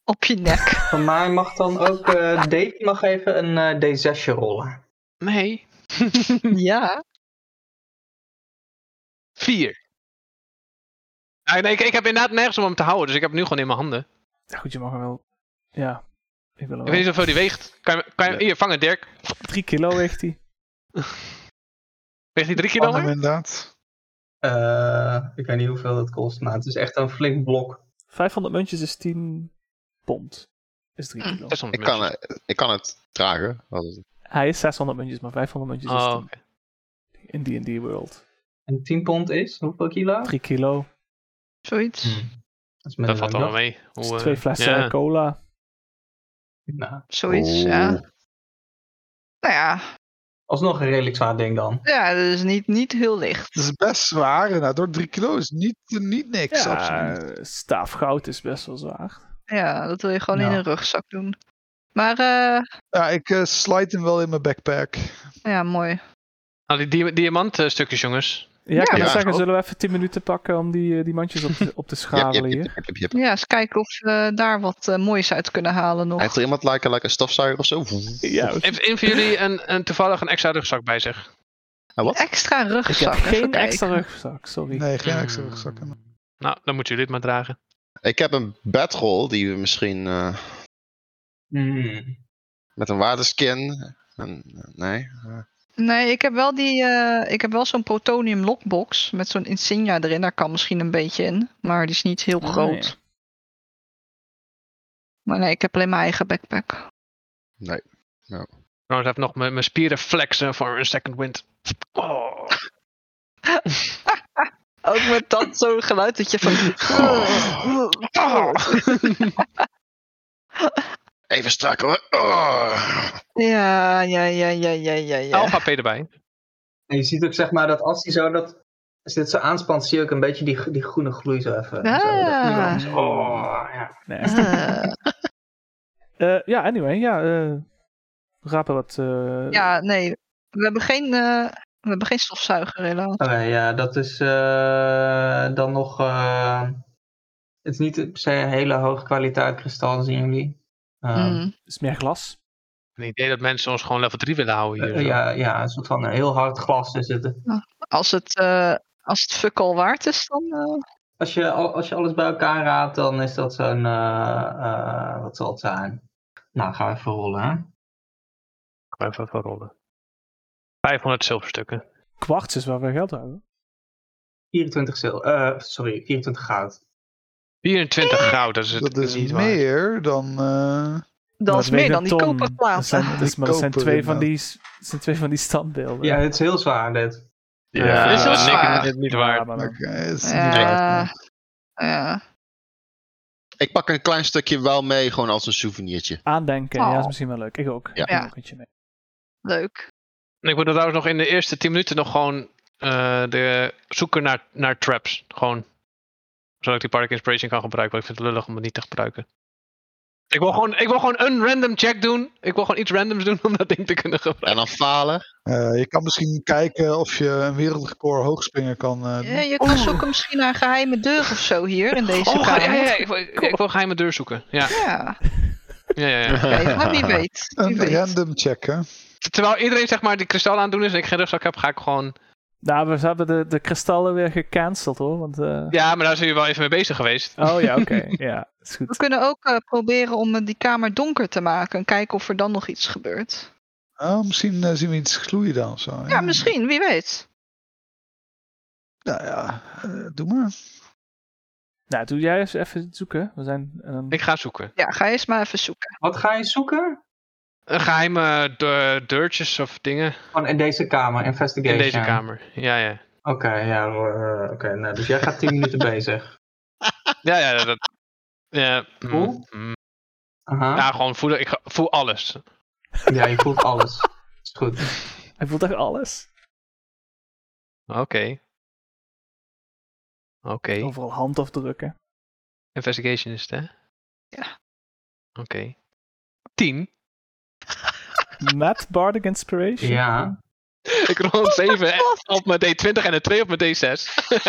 Speaker 4: Op je nek. (laughs)
Speaker 2: Van mij mag dan ook... eh Dave mag even een eh, D6'je rollen.
Speaker 6: Nee.
Speaker 4: Ja.
Speaker 6: Vier. Ah, nee, ik, ik heb inderdaad nergens om hem te houden, dus ik heb hem nu gewoon in mijn handen.
Speaker 1: Ja, goed, je mag hem wel. Ja, ik wil hem wel.
Speaker 6: Ik weet niet hoeveel die weegt. Kan je, kan je, hem- Hier, vang het, Dirk.
Speaker 1: Drie kilo weegt hij.
Speaker 6: Weegt hij drie kilo?
Speaker 5: Kan hem
Speaker 6: maar?
Speaker 5: Oh, inderdaad.
Speaker 2: Eh, ik weet niet hoeveel dat kost, maar het is echt een flink blok.
Speaker 1: 500 muntjes is 10 pond. Is
Speaker 4: Mm,
Speaker 1: 3 kilo.
Speaker 6: 600
Speaker 3: Ik kan,
Speaker 6: mensen.
Speaker 3: eh, ik kan het dragen. als-
Speaker 1: Hij is 600 muntjes, maar 500 muntjes is
Speaker 6: Oh,
Speaker 1: 10
Speaker 6: oké.
Speaker 1: in D&D World.
Speaker 2: En 10 pond is hoeveel kilo?
Speaker 1: 3 kilo. Hm.
Speaker 4: Zoiets.
Speaker 2: Dat is met
Speaker 6: dat
Speaker 2: een
Speaker 6: valt allemaal
Speaker 2: dag.
Speaker 6: mee.
Speaker 1: Dus
Speaker 6: Hoe, eh,
Speaker 1: twee flessen
Speaker 6: ja.
Speaker 1: cola.
Speaker 2: Nou,
Speaker 4: Zoiets, ja.
Speaker 3: Oeh.
Speaker 4: Nou ja,
Speaker 2: alsnog een redelijk zwaar ding dan.
Speaker 4: ja dat is niet, niet heel licht.
Speaker 5: Het is best zwaar. Nou, door 3 kilo is niet, niet niks. absoluut
Speaker 1: Ja,
Speaker 5: niet.
Speaker 1: Eh, staafgoud is best wel zwaar.
Speaker 4: Ja, dat wil je gewoon in
Speaker 5: Ja.
Speaker 4: een rugzak doen. Maar eh,
Speaker 5: Ja, ik eh, slide hem wel in mijn backpack.
Speaker 4: ja, mooi.
Speaker 6: Nou, die dia- diamantstukjes, jongens.
Speaker 1: Ja, ik kan
Speaker 3: Ja,
Speaker 1: net zeggen,
Speaker 6: ook.
Speaker 1: zullen we even 10 minuten pakken om die, eh, die mandjes op te, op te
Speaker 3: (laughs) Jep, jep,
Speaker 1: schabelen
Speaker 3: jep,
Speaker 1: hier?
Speaker 3: jep, jep, jep.
Speaker 4: Ja, eens kijken of we daar wat eh, moois uit kunnen halen nog.
Speaker 3: Heeft er iemand like, like een stofzuiger of zo?
Speaker 1: Ja,
Speaker 6: Heeft een van jullie een, een, toevallig een extra rugzak bij zich?
Speaker 4: Extra
Speaker 1: ik heb
Speaker 4: rugzak. even
Speaker 1: geen
Speaker 4: kijken.
Speaker 1: extra rugzak, sorry.
Speaker 5: Nee, geen extra
Speaker 6: Mm.
Speaker 5: rugzakken.
Speaker 6: Nou, dan moeten jullie het maar dragen.
Speaker 3: Ik heb een bedrol die we misschien eh,
Speaker 2: Hmm.
Speaker 3: met een waardeskin. En, nee.
Speaker 4: Nee, ik heb wel, die, eh, ik heb wel zo'n protonium lockbox met zo'n insignia erin. Daar kan misschien een beetje in, maar die is niet heel
Speaker 1: Oh,
Speaker 4: groot.
Speaker 1: ja.
Speaker 4: Maar nee, ik heb alleen mijn eigen backpack.
Speaker 6: Trouwens, even nog mijn mijn spieren flexen voor een second wind. Oh.
Speaker 4: Ook met dat zo'n geluid dat je
Speaker 1: (laughs)
Speaker 4: van...
Speaker 6: Oh.
Speaker 3: (laughs) Even strak hoor. Oh.
Speaker 4: Ja, ja, ja, ja, ja, ja,
Speaker 1: Oh.
Speaker 4: (laughs) ja.
Speaker 6: Alpha P erbij.
Speaker 2: En je ziet ook zeg maar dat als hij zo dat, als dit zo aanspant, zie je ook een beetje die, die groene gloei zo even.
Speaker 4: Ah.
Speaker 2: Zo, dat groene- zo, oh, ja.
Speaker 1: Nee.
Speaker 4: Eh,
Speaker 1: Eh, ja, anyway, ja. eh, we rapen wat... eh,
Speaker 4: ja, nee. We hebben geen, eh, we hebben geen stofzuiger helaas.
Speaker 2: Oké, ja, dat is eh, dan nog. eh, het is niet per se een hele hoge kwaliteit kristal, zien jullie.
Speaker 1: Ah.
Speaker 2: Ehm,
Speaker 4: Mm.
Speaker 1: is meer glas.
Speaker 6: Het idee dat mensen ons gewoon level 3 willen houden hier.
Speaker 2: eh, ja, ja, een soort van een heel hard glas is het.
Speaker 4: Als het, eh, als het fuck al waard is, dan... eh,
Speaker 2: Als je, al- als je alles bij elkaar raadt, dan is dat zo'n. eh, eh, wat zal het zijn? Nou, gaan we even rollen, hè?
Speaker 6: Ik ga even wat rollen. 500 zilverstukken.
Speaker 1: Kwarts is waar we geld houden.
Speaker 2: 24 zil. eh, sorry, 24 goud.
Speaker 6: 24 goud, dat is het
Speaker 5: Dat is
Speaker 6: niet waar.
Speaker 5: meer dan. eh,
Speaker 4: dat is
Speaker 1: Maar het
Speaker 4: meer
Speaker 1: weegt
Speaker 4: dan die
Speaker 1: een ton. Dat
Speaker 4: koperplaten.
Speaker 1: zijn, dat is-
Speaker 5: Die
Speaker 1: maar dat zijn,
Speaker 5: koper
Speaker 1: twee van
Speaker 5: inderdaad.
Speaker 1: die, s- dat zijn twee van die standbeelden.
Speaker 2: Ja, het is heel zwaar, dit.
Speaker 6: Ja,
Speaker 1: Ja,
Speaker 6: dat is
Speaker 4: dat is
Speaker 6: niks,
Speaker 4: waar.
Speaker 6: dat is niet
Speaker 1: Ja,
Speaker 6: waar.
Speaker 1: maar dan-
Speaker 5: Oké, eh, het is niet waar.
Speaker 4: Ja, ja.
Speaker 3: Ik pak een klein stukje wel mee, gewoon als een souvenirtje.
Speaker 1: Aandenken, ja,
Speaker 4: Oh.
Speaker 1: is misschien wel leuk. Ik ook.
Speaker 3: Ja.
Speaker 1: Ik neem
Speaker 4: Ja.
Speaker 1: ook eentje mee.
Speaker 4: leuk.
Speaker 6: En Ik wil er trouwens nog in de eerste 10 minuten nog gewoon eh, de zoeken naar, naar traps. Gewoon. Zodat ik die Park Inspiration kan gebruiken. Want ik vind het lullig om het niet te gebruiken. Ik wil, gewoon, ik wil gewoon een random check doen. Ik wil gewoon iets randoms doen om dat ding te kunnen gebruiken.
Speaker 3: En dan falen.
Speaker 5: Eh, je kan misschien kijken of je een wereldrecord hoogspringen kan. eh, doen.
Speaker 4: Ja, je kan zoeken misschien naar een geheime deur of zo hier in deze
Speaker 6: Oh, ga-
Speaker 4: kamer.
Speaker 6: ja, ja, ja, ik, wil, ik, ik wil geheime deur zoeken. Ja,
Speaker 4: Ja,
Speaker 6: ja, ja. ja.
Speaker 4: oké, maar
Speaker 3: (laughs)
Speaker 4: wie weet. Wie
Speaker 5: Een
Speaker 4: weet.
Speaker 5: random checken.
Speaker 6: Terwijl iedereen zeg maar die kristal aan doen is en ik geen rugzak heb, ga ik gewoon...
Speaker 1: Nou, we hebben de, de kristallen weer gecanceld hoor. Want, eh,
Speaker 6: Ja, maar daar zijn jullie wel even mee bezig geweest.
Speaker 1: Oh ja, oké. ja, is
Speaker 4: We
Speaker 1: goed.
Speaker 4: kunnen ook eh, proberen om eh, die kamer donker te maken en kijken of er dan nog iets gebeurt.
Speaker 5: Oh, misschien eh, zien we iets gloeien dan of zo.
Speaker 4: Ja, misschien, wie weet.
Speaker 5: Nou ja, eh, doe maar.
Speaker 1: Nou, doe jij eens even zoeken. We zijn. ehm, en dan-
Speaker 6: Ik ga zoeken.
Speaker 4: Ja, ga eerst maar even zoeken.
Speaker 2: Wat ga je zoeken?
Speaker 6: Een geheime de- deurtjes of dingen
Speaker 2: Gewoon Oh, in deze kamer,
Speaker 6: in
Speaker 2: investigation.
Speaker 6: deze kamer. Ja, ja.
Speaker 2: Oké, ja. eh, Oké, nou, dus jij
Speaker 6: (laughs)
Speaker 2: gaat 10 minuten bezig.
Speaker 6: Ja, ja, dat. Ja, mm,
Speaker 2: Hoe?
Speaker 6: mm.
Speaker 2: Aha.
Speaker 6: ja gewoon voelen. Ik ga- voel alles.
Speaker 2: Ja, je voelt alles. Is goed.
Speaker 1: Hij voelt echt alles.
Speaker 6: Oké. Oké.
Speaker 1: Overal handafdrukken.
Speaker 6: Investigation is het, hè?
Speaker 4: Ja.
Speaker 6: Oké. Tien.
Speaker 1: Met Bardic Inspiration.
Speaker 2: Ja.
Speaker 6: (laughs) Ik rol een 7 op mijn D20 en een 2 op mijn D6. (laughs)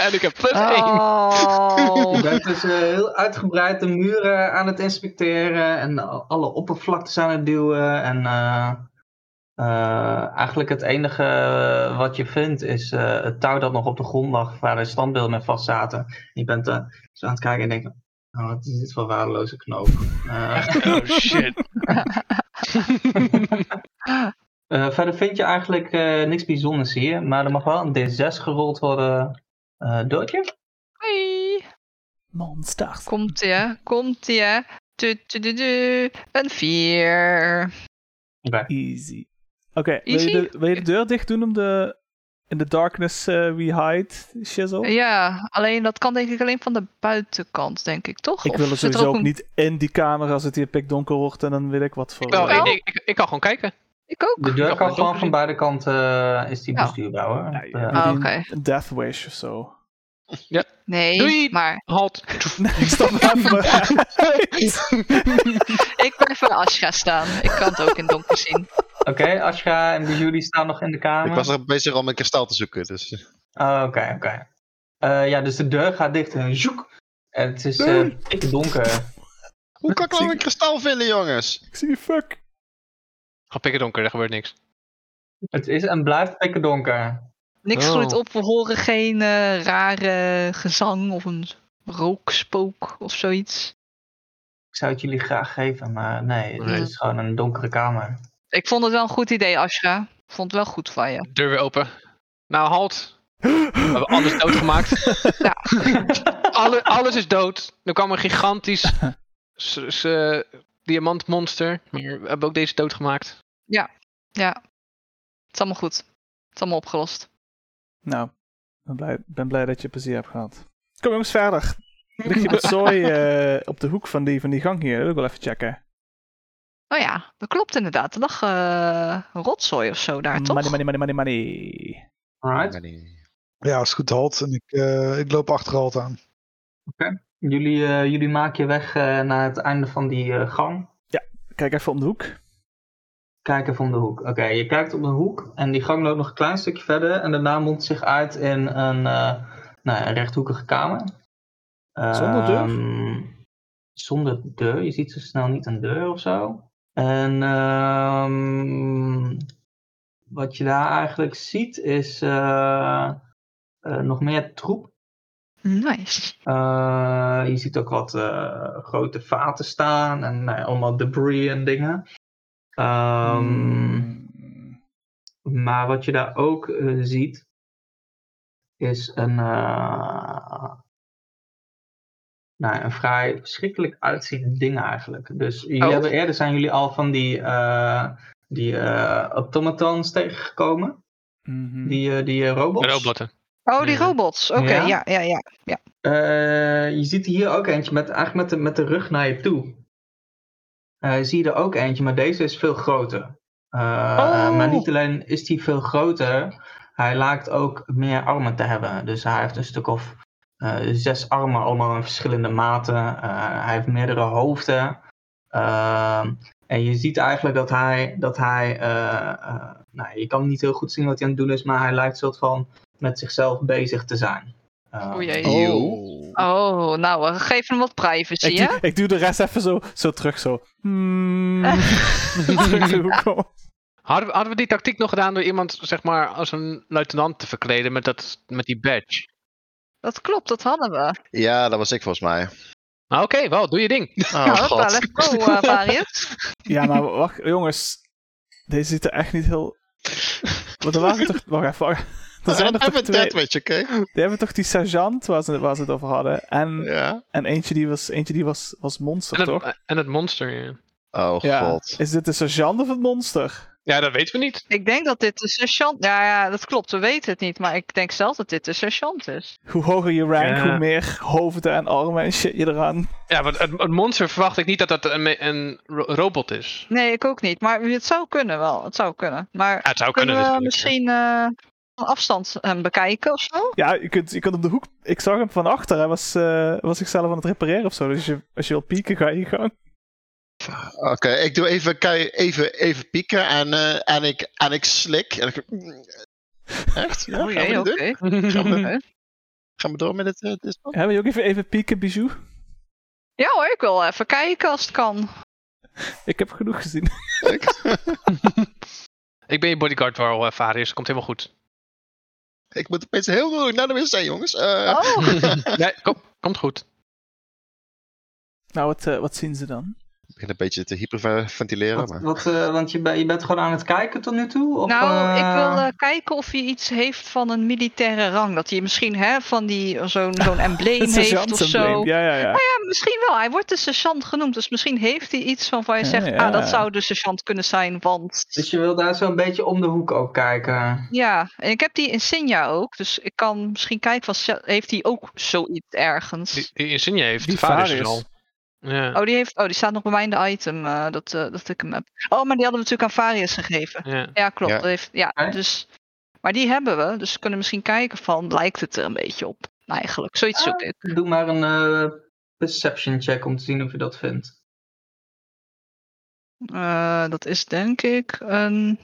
Speaker 6: en ik heb plus 1.
Speaker 2: Je (laughs)
Speaker 4: Oh,
Speaker 2: bent dus eh, heel uitgebreid de muren aan het inspecteren en alle oppervlaktes aan het duwen en eh, Eh, eigenlijk het enige wat je vindt is eh, het touw dat nog op de grond lag waar de standbeelden mee vast zaten. Je bent eh, zo aan het kijken en denken, oh, wat is dit voor waardeloze knoop. Eh,
Speaker 6: Oh shit.
Speaker 2: eh, verder vind je eigenlijk eh, niks bijzonders hier, maar er mag wel een D6 gerold worden. eh doodje?
Speaker 4: Hoi.
Speaker 1: Monsters.
Speaker 4: Komt ie, komt ie. Tu, tu, tu, tu. Een vier.
Speaker 2: Oké.
Speaker 1: Easy. Oké, wil,
Speaker 4: Easy?
Speaker 1: je de- wil je de deur dicht doen om de... In the darkness eh, we hide, shizzle?
Speaker 4: Ja, alleen dat kan denk ik alleen van de buitenkant, denk ik, toch?
Speaker 1: Ik
Speaker 4: Of
Speaker 1: wil er
Speaker 4: zit ook
Speaker 1: sowieso ook
Speaker 4: een-
Speaker 1: niet in die kamer als het hier pikdonker wordt en dan weet ik wat voor...
Speaker 6: Oh,
Speaker 4: (laughs) Wel.
Speaker 6: ik, ik, ik kan gewoon kijken.
Speaker 4: Ik ook.
Speaker 2: De deur
Speaker 6: Ja,
Speaker 2: kan
Speaker 6: maar
Speaker 2: gewoon
Speaker 6: donker-
Speaker 2: van beide kanten eh, is die
Speaker 4: Ja.
Speaker 2: bestuurbaar hoor.
Speaker 1: Ja, je
Speaker 2: Eh,
Speaker 1: moet
Speaker 4: Ah,
Speaker 1: een-
Speaker 4: oké.
Speaker 1: Een death wish of zo. (laughs)
Speaker 4: Nee,
Speaker 6: Doei.
Speaker 4: maar
Speaker 6: Halt.
Speaker 1: Nee, ik stap even
Speaker 4: ik blijf voor Ashra staan. Ik kan het ook in het donker zien.
Speaker 2: Oké, Ashra en Bijou die staan nog in de kamer.
Speaker 3: Ik was nog bezig om een kristal te zoeken, dus...
Speaker 2: Ah, Oké, oké. Eh, ja, dus de deur gaat dicht en zoek. En het is eh
Speaker 1: Nee.
Speaker 2: dikke donker.
Speaker 3: Hoe kan ik nou een kristal vinden, jongens?
Speaker 1: Ik zie je fuck.
Speaker 6: Ga pikken donker, er gebeurt niks.
Speaker 2: Het is en blijft dikke donker.
Speaker 4: Niks
Speaker 6: Oh.
Speaker 4: groeit op, we horen geen eh, rare gezang of een rookspook of zoiets.
Speaker 2: Ik zou het jullie graag geven, maar nee,
Speaker 6: Nee.
Speaker 2: het is gewoon een donkere kamer.
Speaker 4: Ik vond het wel een goed idee, Ashra. Ik vond het wel goed van je.
Speaker 6: Deur weer open. Nou, halt. We hebben alles doodgemaakt. Alle, alles is dood. Er kwam een gigantisch s- s- eh, diamantmonster. Maar we hebben ook deze doodgemaakt.
Speaker 4: Het is allemaal goed. Het is allemaal opgelost.
Speaker 1: Nou, ik ben blij, ben blij dat je plezier hebt gehad. Kom jongens verder. Ligt je met zooi eh, op de hoek van die, van die gang hier? Dat wil ik wel even checken.
Speaker 4: Oh ja, dat klopt inderdaad. Er lag eh, een rotzooi of zo daar, toch?
Speaker 1: Money, money, money, money, money.
Speaker 2: Alright.
Speaker 5: Ja, is goed, halt. En ik, eh, ik loop achter halt aan.
Speaker 2: Jullie, eh, jullie maken je weg eh, naar het einde van die eh, gang.
Speaker 1: Kijk even om de hoek.
Speaker 2: Kijken van de hoek. Oké, je kijkt op de hoek en die gang loopt nog een klein stukje verder. En daarna mondt zich uit in een, eh, nou, een rechthoekige kamer.
Speaker 1: Zonder deur?
Speaker 2: Ehm, zonder deur. Je ziet zo snel niet een deur of zo. En ehm, wat je daar eigenlijk ziet is eh, eh, nog meer troep.
Speaker 4: Nice.
Speaker 2: Eh, je ziet ook wat eh, grote vaten staan en nou ja, allemaal debris en dingen. Ehm,
Speaker 1: Hmm.
Speaker 2: Maar wat je daar ook eh, ziet, is een, eh, nou, ja, een vrij verschrikkelijk uitziend ding eigenlijk. Dus jullie
Speaker 6: Oh.
Speaker 2: hebben, eerder zijn jullie al van die, eh, die eh, automatons tegengekomen,
Speaker 1: Mhm.
Speaker 2: die, eh, die eh, robots.
Speaker 6: Robotten.
Speaker 4: Oh, die
Speaker 6: Ja.
Speaker 4: robots. Oké,
Speaker 2: Ja?
Speaker 4: ja, ja, ja.
Speaker 2: Eh, je ziet hier ook eentje met, eigenlijk met de, met de rug naar je toe. Eh, zie je er ook eentje, maar deze is veel groter. Eh,
Speaker 4: Oh.
Speaker 2: Maar niet alleen is die veel groter, hij lijkt ook meer armen te hebben. Dus hij heeft een stuk of eh, zes armen, allemaal in verschillende maten. Eh, hij heeft meerdere hoofden. Ehm, en je ziet eigenlijk dat hij, dat hij eh, eh, nou, je kan niet heel goed zien wat hij aan het doen is, maar hij lijkt soort van met zichzelf bezig te zijn. Ehm,
Speaker 4: O jee.
Speaker 1: Oh.
Speaker 4: Oh, nou, eh, geef hem wat privacy,
Speaker 1: Ik,
Speaker 4: hè?
Speaker 1: doe, ik doe de rest even zo, zo terug zo. Hmm. (laughs) terug de hoek om.
Speaker 6: Hadden we, hadden we die tactiek nog gedaan door iemand zeg maar, als een luitenant te verkleden met, dat, met die badge?
Speaker 4: Dat klopt, dat hadden we.
Speaker 3: Ja, dat was ik volgens mij.
Speaker 6: Nou, Oké, wel, doe je ding.
Speaker 3: Oh,
Speaker 4: nou, hoppa,
Speaker 3: god.
Speaker 4: let's go, eh, Varius.
Speaker 1: Ja, maar wacht, jongens. Deze ziet er echt niet heel. Want er waren toch. Wacht even. wacht. Er zijn er toch
Speaker 3: Even
Speaker 1: twee.
Speaker 3: dat, weet je, oké?
Speaker 1: Die hebben toch die sergeant waar ze, waar ze het over hadden. En,
Speaker 3: Ja.
Speaker 1: en eentje die was, eentje die was, was monster,
Speaker 6: En
Speaker 1: toch?
Speaker 6: het, en het monster. Ja.
Speaker 3: Oh,
Speaker 1: Ja.
Speaker 3: god.
Speaker 1: Is dit de sergeant of het monster?
Speaker 6: ja, dat weten we niet.
Speaker 4: Ik denk dat dit de sergeant... Ja, ja, dat klopt, we weten het niet. Maar ik denk zelf dat dit de sergeant is.
Speaker 1: Hoe hoger je rank,
Speaker 6: Ja.
Speaker 1: hoe meer hoofden en armen en shit je eraan.
Speaker 6: Ja, want het, het monster verwacht ik niet dat dat een, me- een ro- robot is.
Speaker 4: Nee, ik ook niet. Maar het zou kunnen wel, het zou kunnen. Maar
Speaker 6: Ja, het zou
Speaker 4: kunnen
Speaker 6: kunnen.
Speaker 4: we
Speaker 6: natuurlijk.
Speaker 4: misschien eh, van afstand hem bekijken of zo?
Speaker 1: Ja, je kunt, je kunt op de hoek. Ik zag hem van achter. Hij was, eh, was zichzelf aan het repareren of zo. Dus je, als je wil pieken, ga je gewoon.
Speaker 3: Oké, ik doe even, kei- even, even pieken en, eh, en, ik, en ik slik. En ik... Echt? Ja,
Speaker 4: Oh,
Speaker 3: gaan, we
Speaker 4: jee,
Speaker 3: dit
Speaker 4: oké.
Speaker 3: doen?
Speaker 4: Oké.
Speaker 3: gaan we door met dit, eh, dit plan?
Speaker 1: Hebben we ook even, even pieken, bijou?
Speaker 4: Ja hoor, ik wil even kijken als het kan.
Speaker 1: Ik heb genoeg gezien.
Speaker 6: (laughs) Ik ben je bodyguard wel ervaren, dus het komt helemaal goed.
Speaker 3: Ik moet opeens heel moeilijk naar de wc, jongens. Eh, (laughs)
Speaker 4: Oh,
Speaker 6: (laughs) nee, kom, komt goed.
Speaker 1: (laughs) Nou, wat, eh, wat zien ze dan?
Speaker 3: Ik begin een beetje te hyperventileren,
Speaker 2: Wat,
Speaker 3: maar...
Speaker 2: wat, eh, want je, ben- je bent gewoon aan het kijken tot nu toe? Of,
Speaker 4: nou, ik
Speaker 2: eh,
Speaker 4: wil eh, kijken of hij iets heeft van een militaire rang. Dat hij misschien hè, van die, eh, zo'n, zo'n embleem heeft of zo.
Speaker 1: sergeant-embleem. Ja, ja, ja.
Speaker 4: Ja, misschien wel. Hij wordt de sergeant genoemd. Dus misschien heeft hij iets van waar je
Speaker 1: Ja,
Speaker 4: zegt...
Speaker 1: ja.
Speaker 4: Ah, dat zou de sergeant kunnen zijn, want...
Speaker 2: Dus je wil daar zo een beetje om de hoek ook kijken.
Speaker 4: Ja, en ik heb die insignia ook. Dus ik kan misschien kijken, van, ze- heeft hij ook zoiets ergens?
Speaker 6: Die, die insigne heeft
Speaker 1: Die
Speaker 6: Varius dus
Speaker 1: Varius.
Speaker 6: al. Ja,
Speaker 4: Oh, die, heeft, oh, die staat nog bij mij in de item eh, dat, eh, dat ik hem heb. Oh, maar die hadden we natuurlijk aan Varius gegeven.
Speaker 6: ja.
Speaker 4: Ja, klopt.
Speaker 3: Ja.
Speaker 4: dat heeft, ja
Speaker 2: Hè?
Speaker 4: dus, maar die hebben we, dus we kunnen misschien kijken van, lijkt het er een beetje op? Eigenlijk, zoiets zoek ik.
Speaker 2: Doe maar een eh, perception check om te zien of je dat vindt.
Speaker 4: Eh, dat is denk ik een...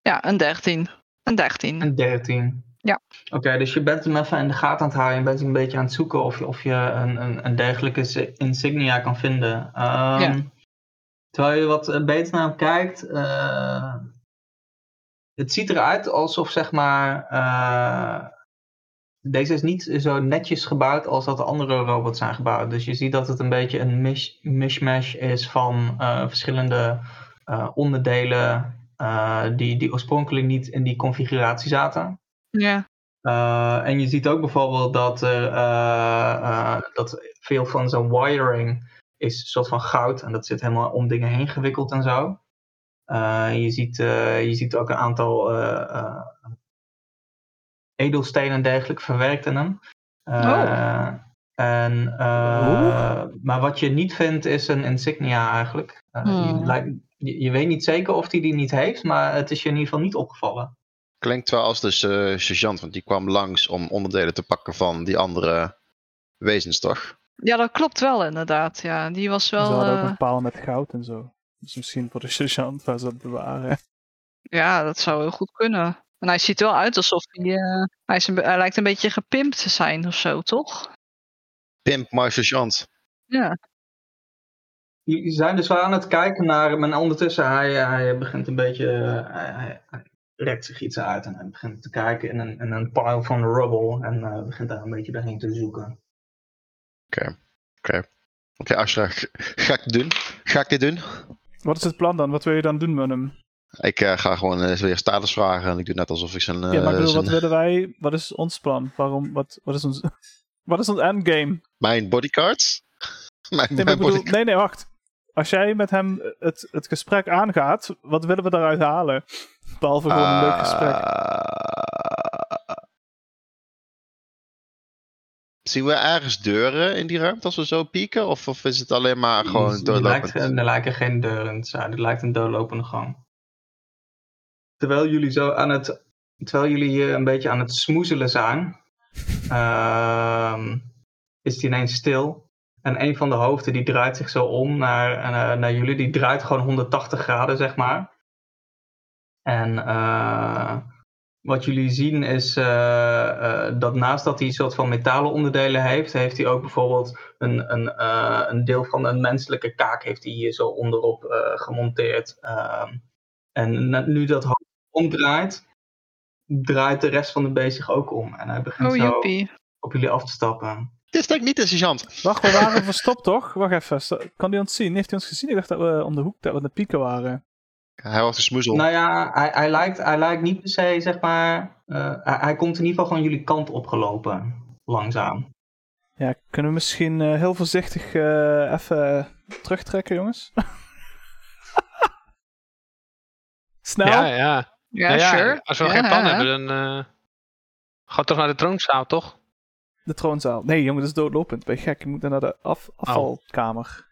Speaker 4: Ja, een 13. Een 13.
Speaker 2: Een 13.
Speaker 4: Ja.
Speaker 2: Oké, dus je bent hem even in de gaten aan het houden. Je bent een beetje aan het zoeken of je, of je een, een, een dergelijke si- insignia kan vinden. Ehm,
Speaker 4: Ja.
Speaker 2: Terwijl je wat eh, beter naar hem kijkt. eh, het ziet eruit alsof zeg maar. eh, deze is niet zo netjes gebouwd als dat de andere robots zijn gebouwd. Dus je ziet dat het een beetje een mish- mishmash is van eh, verschillende eh, onderdelen. eh, die, die oorspronkelijk niet in die configuratie zaten.
Speaker 4: Ja.
Speaker 2: Eh, en je ziet ook bijvoorbeeld dat, er, eh, eh, dat veel van zo'n wiring is een soort van goud en dat zit helemaal om dingen heen gewikkeld en zo. Eh, je, ziet, eh, je ziet ook een aantal eh, eh, edelstenen en dergelijke verwerkt in hem. Eh,
Speaker 4: Oh.
Speaker 2: en, eh, maar wat je niet vindt is een insignia eigenlijk. Eh, je,
Speaker 4: Hmm.
Speaker 2: lijkt- je- je weet niet zeker of hij die, die niet heeft, maar het is je in ieder geval niet opgevallen.
Speaker 3: Klinkt wel als de eh, sergeant, want die kwam langs om onderdelen te pakken van die andere wezens, toch?
Speaker 4: ja, dat klopt wel inderdaad. Ja, die was
Speaker 1: Ze
Speaker 4: wel...
Speaker 1: hadden
Speaker 4: eh,
Speaker 1: ook een paal met goud en zo. Dus misschien voor de sergeant waar ze dat bewaren.
Speaker 4: Ja, dat zou heel goed kunnen. En hij ziet er wel uit alsof hij, eh, hij, is een, be- hij lijkt een beetje gepimpt te zijn of zo, toch?
Speaker 3: Pimp my sergeant.
Speaker 4: Ja.
Speaker 2: Jullie zijn dus wel aan het kijken naar hem. En ondertussen, hij, eh, hij begint een beetje. eh, Hij, hij- hij rekt zich iets uit en hij begint te kijken in een, in een pile van rubble. En eh, begint daar een beetje doorheen te zoeken.
Speaker 3: Oké, Ashra, g- ga ik doen? Ga ik dit doen?
Speaker 1: Wat is het plan dan? Wat wil je dan doen met hem?
Speaker 3: Ik eh, ga gewoon eh, weer status vragen en ik doe net alsof ik zijn... eh,
Speaker 1: ja, maar ik bedoel,
Speaker 3: zijn-
Speaker 1: wat willen wij? Wat is ons plan? Waarom? Wat, wat is ons... (laughs) Wat is ons endgame?
Speaker 3: Mijn bodyguards? (laughs)
Speaker 1: Nee, maar
Speaker 3: Mijn, mijn
Speaker 1: ik bedoel,
Speaker 3: bodyguards.
Speaker 1: nee, nee, wacht. Als jij met hem het, het gesprek aangaat, wat willen we daaruit halen? Behalve gewoon een leuk gesprek.
Speaker 3: Ah. Zien we ergens deuren in die ruimte als we zo pieken? Of, of is het alleen maar gewoon
Speaker 2: er,
Speaker 3: doorlopend?
Speaker 2: lijkt, er lijken geen deuren te zijn. Er lijkt een doorlopende gang. Terwijl jullie zo aan het. Terwijl jullie hier een beetje aan het smoezelen zijn. ehm, is het ineens stil. En een van de hoofden die draait zich zo om naar, eh, naar jullie. Die draait gewoon 180 graden, zeg maar. En eh, wat jullie zien is eh, eh, dat naast dat hij een soort van metalen onderdelen heeft, heeft hij ook bijvoorbeeld een, een, eh, een deel van een menselijke kaak heeft hij hier zo onderop eh, gemonteerd. Ehm, en na- nu dat hoofd omdraait, draait de rest van de beest zich ook om. En hij begint
Speaker 4: Oh,
Speaker 2: zo
Speaker 4: joepie.
Speaker 2: op jullie af te stappen.
Speaker 3: Dit is denk ik niet de sergeant.
Speaker 1: Wacht, we waren verstopt, toch? Wacht even. sta- Kan hij ons zien? Heeft hij ons gezien? Ik dacht dat we om de hoek dat we aan de pieken waren.
Speaker 3: Hij was een smoezel.
Speaker 2: Nou ja, hij, hij, lijkt, hij lijkt niet per se, zeg maar. eh, hij, hij komt in ieder geval gewoon jullie kant opgelopen. Langzaam.
Speaker 1: Ja, kunnen we misschien eh, heel voorzichtig eh, even terugtrekken, jongens? (laughs) Snel?
Speaker 6: ja, ja.
Speaker 4: Ja,
Speaker 6: Ja, ja,
Speaker 4: sure.
Speaker 6: Als we
Speaker 4: Ja,
Speaker 6: geen plan
Speaker 4: ja.
Speaker 6: hebben, dan eh gaat toch naar de troonzaal, toch?
Speaker 1: De troonzaal. Nee, jongen,
Speaker 7: dus
Speaker 1: dat is doodlopend. Ben je gek? Je moet naar de af
Speaker 6: Nou.
Speaker 1: afvalkamer.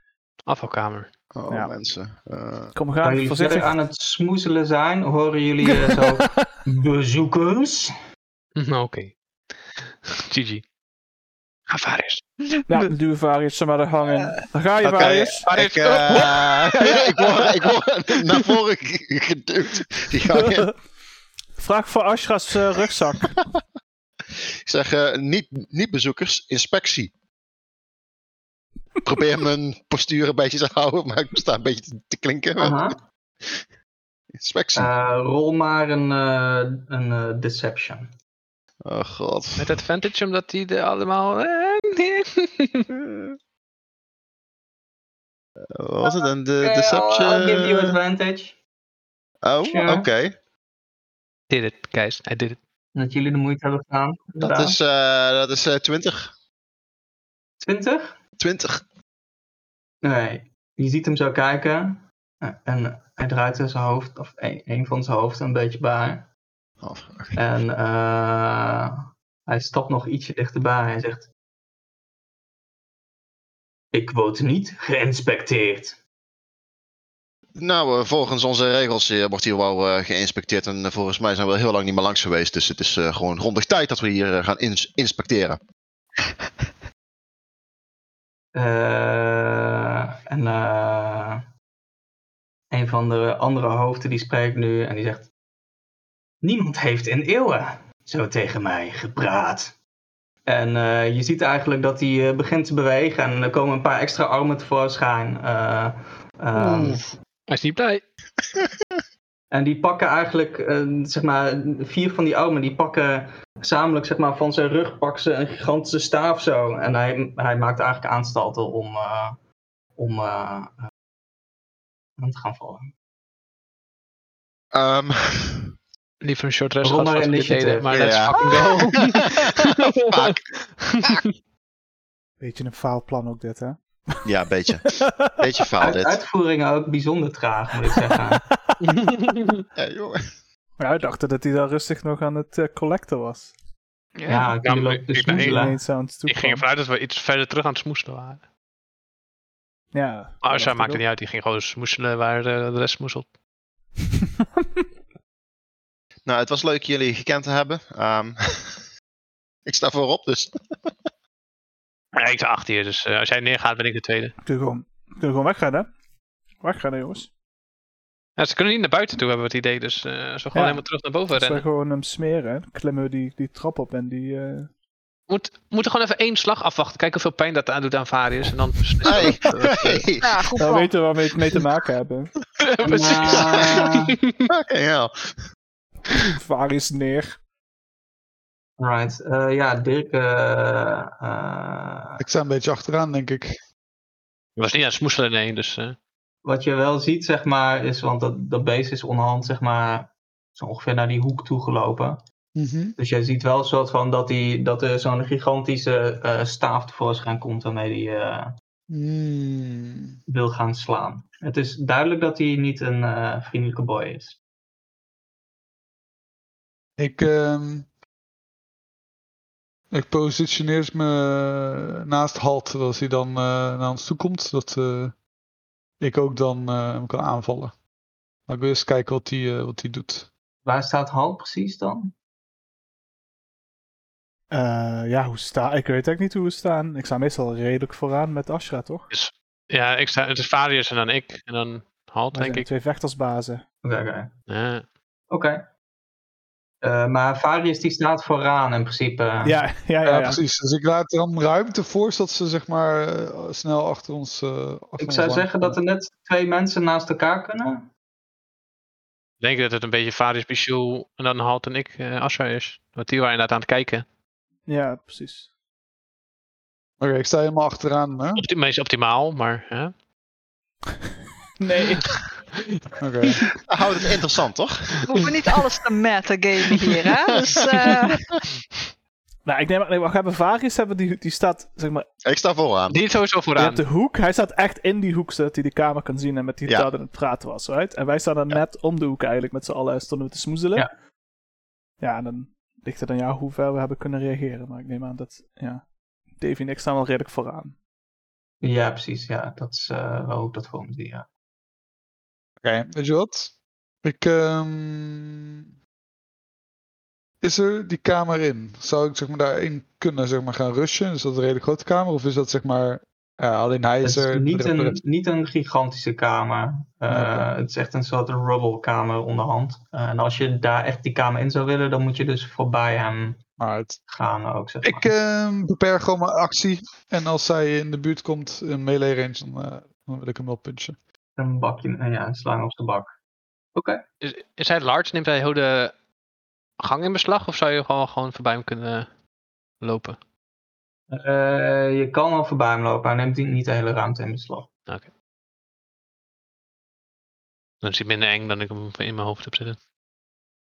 Speaker 6: Afvalkamer. (laughs)
Speaker 3: Oh,
Speaker 1: Ja.
Speaker 3: mensen. Eh,
Speaker 1: Kom, we
Speaker 2: Waar
Speaker 1: gaan
Speaker 2: jullie verder
Speaker 1: voorzichtig.
Speaker 2: aan het smoezelen zijn, horen jullie eh,
Speaker 1: (laughs)
Speaker 7: (laughs)
Speaker 2: zo bezoekers.
Speaker 6: Oké. (laughs) GG. Ga Varius.
Speaker 1: Ja, dan duwen Varius ze maar er hangen. Daar ga je,
Speaker 3: Oké.
Speaker 2: (laughs)
Speaker 1: Varius.
Speaker 3: ik, eh, (laughs) ja, ja, ik word, ik word (laughs) naar voren g- geduwd. Die gang
Speaker 1: (laughs)
Speaker 3: in.
Speaker 1: Vraag voor Ashra's eh, rugzak.
Speaker 3: Ik zeg, eh, niet, niet bezoekers, inspectie. Probeer mijn postuur een beetje te houden, maar ik sta een beetje te, te klinken.
Speaker 2: Aha.
Speaker 3: Inspection.
Speaker 2: Eh, rol maar een, eh, een eh, deception.
Speaker 3: oh god.
Speaker 6: Met advantage, omdat die er allemaal... eh,
Speaker 3: Wat was het dan? De
Speaker 2: Eh, I'll- I'll give you
Speaker 3: deception?
Speaker 2: advantage.
Speaker 3: Oh,
Speaker 2: Sure.
Speaker 3: oké.
Speaker 6: (laughs) did it, guys. I did it.
Speaker 2: Dat jullie de moeite hebben gedaan.
Speaker 3: Dat is, eh, dat is eh, 20.
Speaker 2: 20?
Speaker 3: 20.
Speaker 2: Nee. Je ziet hem zo kijken. Eh, En hij draait zijn hoofd, of een, een van zijn hoofden, een beetje bij.
Speaker 3: Oh, fuck.
Speaker 2: En eh, hij stapt nog ietsje dichterbij. Hij zegt: Ik word niet geïnspecteerd.
Speaker 3: Nou, eh, volgens onze regels eh, wordt hier wel eh, geïnspecteerd. En eh, volgens mij zijn we heel lang niet meer langs geweest. Dus het is eh, gewoon rondig tijd dat we hier eh, gaan ins- inspecteren.
Speaker 2: Eh, en eh, een van de andere hoofden die spreekt nu en die zegt: Niemand heeft in eeuwen zo tegen mij gepraat. En eh, je ziet eigenlijk dat hij eh, begint te bewegen en er komen een paar extra armen tevoorschijn. Eh,
Speaker 6: Hmm.
Speaker 2: ehm,
Speaker 6: Hij is niet blij.
Speaker 2: En die pakken eigenlijk, eh, zeg maar, vier van die armen, die pakken gezamenlijk, zeg maar, van zijn rug pakken ze een gigantische staaf zo. En hij, hij maakt eigenlijk aanstalten om, eh, om eh, eh, aan te gaan vallen.
Speaker 3: Ehm,
Speaker 6: Liever een short rest
Speaker 2: Rol
Speaker 6: gehad
Speaker 2: maar
Speaker 6: als we dit
Speaker 2: initiative.
Speaker 6: deden, maar let's
Speaker 3: Ja.
Speaker 6: fucking go. (laughs)
Speaker 3: Fuck.
Speaker 7: Beetje een faalplan ook dit, (laughs) hè?
Speaker 3: (laughs) Ja, een beetje. Beetje faal
Speaker 2: Uit,
Speaker 3: dit.
Speaker 2: uitvoeringen ook bijzonder traag, moet ik
Speaker 1: (laughs)
Speaker 2: zeggen.
Speaker 3: Ja, joh.
Speaker 7: Maar hij dacht dat hij daar rustig nog aan het eh, collecten was.
Speaker 2: ja, ik
Speaker 6: Ja, maar
Speaker 2: loop te
Speaker 6: ik- ik-
Speaker 7: Toen
Speaker 2: snoezelen.
Speaker 7: ineens aan het
Speaker 6: Ik ging
Speaker 7: toekwam.
Speaker 6: ervan uit dat we iets verder terug aan het smoeselen waren.
Speaker 7: Ja.
Speaker 6: Maar Arsha maakte
Speaker 7: (laughs)
Speaker 6: niet uit, die ging gewoon smoeselen waar eh, de rest smoeselt.
Speaker 3: Nou, het was leuk jullie gekend te hebben. Ehm, (laughs) ik sta
Speaker 2: (laughs)
Speaker 3: voorop, dus.
Speaker 6: Ja, ik sta achter je, dus eh, als jij neergaat ben ik de tweede.
Speaker 7: Kun je gewoon, kun je gewoon weggaan, hè? Weggaan, hè, jongens.
Speaker 6: Ja, ze kunnen niet naar buiten toe, hebben we het idee, dus eh, als we gewoon
Speaker 7: Ja.
Speaker 6: helemaal terug naar boven
Speaker 7: Als we
Speaker 6: rennen.
Speaker 7: gewoon hem smeren, hè, dan klimmen we die, die trap op en die... eh,
Speaker 6: Moet, we moeten gewoon even één slag afwachten, kijken hoeveel pijn dat aan doet aan Varius. En dan beslissen (laughs)
Speaker 3: Hey.
Speaker 6: we of, eh,
Speaker 3: Hey.
Speaker 4: Ja, goed
Speaker 7: Nou,
Speaker 4: plan.
Speaker 7: weten we waar we het mee te maken hebben.
Speaker 6: Precies.
Speaker 2: Maar-
Speaker 3: Fucking hell.
Speaker 7: Waar is neer?
Speaker 2: Right. Eh, ja, Dirk. eh, eh,
Speaker 5: Ik sta een beetje achteraan, denk ik.
Speaker 6: Ik was niet aan het smoeselen, nee, dus... eh,
Speaker 2: wat je wel ziet, zeg maar, is, want dat, dat beest is onderhand, zeg maar, zo ongeveer naar die hoek toe gelopen. Dus jij ziet wel een soort van dat, die, dat er zo'n gigantische eh, staaf tevoorschijn komt waarmee hij
Speaker 5: Hmm.
Speaker 2: wil gaan slaan. Het is duidelijk dat hij niet een eh, vriendelijke boy is.
Speaker 5: Ik, ehm, ik positioneer me naast Halt, zodat als hij dan eh, naar ons toe komt, dat eh, ik ook dan eh, hem kan aanvallen. Maar ik wil eerst kijken wat hij eh, wat hij doet.
Speaker 2: Waar staat Hal precies dan?
Speaker 7: Eh, ja, hoe sta ik? weet eigenlijk niet hoe we staan. Ik sta meestal redelijk vooraan met Ashra, toch?
Speaker 6: ja, ik sta, het is Varius en dan ik. En dan Halt,
Speaker 7: Wij
Speaker 6: denk
Speaker 7: zijn
Speaker 6: ik.
Speaker 7: twee vechtersbazen.
Speaker 2: Oké, oké.
Speaker 6: Ja.
Speaker 2: Oké. Eh, maar Varius die staat vooraan in principe.
Speaker 7: Ja, ja,
Speaker 5: Ja,
Speaker 7: ja. ja.
Speaker 5: precies. Dus ik laat er dan ruimte voor, zodat ze zeg maar eh, snel achter ons. eh, achter
Speaker 2: Ik
Speaker 5: ons
Speaker 2: zou
Speaker 5: aan-
Speaker 2: zeggen dat er net twee mensen naast elkaar kunnen.
Speaker 6: Ik denk dat het een beetje Varius, Bichou en dan Halt en ik eh Asha is. Want die waren inderdaad aan het kijken.
Speaker 7: Ja, precies.
Speaker 5: Oké, ik sta helemaal achteraan. Hè?
Speaker 6: Opti- meest optimaal, maar... hè.
Speaker 7: Nee.
Speaker 5: Oké.
Speaker 2: (laughs)
Speaker 3: Houdt het interessant, toch?
Speaker 4: We hoeven niet alles te metagamen hier, hè? Dus, eh,
Speaker 7: nou, ik neem nee, wacht, hebben Varius hebben die, die staat, zeg maar,
Speaker 3: Ik sta vooraan. (laughs)
Speaker 6: Die is sowieso
Speaker 7: je
Speaker 6: vooraan.
Speaker 7: hebt de hoek. Hij staat echt in die hoek, zodat hij de kamer kan zien en met die
Speaker 3: Ja.
Speaker 7: ja. aan het praten was, right? En wij staan dan net om de hoek eigenlijk, met z'n allen stonden we te smoezelen.
Speaker 2: Ja.
Speaker 7: Ja, en dan ligt het aan jou hoe ver we hebben kunnen reageren. Maar ik neem aan dat, ja, Davy en ik staan wel redelijk vooraan.
Speaker 2: Ja, precies. Ja, dat is eh, wel hoe ik dat voor me zie. Ja.
Speaker 5: Oké, weet je wat? Ik, ehm, Is er die kamer in? Zou ik zeg maar daarin kunnen zeg maar, gaan rushen? Is dat een redelijk grote kamer? Of is dat zeg maar... ja, alleen hij is
Speaker 2: Het is
Speaker 5: er.
Speaker 2: niet
Speaker 5: de rest-
Speaker 2: een, niet een gigantische kamer. Eh,
Speaker 5: Oké.
Speaker 2: Het is echt een soort rubble kamer onderhand. Eh, en als je daar echt die kamer in zou willen, dan moet je dus voorbij hem
Speaker 5: Maar het-
Speaker 2: gaan ook. Zeg maar. (laughs)
Speaker 5: Ik ehm, beperk gewoon mijn actie. En als zij in de buurt komt in melee range, dan, eh, dan wil ik hem wel punchen.
Speaker 2: Een bakje, eh, ja, een slang op de bak. Oké.
Speaker 6: Is, is hij large? Neemt hij heel de gang in beslag? Of zou je gewoon, gewoon voorbij hem kunnen lopen?
Speaker 2: Eh, je kan wel voorbij hem lopen. Hij neemt niet de hele ruimte in beslag.
Speaker 6: Dan is hij minder eng dan ik hem in mijn hoofd heb zitten.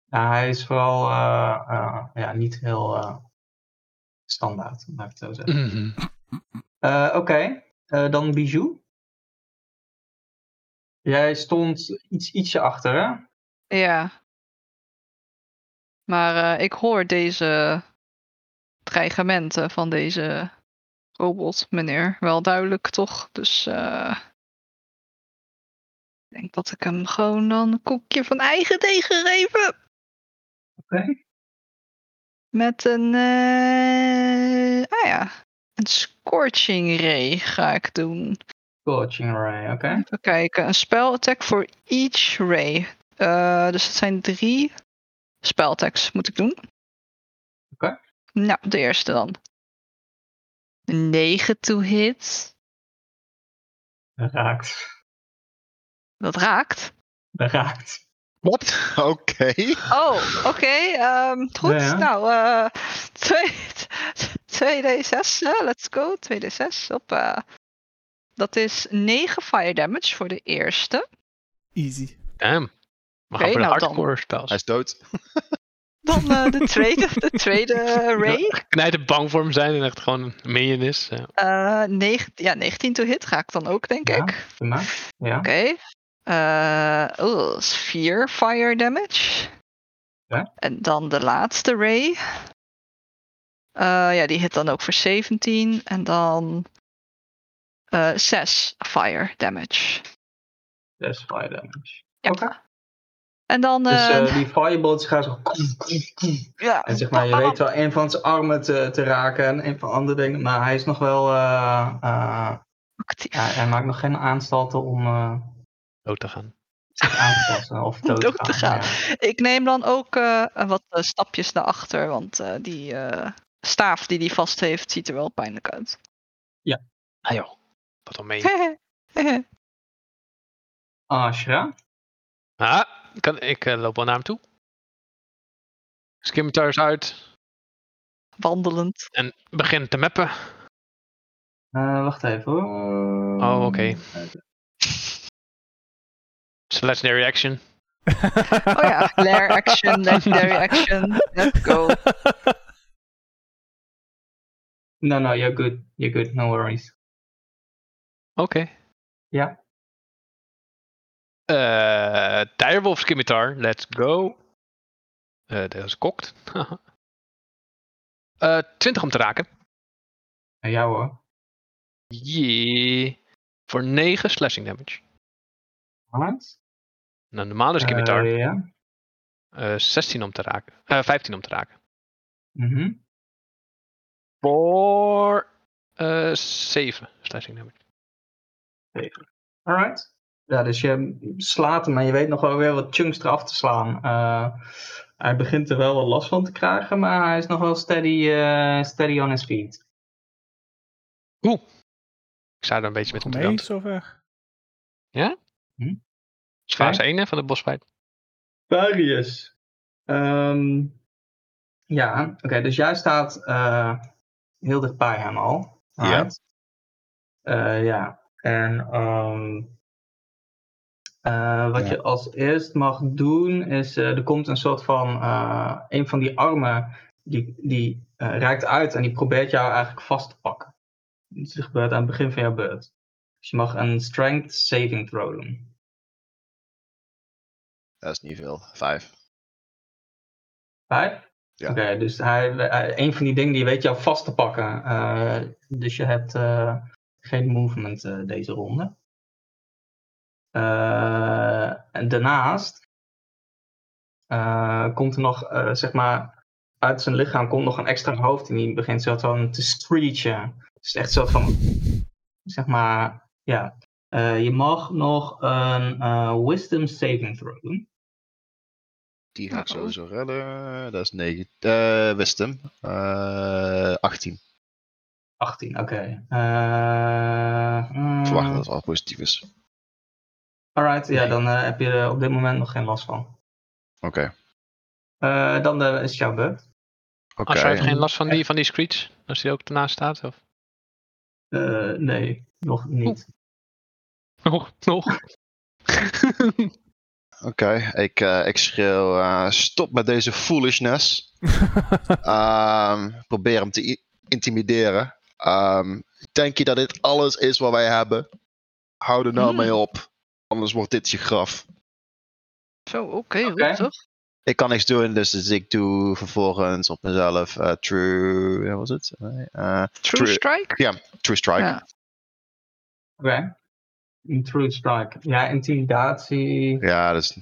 Speaker 2: Ja, hij is vooral eh, eh, ja, niet heel eh, standaard, laat ik het zo zeggen.
Speaker 4: Mhm.
Speaker 5: Mhm.
Speaker 2: Eh, Oké, Eh, dan Bijou. Jij stond iets, ietsje achter, hè?
Speaker 4: Ja. Maar eh, ik hoor deze dreigementen van deze robot, meneer, wel duidelijk toch? Dus eh, ik denk dat ik hem gewoon dan een koekje van eigen deeg gegeven.
Speaker 2: Oké.
Speaker 4: Met een, eh, ah ja, een scorching ray ga ik doen.
Speaker 2: Coaching Ray, oké.
Speaker 4: Even kijken. Een spelattack voor each ray. Eh, dus dat zijn drie spelattacks moet ik doen.
Speaker 2: Oké.
Speaker 4: Nou, de eerste dan. 9 to hit.
Speaker 2: Raakt.
Speaker 4: Dat raakt.
Speaker 2: Raakt.
Speaker 6: Wat?
Speaker 3: Oké.
Speaker 4: Oh,
Speaker 2: (laughs)
Speaker 4: oké. ehm, goed.
Speaker 2: Ja, ja.
Speaker 4: Nou, eh (laughs) 2, 2d6. eh, let's go. 2d6. Hoppa. Dat is 9 fire damage voor de eerste.
Speaker 1: Easy.
Speaker 6: Damn. We gaan
Speaker 4: Oké,
Speaker 6: voor de
Speaker 4: nou dan.
Speaker 6: hardcore spels.
Speaker 3: Hij is dood.
Speaker 4: Dan eh, de tweede, de
Speaker 2: (laughs)
Speaker 4: tweede ray.
Speaker 6: Knijten bang voor hem zijn en echt gewoon een minion is. Ja.
Speaker 4: Eh, negen- ja, 19 to hit ga ik dan ook, denk
Speaker 2: Ja.
Speaker 4: ik.
Speaker 2: Prima. Ja,
Speaker 4: Oké. Eh, oh, dat is 4 fire damage.
Speaker 2: Ja.
Speaker 4: En dan de laatste ray. Eh, ja, die hit dan ook voor 17. En dan eh 6 fire damage.
Speaker 2: dat is fire damage.
Speaker 4: Ja.
Speaker 2: Oké.
Speaker 4: En dan...
Speaker 2: Dus
Speaker 4: eh,
Speaker 2: eh, die fireballs gaan zo... koef, koef, koef.
Speaker 4: (laughs) ja,
Speaker 2: En zeg maar, je
Speaker 4: bam, bam,
Speaker 2: weet wel een van zijn armen te, te raken en een van de andere dingen. Maar hij is nog wel... eh, eh,
Speaker 4: actief.
Speaker 2: ja, hij maakt nog geen aanstalten om eh,
Speaker 6: Dood te gaan.
Speaker 2: zich aan te passen
Speaker 4: (laughs)
Speaker 2: of dood,
Speaker 4: Dood te gaan.
Speaker 2: ja.
Speaker 4: Ik neem dan ook eh, wat eh, stapjes naar achter, want eh, die eh, staaf die die vast heeft, ziet er wel pijnlijk uit. (laughs)
Speaker 6: Ah joh. Wat dan mee.
Speaker 2: Ashra?
Speaker 6: Ah, kan, ik eh, loop wel naar hem toe. Skimitar is uit
Speaker 4: Wandelend.
Speaker 6: en begint te mappen.
Speaker 2: Eh, wacht even hoor.
Speaker 6: Oh, oké. It's a legendary action.
Speaker 4: (laughs) Oh ja, flare
Speaker 6: (laughs)
Speaker 4: action, legendary action. Let's
Speaker 1: (laughs)
Speaker 4: go.
Speaker 2: No, no, you're good. You're good, no worries.
Speaker 6: Oké.
Speaker 2: Ja.
Speaker 6: Eh, Direwolf Skimitar, let's go. Eh dat is kokt. (laughs) Eh 20 om te raken.
Speaker 2: Nou, ja hoor.
Speaker 6: Jee. Voor 9 slashing damage.
Speaker 2: Balans?
Speaker 6: Nou, normale Skimitar.
Speaker 2: Eh, ja.
Speaker 6: eh 16 om te raken. Eh 15 om te raken.
Speaker 2: Mhm.
Speaker 6: Voor eh 7 slashing damage.
Speaker 2: Alright. Ja, dus je slaat hem, maar je weet nog wel weer wat chunks eraf te slaan. Eh, hij begint er wel wat last van te krijgen, maar hij is nog wel steady, eh, steady on his feet.
Speaker 6: Ik sta er een beetje met hem te
Speaker 1: Mee
Speaker 6: dansen.
Speaker 1: zover.
Speaker 6: Het is fase 1 hè, van de bosfight.
Speaker 2: Varius. Ehm, ja, oké, dus jij staat eh, heel dicht bij hem al.
Speaker 3: Ja.
Speaker 2: Right? Eh, ja, en ehm, eh, wat
Speaker 5: Ja.
Speaker 2: je als eerst mag doen is, eh, er komt een soort van, eh, een van die armen die, die eh, reikt uit en die probeert jou eigenlijk vast te pakken. Dus dat gebeurt aan het begin van jouw beurt. Dus je mag een strength saving throw doen.
Speaker 3: Dat is niet veel. Vijf.
Speaker 2: Vijf?
Speaker 3: Ja.
Speaker 2: Oké, dus hij, hij- een van die dingen die weet jou vast te pakken. Eh, dus je hebt eh, geen movement eh, deze ronde. Eh, en daarnaast eh, komt er nog, eh, zeg maar, uit zijn lichaam komt nog een extra hoofd en die begint zo van te screechen. Dus echt zo van, zeg maar, ja. Eh, je mag nog een eh, wisdom saving throw doen.
Speaker 3: Die ga ik
Speaker 2: Nou.
Speaker 4: Uh-oh.
Speaker 3: sowieso redden. Dat is negen. Eh wisdom. Eh 18.
Speaker 2: 18, oké. Eh, mm,
Speaker 3: Verwacht dat het al positief is.
Speaker 2: Alright, ja, dan eh, heb je er op dit moment nog geen last van.
Speaker 3: Oké.
Speaker 2: Eh, dan eh, is het jouw beurt.
Speaker 4: Ah,
Speaker 3: Oké.
Speaker 6: Als hij heeft geen last van die, van die screech, als die ook ernaast staat? Of? (laughs)
Speaker 2: Eh, nee, nog niet.
Speaker 6: Nog, nog.
Speaker 3: Oké, ik, eh, ik schreeuw eh, stop met deze foolishness. Ehm, probeer hem te i- intimideren. Ehm, denk je dat dit alles is wat wij hebben? Hou er nou
Speaker 4: Hmm.
Speaker 3: mee op, anders wordt dit je graf.
Speaker 4: Zo, oké,
Speaker 2: Oké.
Speaker 4: rustig.
Speaker 3: Ik kan niks doen, dus, dus ik doe vervolgens op mezelf eh, true... Wat was het? Nee, eh,
Speaker 4: True,
Speaker 3: True.
Speaker 4: strike?
Speaker 3: true strike.
Speaker 4: Ja.
Speaker 2: Oké. Een True strike. Ja, intimidatie.
Speaker 3: Ja, dus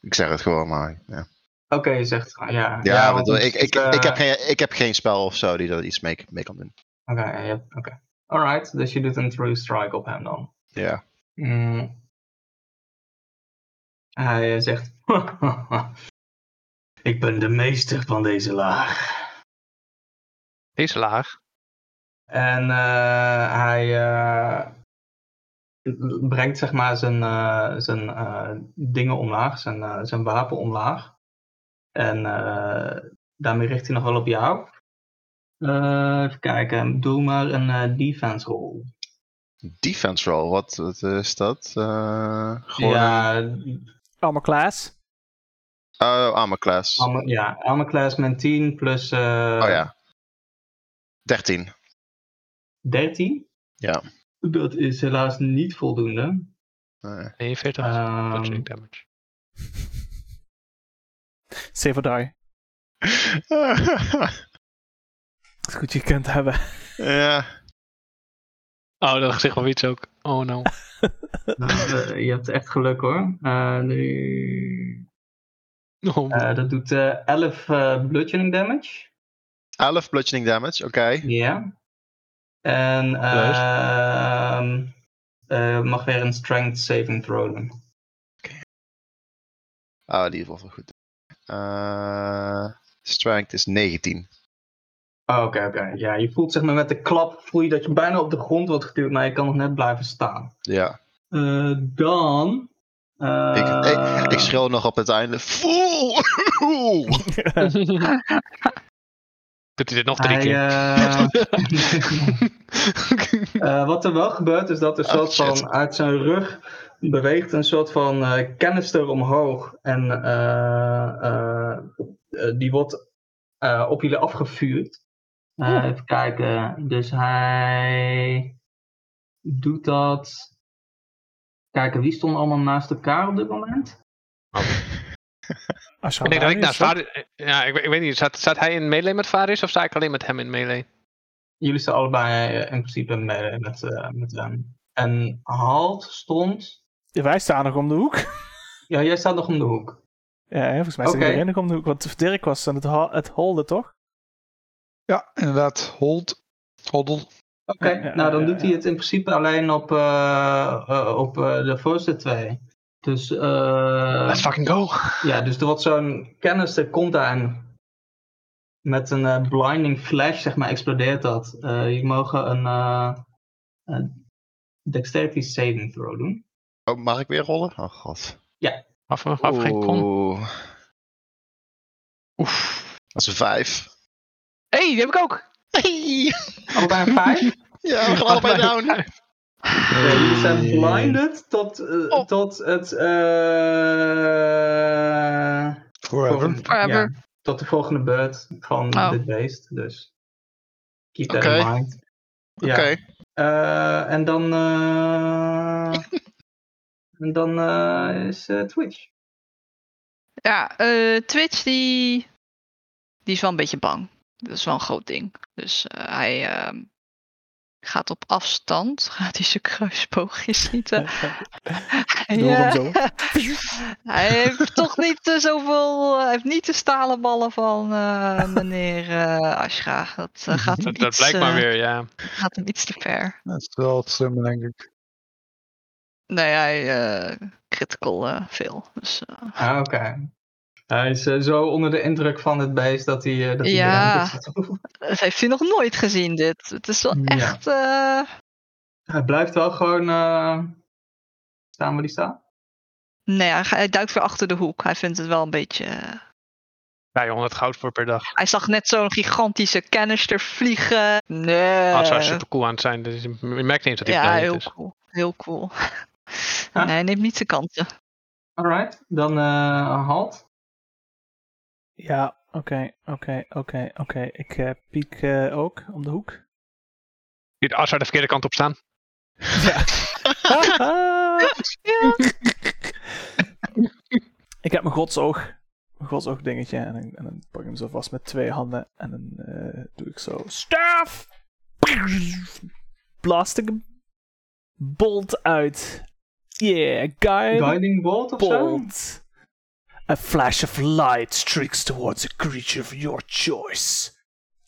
Speaker 3: ik zeg het gewoon maar. Ja,
Speaker 2: Oké, je zegt. Ja, ja,
Speaker 3: ja,
Speaker 2: want
Speaker 3: want ik, ik,
Speaker 2: eh,
Speaker 3: ik, heb geen, ik heb geen spel of zo die daar iets mee, mee kan doen.
Speaker 2: eh, Oké, ja, ja, oké. Alright, dus je doet een True strike op hem dan.
Speaker 3: Ja.
Speaker 2: Mm. Hij eh, zegt: (laughs) Ik ben de meester van deze laag.
Speaker 6: Deze laag.
Speaker 2: En eh, hij eh, brengt zeg maar zijn, eh, zijn eh, dingen omlaag, zijn, eh, zijn wapen omlaag. En eh, daarmee richt hij nog wel op jou. Eh, even kijken, doe maar een eh, defense roll.
Speaker 3: Defense roll, wat, wat is dat? Eh gewoon
Speaker 2: Ja,
Speaker 3: dus-
Speaker 1: Allemaal Klaas.
Speaker 3: een- oh, armor class.
Speaker 2: armor, ja, armor class met 10 plus eh,
Speaker 3: oh ja. 13.
Speaker 2: 13.
Speaker 3: Ja.
Speaker 2: Dat is helaas niet voldoende.
Speaker 3: Nee.
Speaker 6: 41.
Speaker 2: Ehm
Speaker 6: Bludgeoning damage.
Speaker 1: Save or die. Het is goed je kunt hebben.
Speaker 3: (laughs) ja.
Speaker 6: Oh, dat gezicht van iets ook. Oh no.
Speaker 2: nou, eh, je hebt echt geluk hoor. Eh, nu- (laughs)
Speaker 6: Oh,
Speaker 2: eh, dat doet eh 11 eh bludgeoning damage.
Speaker 3: 11 bludgeoning damage, oké.
Speaker 2: Ja. En ehm eh, mag weer een strength saving throw doen.
Speaker 3: Ah, die wordt wel goed. Eh, strength is 19.
Speaker 2: Oh, Oké, oké. Ja, je voelt zeg maar met de klap voel je dat je bijna op de grond wordt geduwd, maar je kan nog net blijven staan.
Speaker 3: Ja.
Speaker 2: Eh, dan. eh,
Speaker 3: Ik, ik, ik schreeuw nog op het einde. Fool! (laughs)
Speaker 6: Doet hij dit nog drie
Speaker 2: Hij,
Speaker 6: keer?
Speaker 2: eh, (laughs)
Speaker 3: (laughs)
Speaker 2: Eh, wat er wel gebeurt is dat er
Speaker 3: Oh,
Speaker 2: soort
Speaker 3: shit.
Speaker 2: van uit zijn rug beweegt een soort van eh canister omhoog. En eh, eh, eh, die wordt eh, op jullie afgevuurd. Eh,
Speaker 3: Oh.
Speaker 2: Even kijken. Dus hij doet dat. Kijken, wie stond allemaal naast elkaar op dit moment?
Speaker 1: Als je
Speaker 6: ik denk dat ik
Speaker 1: daar
Speaker 6: naast Varis... Ja, ik, weet- ik weet niet. Staat, staat hij in melee met Varis of sta ik alleen met hem in melee?
Speaker 2: Jullie staan allebei eh, in principe mee met, eh, met hem. En Halt stond.
Speaker 1: Wij staan nog om de hoek.
Speaker 2: Ja, jij staat nog om de hoek.
Speaker 1: Ja, hè, volgens mij staat
Speaker 2: Oké.
Speaker 1: iedereen nog om de hoek. Want Dirk was aan het, ho- het holden, toch?
Speaker 5: Ja, inderdaad. Hold. Hoddle.
Speaker 2: Oké,
Speaker 1: Ja, ja,
Speaker 2: nou dan
Speaker 1: ja,
Speaker 2: doet
Speaker 1: ja.
Speaker 2: hij het in principe alleen op, eh, eh, op eh, de voorste twee. Dus, eh,
Speaker 6: Let's fucking go.
Speaker 2: ja, dus er wordt zo'n kennis, er komt aan. Met een eh, blinding flash, zeg maar, explodeert dat. Eh je mogen een, eh, een dexterity saving throw doen.
Speaker 3: Oh, mag ik weer rollen? Oh god.
Speaker 6: Af, af, af geen kon.
Speaker 3: Oeh. Oef. Dat is een 5.
Speaker 4: Hé, hey, die heb ik ook.
Speaker 3: Hey.
Speaker 2: Allebei een vijf. eh,
Speaker 3: Ja, we gaan allebei
Speaker 4: (laughs)
Speaker 3: down.
Speaker 2: Ja, jullie
Speaker 5: Ehm,
Speaker 2: zijn blinded tot, eh,
Speaker 4: Oh.
Speaker 2: tot het... eh,
Speaker 5: Forever.
Speaker 2: Volgende-
Speaker 4: Forever.
Speaker 2: ja, tot de volgende beurt van
Speaker 4: Oh.
Speaker 2: dit beest. Dus keep that
Speaker 3: Oké.
Speaker 2: in mind.
Speaker 3: Oké.
Speaker 2: Ja. eh, en dan. eh, (laughs) en dan eh, is eh, Twitch.
Speaker 4: Ja, eh, Twitch die... die is wel een beetje bang. Dat is wel een groot ding. Dus eh, hij ehm, gaat op afstand. (laughs) Gaat hij zijn kruisboogjes niet...
Speaker 6: (laughs)
Speaker 4: eh, hij,
Speaker 1: Doe hem
Speaker 4: eh,
Speaker 1: zo.
Speaker 4: (laughs) hij heeft toch niet eh, zoveel... hij heeft niet de stalen ballen van eh, meneer eh Ashra. Dat,
Speaker 6: (laughs)
Speaker 4: eh, gaat, hem
Speaker 6: Dat, dat
Speaker 4: iets,
Speaker 6: blijkt maar
Speaker 4: eh,
Speaker 6: weer, ja.
Speaker 4: gaat hem iets te ver.
Speaker 5: Dat is wel het slimme, denk ik.
Speaker 4: Nee, hij eh, critical eh, veel. Dus, eh,
Speaker 2: Ah, oké. Hij is eh, zo onder de indruk van het beest dat hij. eh, dat (laughs) hij
Speaker 4: Ja.
Speaker 2: eraan zit.
Speaker 4: dat heeft hij nog nooit gezien, dit. Het is wel
Speaker 2: Ja.
Speaker 4: echt... eh,
Speaker 2: hij blijft wel gewoon. eh, staan waar hij staat.
Speaker 4: Nee, nou hij, hij duikt weer achter de hoek. Hij vindt het wel een beetje... eh,
Speaker 6: Ja, 100 goud voor per dag.
Speaker 4: Hij zag net zo'n gigantische canister vliegen. Nee.
Speaker 6: Als hij super cool aan het zijn. Dus je merkt niet eens dat hij
Speaker 4: eh, ja,
Speaker 6: planeet
Speaker 4: heel
Speaker 6: is.
Speaker 4: cool. Heel cool. nee, hij neemt niet zijn kansen.
Speaker 2: Alright, dan eh halt.
Speaker 1: Ja, oké, oké, oké, oké. Ik eh, piek eh, ook om de hoek.
Speaker 6: Ziet Asha de verkeerde kant op staan.
Speaker 4: Ja.
Speaker 1: (laughs) ik heb mijn godsoog. Mijn godsoog dingetje. En, dan- en dan pak ik hem zo vast met twee handen. En dan eh, doe ik zo. Staaf! Blast ik een bolt uit. Yeah, guy.
Speaker 2: Guiding Bolt of zo? (laughs)
Speaker 1: bolt. A flash of light streaks towards a creature of your choice.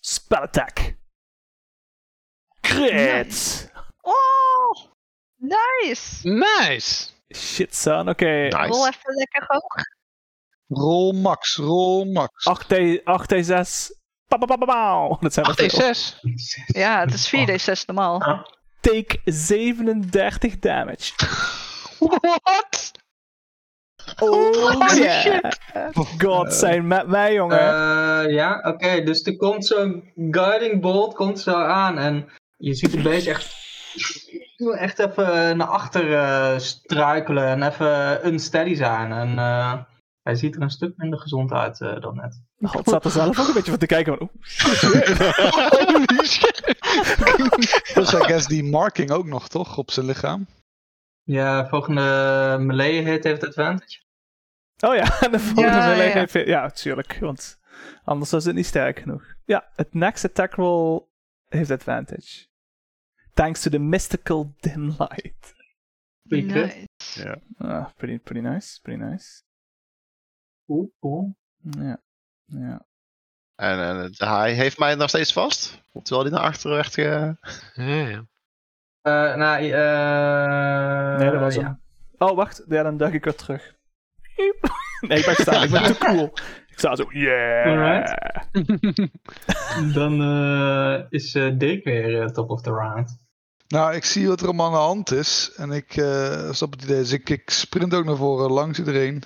Speaker 1: Spell attack. Crit!
Speaker 4: Oh, nice.
Speaker 6: Nice!
Speaker 1: Shit, son. Oké.
Speaker 4: Rol
Speaker 3: Nice.
Speaker 4: even lekker hoog.
Speaker 5: Rol max, rol max.
Speaker 1: Oh, 8T, 8T6. Pa, pa, pa, pa, pauw. Dat zijn
Speaker 6: 8
Speaker 1: er veel.
Speaker 6: D6.
Speaker 4: Ja, het is 4d6 normaal.
Speaker 1: Take 37 damage.
Speaker 6: What?
Speaker 1: Oh yeah. God,
Speaker 5: Eh,
Speaker 1: zijn met mij, jongen.
Speaker 2: Eh, ja, oké. Dus er komt zo'n Guiding Bolt komt zo aan en je ziet de beest echt, echt even naar achter eh, struikelen en even unsteady zijn. En eh, hij ziet er een stuk minder gezond uit eh, dan net.
Speaker 1: God, het zat er zelf ook een beetje van te kijken. Oh, van, oeh.
Speaker 5: Plus, I guess die marking ook nog, toch? Op zijn lichaam.
Speaker 2: Ja, volgende melee hit heeft advantage.
Speaker 1: (laughs) Oh ja, en de volgende
Speaker 4: Ja,
Speaker 1: melee
Speaker 4: ja.
Speaker 1: heeft- Ja, tuurlijk. Want anders was het niet sterk genoeg. Ja, het next attack roll heeft advantage. Thanks to the mystical dim light.
Speaker 2: Pretty good.
Speaker 4: Nice.
Speaker 1: Ah, pretty, pretty nice, pretty nice.
Speaker 2: Cool, cool.
Speaker 1: Ja, ja.
Speaker 8: En, en hij heeft mij nog steeds vast. Terwijl hij naar achteren werd ge...
Speaker 6: Ja, ja.
Speaker 2: Eh, nou, eh,
Speaker 1: Nee, dat was hem.
Speaker 2: ja.
Speaker 1: Oh, wacht. Ja, dan duik ik weer (laughs) terug. Nee, ik blijf staan. Ik ben te cool. Ik sta zo, yeah.
Speaker 2: Alright. Dan eh, is eh Dick weer eh, top of the
Speaker 1: (laughs)
Speaker 2: round.
Speaker 5: Nou, ik zie wat er allemaal aan de hand is. En ik eh, snap het idee. Dus ik, ik sprint ook naar voren langs iedereen.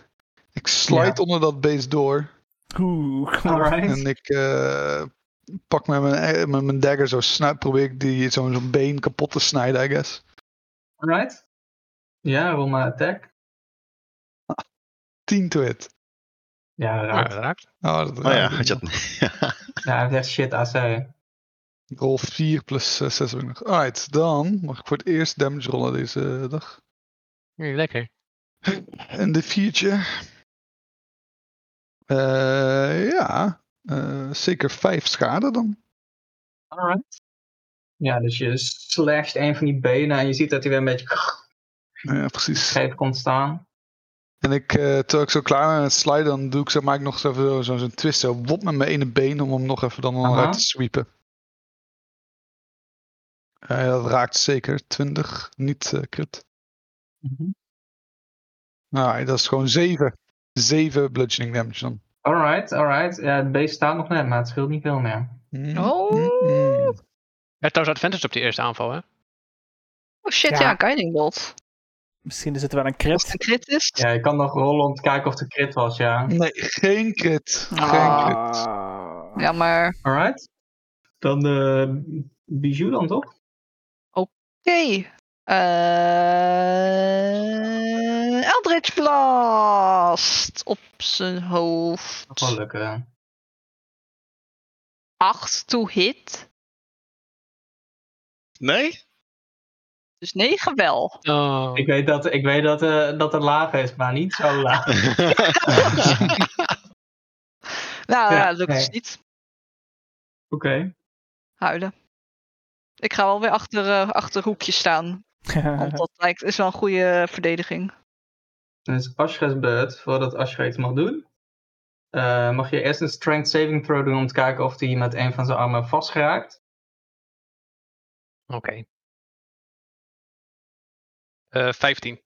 Speaker 5: Ik slide
Speaker 2: Ja.
Speaker 5: onder dat beest door.
Speaker 1: Oeh.
Speaker 2: Alright.
Speaker 5: En ik eh, pak met mijn, eh, met mijn dagger zo snij, probeer ik die zo'n zo'n been kapot te snijden, I guess.
Speaker 2: Alright. Ja, rol maar attack.
Speaker 5: 10 to hit.
Speaker 2: Ja,
Speaker 6: Ja,
Speaker 2: raakt.
Speaker 6: dat raakt.
Speaker 5: Oh, dat
Speaker 8: Oh ja,
Speaker 5: raakt
Speaker 8: had je
Speaker 5: niet.
Speaker 8: dat
Speaker 2: Ja, hij heeft echt shit AC.
Speaker 5: Ik Rol 4 plus 6 heb ik nog. Alright, dan mag ik voor het eerst damage rollen deze eh, dag.
Speaker 6: Mm, Lekker.
Speaker 5: En de viertje. Eh, ja, Eh, zeker 5 schade dan.
Speaker 2: Alright. Ja, dus je slasht een van die benen en je ziet dat hij weer een beetje
Speaker 5: Nou Ja, precies.
Speaker 2: scheef komt staan.
Speaker 5: En ik, eh, terwijl ik zo klaar ben met het sliden, dan doe ik zo, maak ik nog eens even zo- zo'n twist. Zo wop met mijn ene been om hem nog even dan
Speaker 2: Aha.
Speaker 5: uit te sweepen. Ja, ja, dat raakt zeker. 20, niet eh crit. Nou, dat is gewoon 7. 7 bludgeoning damage dan.
Speaker 2: Alright, alright. Ja, het beest staat nog net, maar het scheelt niet veel meer.
Speaker 5: Mm,
Speaker 4: Oh.
Speaker 5: mm, mm.
Speaker 6: Hij heeft trouwens advantage op die eerste aanval, hè?
Speaker 4: Oh shit,
Speaker 1: Ja.
Speaker 4: ja, Guiding Bolt.
Speaker 1: Misschien is het wel een
Speaker 4: Als het
Speaker 1: crit.
Speaker 4: een crit is.
Speaker 2: Ja, je kan nog rollen om te kijken of de crit was, ja.
Speaker 5: Nee, geen crit. Geen crit.
Speaker 1: Ah.
Speaker 4: Ja, maar
Speaker 2: Alright. Dan de Bijou dan toch?
Speaker 4: Oké. eh Eldritch Blast op zijn
Speaker 2: Dat zal
Speaker 4: hoofd.
Speaker 2: lukken.
Speaker 4: 8 to hit.
Speaker 8: Nee?
Speaker 4: Dus 9 wel.
Speaker 6: Oh.
Speaker 2: Ik weet dat, ik weet dat, eh, dat het laag is, maar niet zo (laughs) laag.
Speaker 4: Nou
Speaker 2: Ja,
Speaker 4: ja, lukt dus
Speaker 2: nee.
Speaker 4: niet.
Speaker 2: Oké.
Speaker 4: Huilen. Ik ga wel weer achter, eh, achter hoekje
Speaker 2: (laughs)
Speaker 4: staan. Want dat lijkt, is wel een goede verdediging.
Speaker 2: Dan is Ashra's beurt. Voordat Ashra iets mag doen, eh, mag je eerst een strength saving throw doen om te kijken of hij met een van zijn armen vastgeraakt.
Speaker 6: Oké. Eh, 15.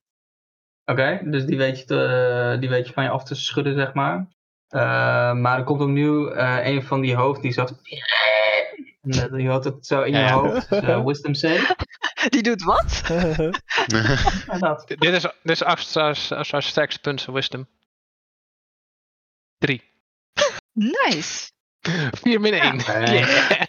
Speaker 2: Oké, dus die weet, je te, eh, die weet je van je af te schudden, zeg maar. Eh, maar er komt opnieuw eh, een van die hoofd die zo. En dat- Je hoort het zo in
Speaker 6: Ja,
Speaker 2: je
Speaker 6: ja.
Speaker 2: hoofd. Dus, eh, wisdom save.
Speaker 4: Die doet wat?
Speaker 2: Inderdaad.
Speaker 6: Dit is, dit is Astra's, Astra's Stacks Punts of Wisdom. 3. (laughs)
Speaker 4: Nice.
Speaker 6: 4 min 1.
Speaker 2: Ja.
Speaker 6: (laughs)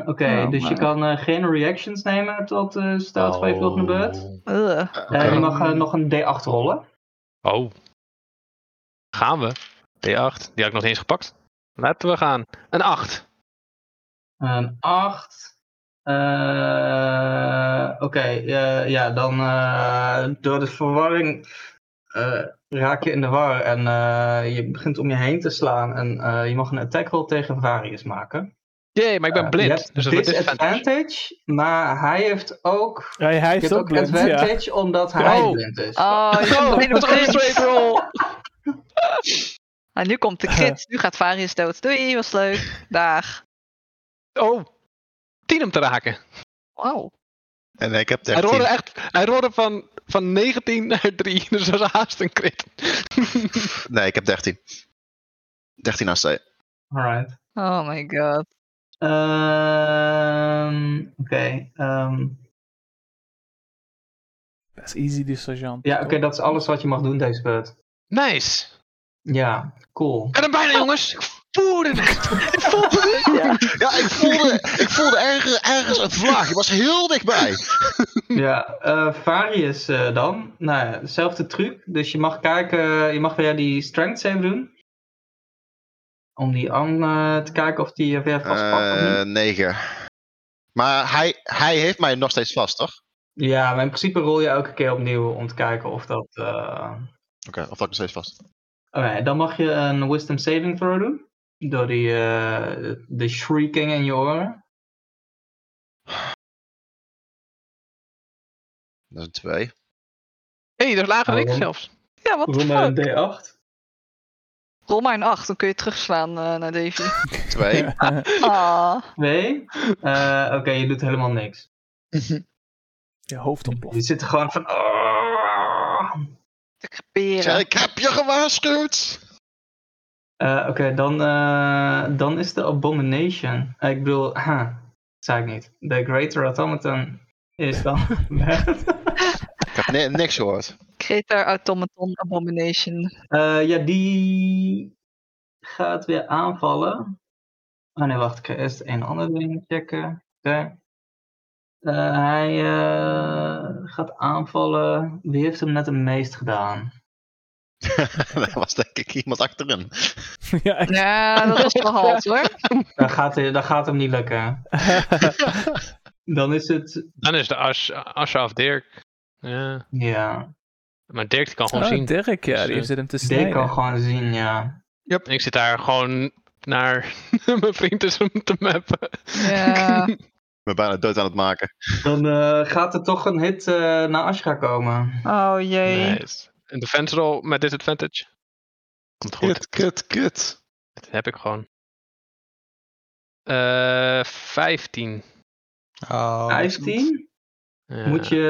Speaker 2: Eh, Oké,
Speaker 1: Oh,
Speaker 2: dus je
Speaker 1: maar-
Speaker 2: kan eh, geen reactions nemen tot eh staat 5 op de beurt.
Speaker 4: Ugh.
Speaker 2: Eh, je
Speaker 6: Oh. Oké.
Speaker 2: mag eh, nog een D8 rollen.
Speaker 6: Oh. Gaan we. D8. Die had ik nog niet eens gepakt. Laten we gaan. Een 8.
Speaker 2: Een 8. Oké, eh, ja, dan eh, door de verwarring eh, raak je in de war en eh, je begint om je heen te slaan. En eh, je mag een attack roll tegen Varius maken.
Speaker 6: Jee, maar ik ben
Speaker 2: Eh,
Speaker 6: blind.
Speaker 2: je hebt
Speaker 6: dus dat wordt disadvantage.
Speaker 2: disadvantage, maar hij heeft ook.
Speaker 1: Ja, hij
Speaker 2: Je
Speaker 1: heeft
Speaker 2: hebt
Speaker 1: ook
Speaker 2: ook
Speaker 1: blind, ja.
Speaker 2: advantage omdat hij
Speaker 6: Oh.
Speaker 2: blind is.
Speaker 4: Oh, je
Speaker 6: Oh,
Speaker 4: bent
Speaker 2: (laughs)
Speaker 6: wat een
Speaker 4: blind.
Speaker 6: straight roll.
Speaker 4: Ah, nu
Speaker 2: (laughs)
Speaker 4: komt de crit. Nu gaat Varius dood. Doei, was leuk. Dag.
Speaker 6: Oh. 10 om te raken.
Speaker 4: Wow.
Speaker 3: En ik heb
Speaker 6: Hij rolde
Speaker 3: 13.
Speaker 6: echt. Hij rolde van, van 19 naar 3. Dus dat was haast een crit.
Speaker 3: Nee, ik heb 13. 13 AC.
Speaker 2: Alright.
Speaker 4: Oh my god.
Speaker 2: Ehm, Oké. ehm,
Speaker 1: Dat is easy, die sergeant.
Speaker 2: ja, oké, dat is alles wat je mag doen deze beurt.
Speaker 6: (laughs) nice.
Speaker 2: Ja, cool.
Speaker 6: En dan bijna jongens. Ik voelde het. Ik voelde het.
Speaker 3: Ja, ik voelde, ik voelde ergens, ergens een vlag. Ik was heel dichtbij.
Speaker 2: Ja, eh, Varius eh, dan. Nou ja, dezelfde truc. Dus je mag kijken, je mag weer die strength save doen. Om die aan eh, te kijken of die eh, weer vastpakt of niet.
Speaker 3: Eh 9. Maar hij, hij heeft mij nog steeds vast, toch?
Speaker 2: Ja, maar in principe rol je elke keer opnieuw om te kijken of dat... eh,
Speaker 3: Oké, of dat nog steeds vast.
Speaker 2: Oké, dan mag je een wisdom saving throw doen. Door die, eh, de shrieking in je oren.
Speaker 3: Dat is een 2.
Speaker 6: Hé, hey, dat is lager dan ik
Speaker 2: Waarom?
Speaker 6: zelfs.
Speaker 4: Ja, wat
Speaker 2: Rol maar
Speaker 4: fuck.
Speaker 2: een D8.
Speaker 4: Rol maar een 8, dan kun je terugslaan eh, naar Davy.
Speaker 3: 2.
Speaker 4: Ah.
Speaker 2: Nee? Eh, Oké, je doet helemaal
Speaker 1: (laughs)
Speaker 2: niks.
Speaker 1: Mhm. Je hoofd
Speaker 2: Je (laughs)
Speaker 1: ontploft.
Speaker 2: zit er gewoon van... "Ah."
Speaker 4: Te creperen.
Speaker 3: Ik heb je gewaarschuwd!
Speaker 2: Eh, Oké, dan, eh, dan is de Abomination. Eh, ik bedoel, huh, zei ik niet. De Greater Automaton is dan weg.
Speaker 3: Ik heb ni- niks gehoord. (laughs)
Speaker 4: Creator Automaton Abomination.
Speaker 2: Eh, ja, die gaat weer aanvallen. Oh nee, wacht. Ik ga eerst een ander ding checken. Oké. Eh, hij eh, gaat aanvallen. Wie heeft hem net het meest gedaan?
Speaker 3: Daar was denk ik iemand achterin.
Speaker 1: (laughs) ja, echt.
Speaker 4: Ja, dat is wel halt hoor.
Speaker 2: Dat gaat, hij- dat gaat hem niet lukken. Dan is het...
Speaker 6: Dan is de As- Asha of Dirk. Ja.
Speaker 2: Ja,
Speaker 6: Maar Dirk die kan gewoon
Speaker 2: Ah,
Speaker 1: Oh,
Speaker 6: zien.
Speaker 1: Dirk, ja,
Speaker 6: Dus,
Speaker 1: die
Speaker 6: eh,
Speaker 1: zit hem te
Speaker 2: Dirk kan
Speaker 1: snijden.
Speaker 2: gewoon zien, ja.
Speaker 6: En ik zit daar gewoon naar (laughs) mijn vriend is om te mappen.
Speaker 4: (laughs) Ja.
Speaker 3: Ik ben bijna dood aan het maken.
Speaker 2: Dan eh, gaat er toch een hit eh, naar Ashra komen.
Speaker 4: Oh jee.
Speaker 6: Nice. Een defense roll met disadvantage. Komt goed.
Speaker 5: Kut, kut, kut.
Speaker 6: Dat heb ik gewoon. Eh 15.
Speaker 5: Oh,
Speaker 2: 15.
Speaker 6: Ja.
Speaker 2: Moet je...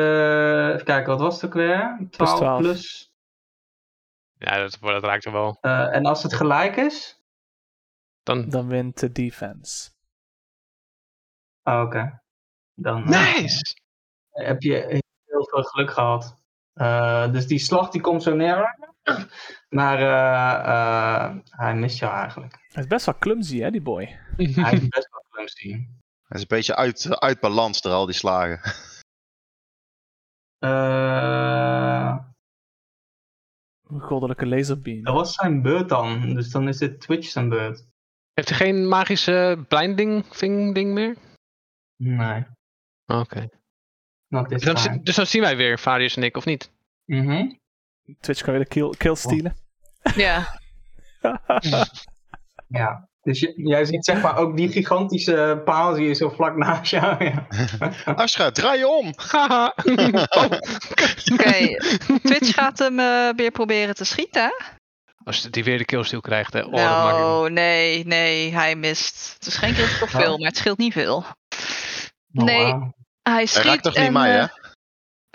Speaker 2: eh, Even kijken, wat was het ook weer? 12 plus...
Speaker 1: 12.
Speaker 6: Ja, dat, dat raakt er wel.
Speaker 2: eh, en als het gelijk is?
Speaker 6: Dan...
Speaker 1: Dan wint de defense.
Speaker 2: Oh, oké. Dan eh,
Speaker 6: Nice!
Speaker 2: heb je heel veel geluk gehad. Eh, dus die slag die komt zo neer. Maar eh, eh, hij mist jou eigenlijk.
Speaker 1: Hij is best wel clumsy, hè, die boy.
Speaker 2: Hij is best wel clumsy.
Speaker 3: Hij is een beetje uit, uit balans door al die slagen. (laughs)
Speaker 2: Eh,
Speaker 1: Een goddelijke laserbeam.
Speaker 2: dat
Speaker 6: Oh.
Speaker 2: was zijn beurt dan. Dus dan is het Twitch zijn beurt.
Speaker 6: Heeft hij geen magische blinding thing ding meer?
Speaker 2: Nee,
Speaker 6: Oké.
Speaker 2: not this
Speaker 6: Dus dan,
Speaker 2: time.
Speaker 6: zi- dus dan zien wij weer Varius en ik, of niet?
Speaker 2: Mhm.
Speaker 1: Twitch kan weer de kill, kill stelen.
Speaker 4: Ja.
Speaker 2: Ja, dus j- jij ziet zeg maar ook die gigantische paal zie je zo vlak naast jou. Ja.
Speaker 3: Ashra, draai je om!
Speaker 6: Haha. (laughs) oh.
Speaker 4: Oké. (laughs) Twitch gaat hem eh, weer proberen te schieten. hè?
Speaker 6: Als die weer de killsteal krijgt, hè. Oh, dat maakt niet uit.
Speaker 4: nou, nee, nee, hij mist. Het is geen critical
Speaker 2: Oh.
Speaker 4: veel, maar het scheelt niet veel.
Speaker 2: Oh,
Speaker 4: Nee.
Speaker 2: wauw.
Speaker 4: Hij
Speaker 3: Hij
Speaker 4: schiet
Speaker 3: raakt toch niet
Speaker 4: en,
Speaker 3: mij,
Speaker 4: eh,
Speaker 3: hè?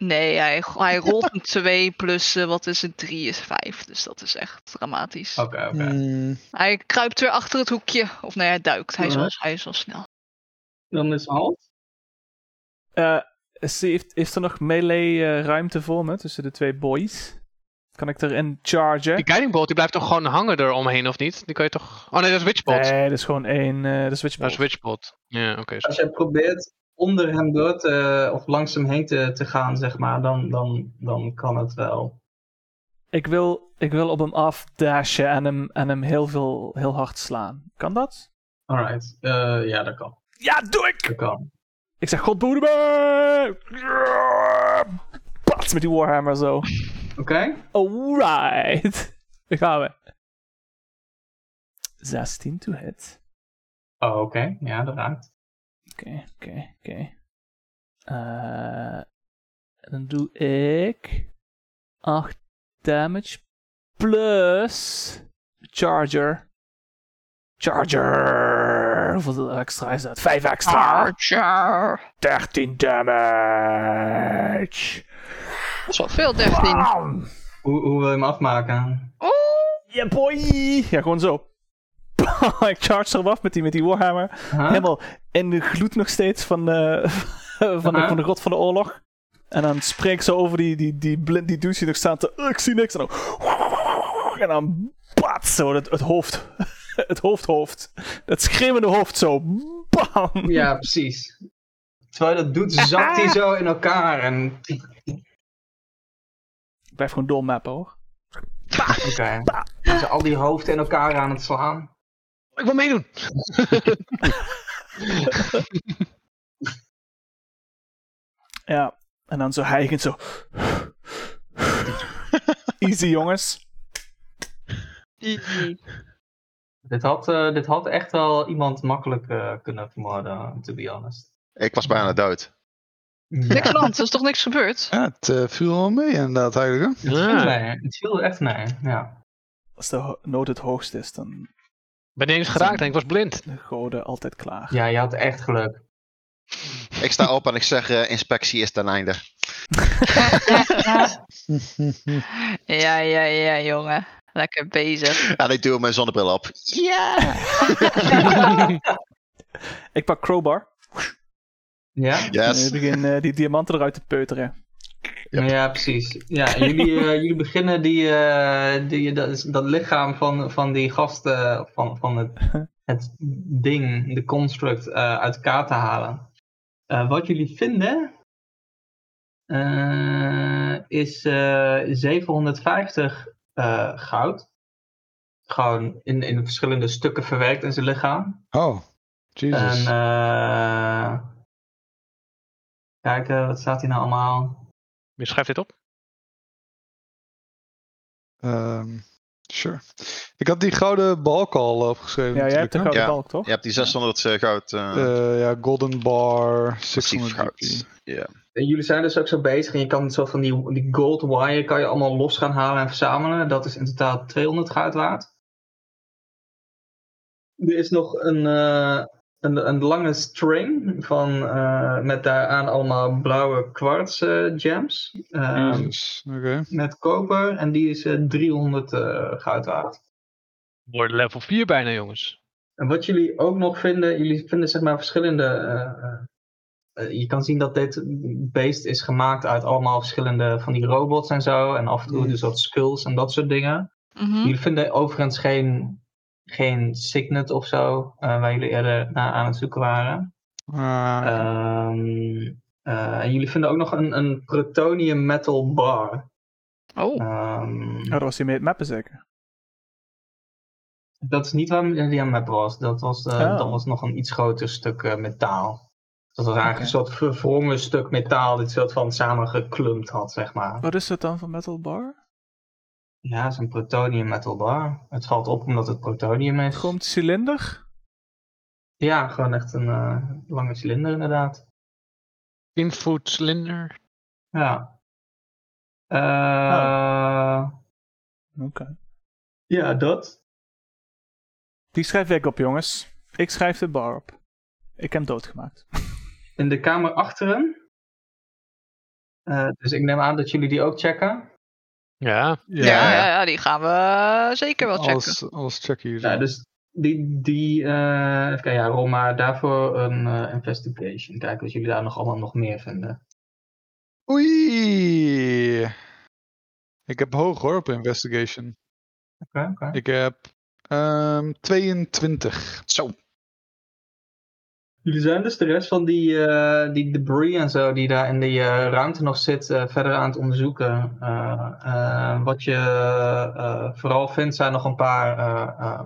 Speaker 4: Nee, hij, hij (laughs) rolt een 2 plus eh, wat is het? 3 is 5. Dus dat is echt dramatisch.
Speaker 2: Oké, oké.
Speaker 1: Mm.
Speaker 4: Hij kruipt weer achter het hoekje. Of nou nee, hij duikt. Hij is wel, hij is wel snel.
Speaker 2: Dan is halt.
Speaker 1: Eh, Is, heeft, is er nog melee eh, ruimte voor me tussen de twee boys? Kan ik erin chargen?
Speaker 6: Die guiding bolt die blijft toch gewoon hangen eromheen, of niet? Die kan je toch... Oh nee, dat is witchbolt.
Speaker 1: Nee, dat is gewoon één. eh dat is
Speaker 6: Dat
Speaker 1: Witchbolt.
Speaker 6: is witchbolt. Ja, oké. zo.
Speaker 2: Als jij probeert onder hem door te, of langs hem heen te, te gaan, zeg maar, dan, dan, dan kan het wel.
Speaker 1: Ik wil, ik wil op hem afdashen en hem, en hem heel, veel, heel hard slaan. Kan dat?
Speaker 2: Alright, eh, ja, dat kan.
Speaker 1: Ja, doe ik!
Speaker 2: Dat kan.
Speaker 1: Ik zeg, God behoede me! Pats met die Warhammer zo.
Speaker 2: Oké?
Speaker 1: Alright. Daar gaan we. 16 to hit.
Speaker 2: Oh, oké. Ja, dat raakt.
Speaker 1: Oké, oké, oké. Eh, en dan doe ik 8 damage plus charger. Charger! Hoeveel extra is dat? 5 extra!
Speaker 4: Ah. Archer.
Speaker 1: 13 damage!
Speaker 4: Zoveel 13.
Speaker 1: Bam!
Speaker 2: Hoe, hoe wil je hem afmaken?
Speaker 4: Oeh.
Speaker 1: Yeah boy! Ja, gewoon zo. (laughs) ik charge erop af met die, met die warhammer.
Speaker 2: Huh?
Speaker 1: Helemaal in de gloed nog steeds (laughs) van de, van, de,
Speaker 2: Aha.
Speaker 1: van de god van de oorlog. En dan spreek ik zo over die, die, die blind, die douche die nog staat te... "Eh, ik zie niks. En dan... (laughs) En dan... Bats, zo, het, het hoofd. (laughs) het hoofdhoofd. Dat schreeuwende hoofd zo. Bam!
Speaker 2: Ja, precies. Terwijl je dat doet, zakt hij zo in elkaar en... Oké.
Speaker 1: Ik blijf gewoon doormappen, hoor.
Speaker 2: Dan zijn al die hoofden in elkaar aan het slaan.
Speaker 6: Ik wil meedoen.
Speaker 1: Ja, en dan zo hijgend (laughs) zo. Easy, jongens.
Speaker 2: Dit had, eh, dit had echt wel iemand makkelijk eh, kunnen vermoorden, to be honest.
Speaker 8: Ik was bijna dood.
Speaker 4: Niks aan de hand, er is toch niks
Speaker 5: (laughs)
Speaker 4: gebeurd?
Speaker 5: Ja, het eh, viel wel mee inderdaad eigenlijk. hè.
Speaker 2: Het viel mee. Het viel echt mee, ja.
Speaker 1: Als de ho- nood het hoogst is, dan
Speaker 6: Ben niet eens geraakt en ik was (laughs) blind.
Speaker 1: de goden altijd klaar.
Speaker 2: Ja, je had echt geluk.
Speaker 8: Ik sta op en ik zeg, eh, inspectie is ten einde.
Speaker 1: Mhm.
Speaker 4: Ja, ja, ja, jongen. Lekker bezig.
Speaker 8: En ik doe mijn zonnebril op.
Speaker 1: Ik pak Crowbar.
Speaker 2: Ja?
Speaker 1: En ik
Speaker 8: Yes.
Speaker 1: begin eh, die diamanten eruit te peuteren.
Speaker 2: Ja, precies. Ja, en jullie, eh, jullie beginnen die, eh, die, dat, dat lichaam van, van die gast, eh, van, van het, het ding, de construct, eh, uit elkaar te halen. Eh, wat jullie vinden eh, is eh, 750 eh, goud. Gewoon in, in verschillende stukken verwerkt in zijn lichaam.
Speaker 5: Oh,
Speaker 2: En
Speaker 5: Jesus.
Speaker 2: eh kijken, wat staat hier nou allemaal?
Speaker 6: Je schrijft dit op?
Speaker 5: Ehm, sure. Ik had die gouden balk al opgeschreven.
Speaker 1: Ja, jij hebt
Speaker 5: natuurlijk,
Speaker 1: de
Speaker 5: hè?
Speaker 1: gouden
Speaker 8: Ja.
Speaker 1: balk, toch?
Speaker 8: Je hebt die 600 eh, goud. eh
Speaker 5: Eh, ja, Golden Bar,
Speaker 8: massief
Speaker 5: 600
Speaker 8: goud.
Speaker 3: (laughs)
Speaker 5: goud.
Speaker 8: Ja.
Speaker 2: En jullie zijn dus ook zo bezig en je kan zo van die, die gold wire kan je allemaal los gaan halen en verzamelen. Dat is in totaal 200 goud waard. Er is nog een, eh, een, een lange string van, eh, met daaraan allemaal blauwe kwarts eh, gems. Ehm,
Speaker 6: Mm.
Speaker 5: Jesus, oké.
Speaker 2: met koper en die is eh, 300 eh, goud waard.
Speaker 6: Wordt level 4 bijna, jongens.
Speaker 2: En wat jullie ook nog vinden, jullie vinden zeg maar verschillende. eh, eh, eh, je kan zien dat dit beest is gemaakt uit allemaal verschillende van die robots en zo. En af en toe dus dat skulls en dat soort dingen.
Speaker 4: Mhm.
Speaker 2: Jullie vinden overigens geen, geen signet of zo, eh, waar jullie eerder naar aan het zoeken waren.
Speaker 5: Ah,
Speaker 2: Eh, Ehm, eh, en jullie vinden ook nog een, een protonium metal bar.
Speaker 4: Oh,
Speaker 2: Ehm,
Speaker 1: Ja, dat was hij mee het mappen zeker.
Speaker 2: Dat is niet waar die aan map was. Dat was, eh,
Speaker 1: Oh.
Speaker 2: dat was nog een iets groter stuk eh, metaal. Dat was eigenlijk
Speaker 1: Oké.
Speaker 2: een soort verwrongen stuk metaal, dit soort van samengeklumpt had, zeg maar.
Speaker 1: Wat is dat dan voor metal bar?
Speaker 2: Ja, het is een protonium metal bar. Het valt op omdat het protonium is.
Speaker 1: Komt cilinder?
Speaker 2: Ja, gewoon echt een eh, lange cilinder inderdaad.
Speaker 6: 10 foot slinder.
Speaker 2: Ja. Eh,
Speaker 1: Oh. Oké.
Speaker 2: Ja, dat.
Speaker 1: Die schrijf ik op, jongens. Ik schrijf de bar op. Ik heb hem doodgemaakt.
Speaker 2: In de kamer achteren. Eh, dus ik neem aan dat jullie die ook checken.
Speaker 6: Ja.
Speaker 5: ja,
Speaker 4: ja, ja, ja, die gaan we eh, zeker wel checken.
Speaker 5: Alles, alles checken hier.
Speaker 2: Ja, dus die, die eh even kijken, ja, rol maar daarvoor een eh, investigation. Kijken wat jullie daar nog allemaal nog meer vinden.
Speaker 5: Oei. Ik heb hoog hoor op investigation.
Speaker 2: Oké, oké.
Speaker 5: Ik heb ehm 22.
Speaker 3: Zo.
Speaker 2: Jullie zijn dus de rest van die, eh, die debris en zo die daar in die eh, ruimte nog zit eh, verder aan het onderzoeken. Eh, eh, wat je eh, vooral vindt zijn nog een paar eh, eh,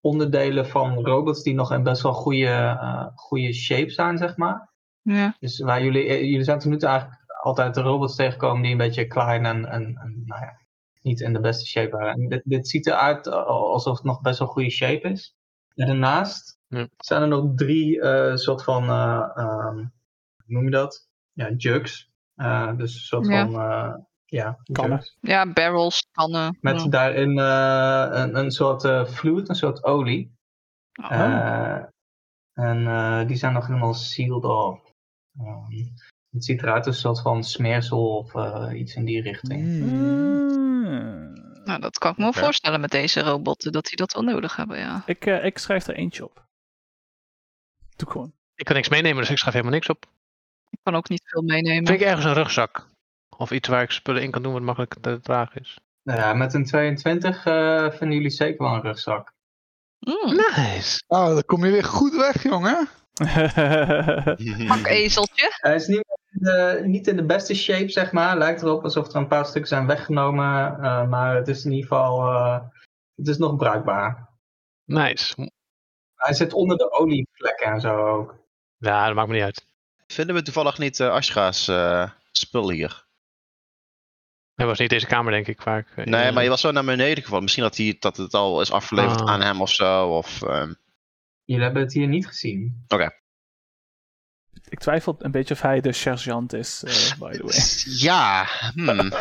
Speaker 2: onderdelen van robots die nog in best wel goede, eh, goede shape zijn, zeg maar.
Speaker 4: Ja.
Speaker 2: Dus waar jullie, eh, jullie zijn tot nu toe eigenlijk altijd de robots tegengekomen die een beetje klein en, en, en nou ja, niet in de beste shape waren. En dit, dit ziet eruit alsof het nog best wel goede shape is. En daarnaast
Speaker 6: Ja.
Speaker 2: zijn er nog drie eh, soort van, eh, ehm, hoe noem je dat? Ja, jugs. Eh, dus een soort
Speaker 4: Ja.
Speaker 2: van, eh, ja,
Speaker 1: Kannen.
Speaker 2: jugs.
Speaker 4: ja, barrels, kannen.
Speaker 2: Met
Speaker 4: ja.
Speaker 2: daarin eh, een, een soort eh fluid, een soort olie.
Speaker 4: Oh.
Speaker 2: Eh, en eh, die zijn nog helemaal sealed off. Ehm, het ziet eruit als een soort van smeersel of eh, iets in die richting.
Speaker 5: Mm.
Speaker 1: Mm.
Speaker 5: Hmm.
Speaker 4: Nou, dat kan ik me wel
Speaker 3: Oké.
Speaker 4: voorstellen met deze robotten, dat die dat wel nodig hebben, ja.
Speaker 1: Ik, eh, ik schrijf er eentje op. Doe gewoon. (laughs)
Speaker 6: Ik kan niks meenemen, dus ik schrijf helemaal niks op.
Speaker 4: Ik kan ook niet veel meenemen.
Speaker 6: Vind ik ergens een rugzak. Of iets waar ik spullen in kan doen wat makkelijk te dragen is.
Speaker 2: Nou ja, met een 22 eh, vinden jullie zeker wel een rugzak.
Speaker 4: Mm,
Speaker 6: Nice.
Speaker 5: Nou, dan kom je weer goed weg, jongen.
Speaker 1: Mm.
Speaker 4: pak
Speaker 3: eh.
Speaker 4: ezeltje.
Speaker 2: Hij is niet in, de, niet in de beste shape, zeg maar. Lijkt erop alsof er een paar stukken zijn weggenomen. eh, maar het is in ieder geval eh, het is nog bruikbaar.
Speaker 6: Nice.
Speaker 2: Hij zit onder de olievlekken en zo ook.
Speaker 6: Ja, dat maakt me niet uit.
Speaker 3: Vinden we toevallig niet eh Ashra's eh, spul hier?
Speaker 6: Dat was niet deze kamer, denk ik, waar ik... eh,
Speaker 3: Nee,
Speaker 6: in-
Speaker 3: maar je was zo naar beneden gevallen. Misschien dat, hij, dat het al is afgeleverd
Speaker 6: Ah.
Speaker 3: aan hem of zo. Of, ehm,
Speaker 2: Jullie hebben het hier niet gezien.
Speaker 1: ik twijfel een beetje of hij de sergeant is, eh, by the
Speaker 5: (laughs)
Speaker 1: way.
Speaker 3: Ja,
Speaker 1: (laughs)
Speaker 3: hmm.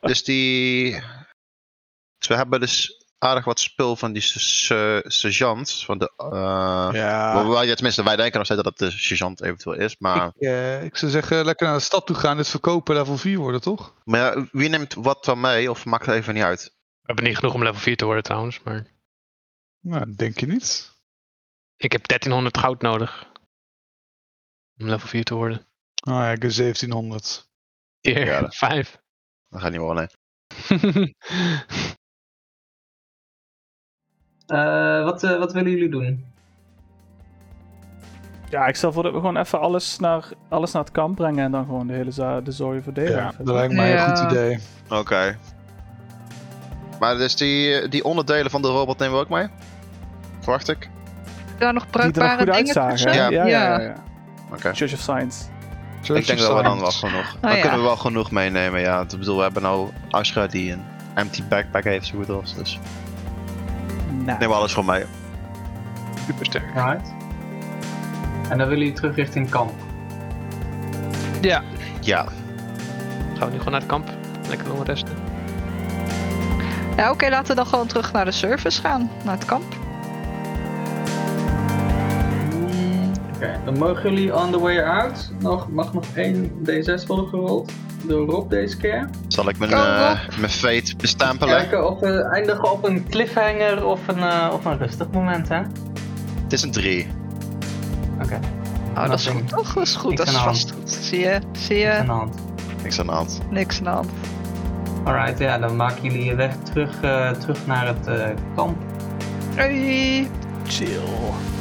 Speaker 3: dus die. Dus we hebben dus aardig wat spul van die se- se- sergeant. Van de, eh,
Speaker 5: Ja.
Speaker 3: wel- wel, ja, Tenminste, wij denken nog steeds dat het de sergeant eventueel is. Maar,
Speaker 5: Ik, eh, ik zou zeggen, lekker naar de stad toe gaan. Dit verkopen level 4 worden, toch?
Speaker 3: maar ja, wie neemt wat van mee? Of maakt het even niet uit?
Speaker 6: We hebben niet genoeg om level 4 te worden, trouwens. Maar
Speaker 5: Nou, denk je niet.
Speaker 6: ik heb 1300 goud nodig. Om level 4 te worden.
Speaker 5: Ah ja, ik heb 1700.
Speaker 6: Hier,
Speaker 3: Ja,
Speaker 6: (laughs)
Speaker 3: dat- (laughs)
Speaker 6: 5.
Speaker 3: Dat gaat niet worden. nee.
Speaker 2: Eh, wat, eh, wat willen jullie doen?
Speaker 1: Ja, ik stel voor dat we gewoon even alles naar, alles naar het kamp brengen en dan gewoon de hele za- de zooi verdelen.
Speaker 5: Ja,
Speaker 1: Even.
Speaker 5: dat lijkt mij
Speaker 4: Ja.
Speaker 5: een goed idee.
Speaker 3: Oké. Maar dus die, eh, die onderdelen van de robot nemen we ook mee? Verwacht ik.
Speaker 4: Daar nog
Speaker 1: Die er nog
Speaker 4: bruikbare
Speaker 1: goed
Speaker 4: dingen
Speaker 1: uitzagen.
Speaker 4: tussen.
Speaker 1: hè? Ja, ja, ja.
Speaker 4: Ja.
Speaker 1: ja.
Speaker 3: Oké.
Speaker 1: Church of Science.
Speaker 3: Ik denk dat we dan wel
Speaker 5: Science.
Speaker 3: genoeg.
Speaker 4: Oh, ja.
Speaker 3: dan kunnen we wel genoeg meenemen. Ja, ik bedoel, we hebben nou Ashra die een empty backpack heeft, zo goed als. Dus
Speaker 1: Nou,
Speaker 3: neem alles voor mij.
Speaker 6: Supersterk.
Speaker 2: Right. En dan willen jullie terug richting kamp.
Speaker 3: Ja,
Speaker 6: Gaan we nu gewoon naar het kamp? Lekker doen resten.
Speaker 4: Ja, oké, laten we dan gewoon terug naar de service gaan. Naar het kamp. Oh,
Speaker 2: Hmm, Oké, dan mogen jullie on the way out. Nog, mag nog één D6 worden gerold door Rob deze keer.
Speaker 3: zal ik mijn,
Speaker 4: Kan
Speaker 3: eh, mijn fate bestempelen?
Speaker 2: Kijken of we eindigen op een cliffhanger of een, eh, of een rustig moment, hè? Oké.
Speaker 3: Het is een 3.
Speaker 4: Oh, dat is
Speaker 2: Nothing.
Speaker 4: goed, toch? Dat is goed,
Speaker 2: Niks
Speaker 4: dat is
Speaker 2: aan de
Speaker 4: vast goed. Zie je, zie
Speaker 2: Niks aan
Speaker 4: je,
Speaker 2: de hand.
Speaker 3: Niks aan de hand.
Speaker 4: niks aan de hand.
Speaker 2: Alright, ja, dan maken jullie je weg terug, eh, terug naar het eh, kamp.
Speaker 4: Hey.
Speaker 1: chill.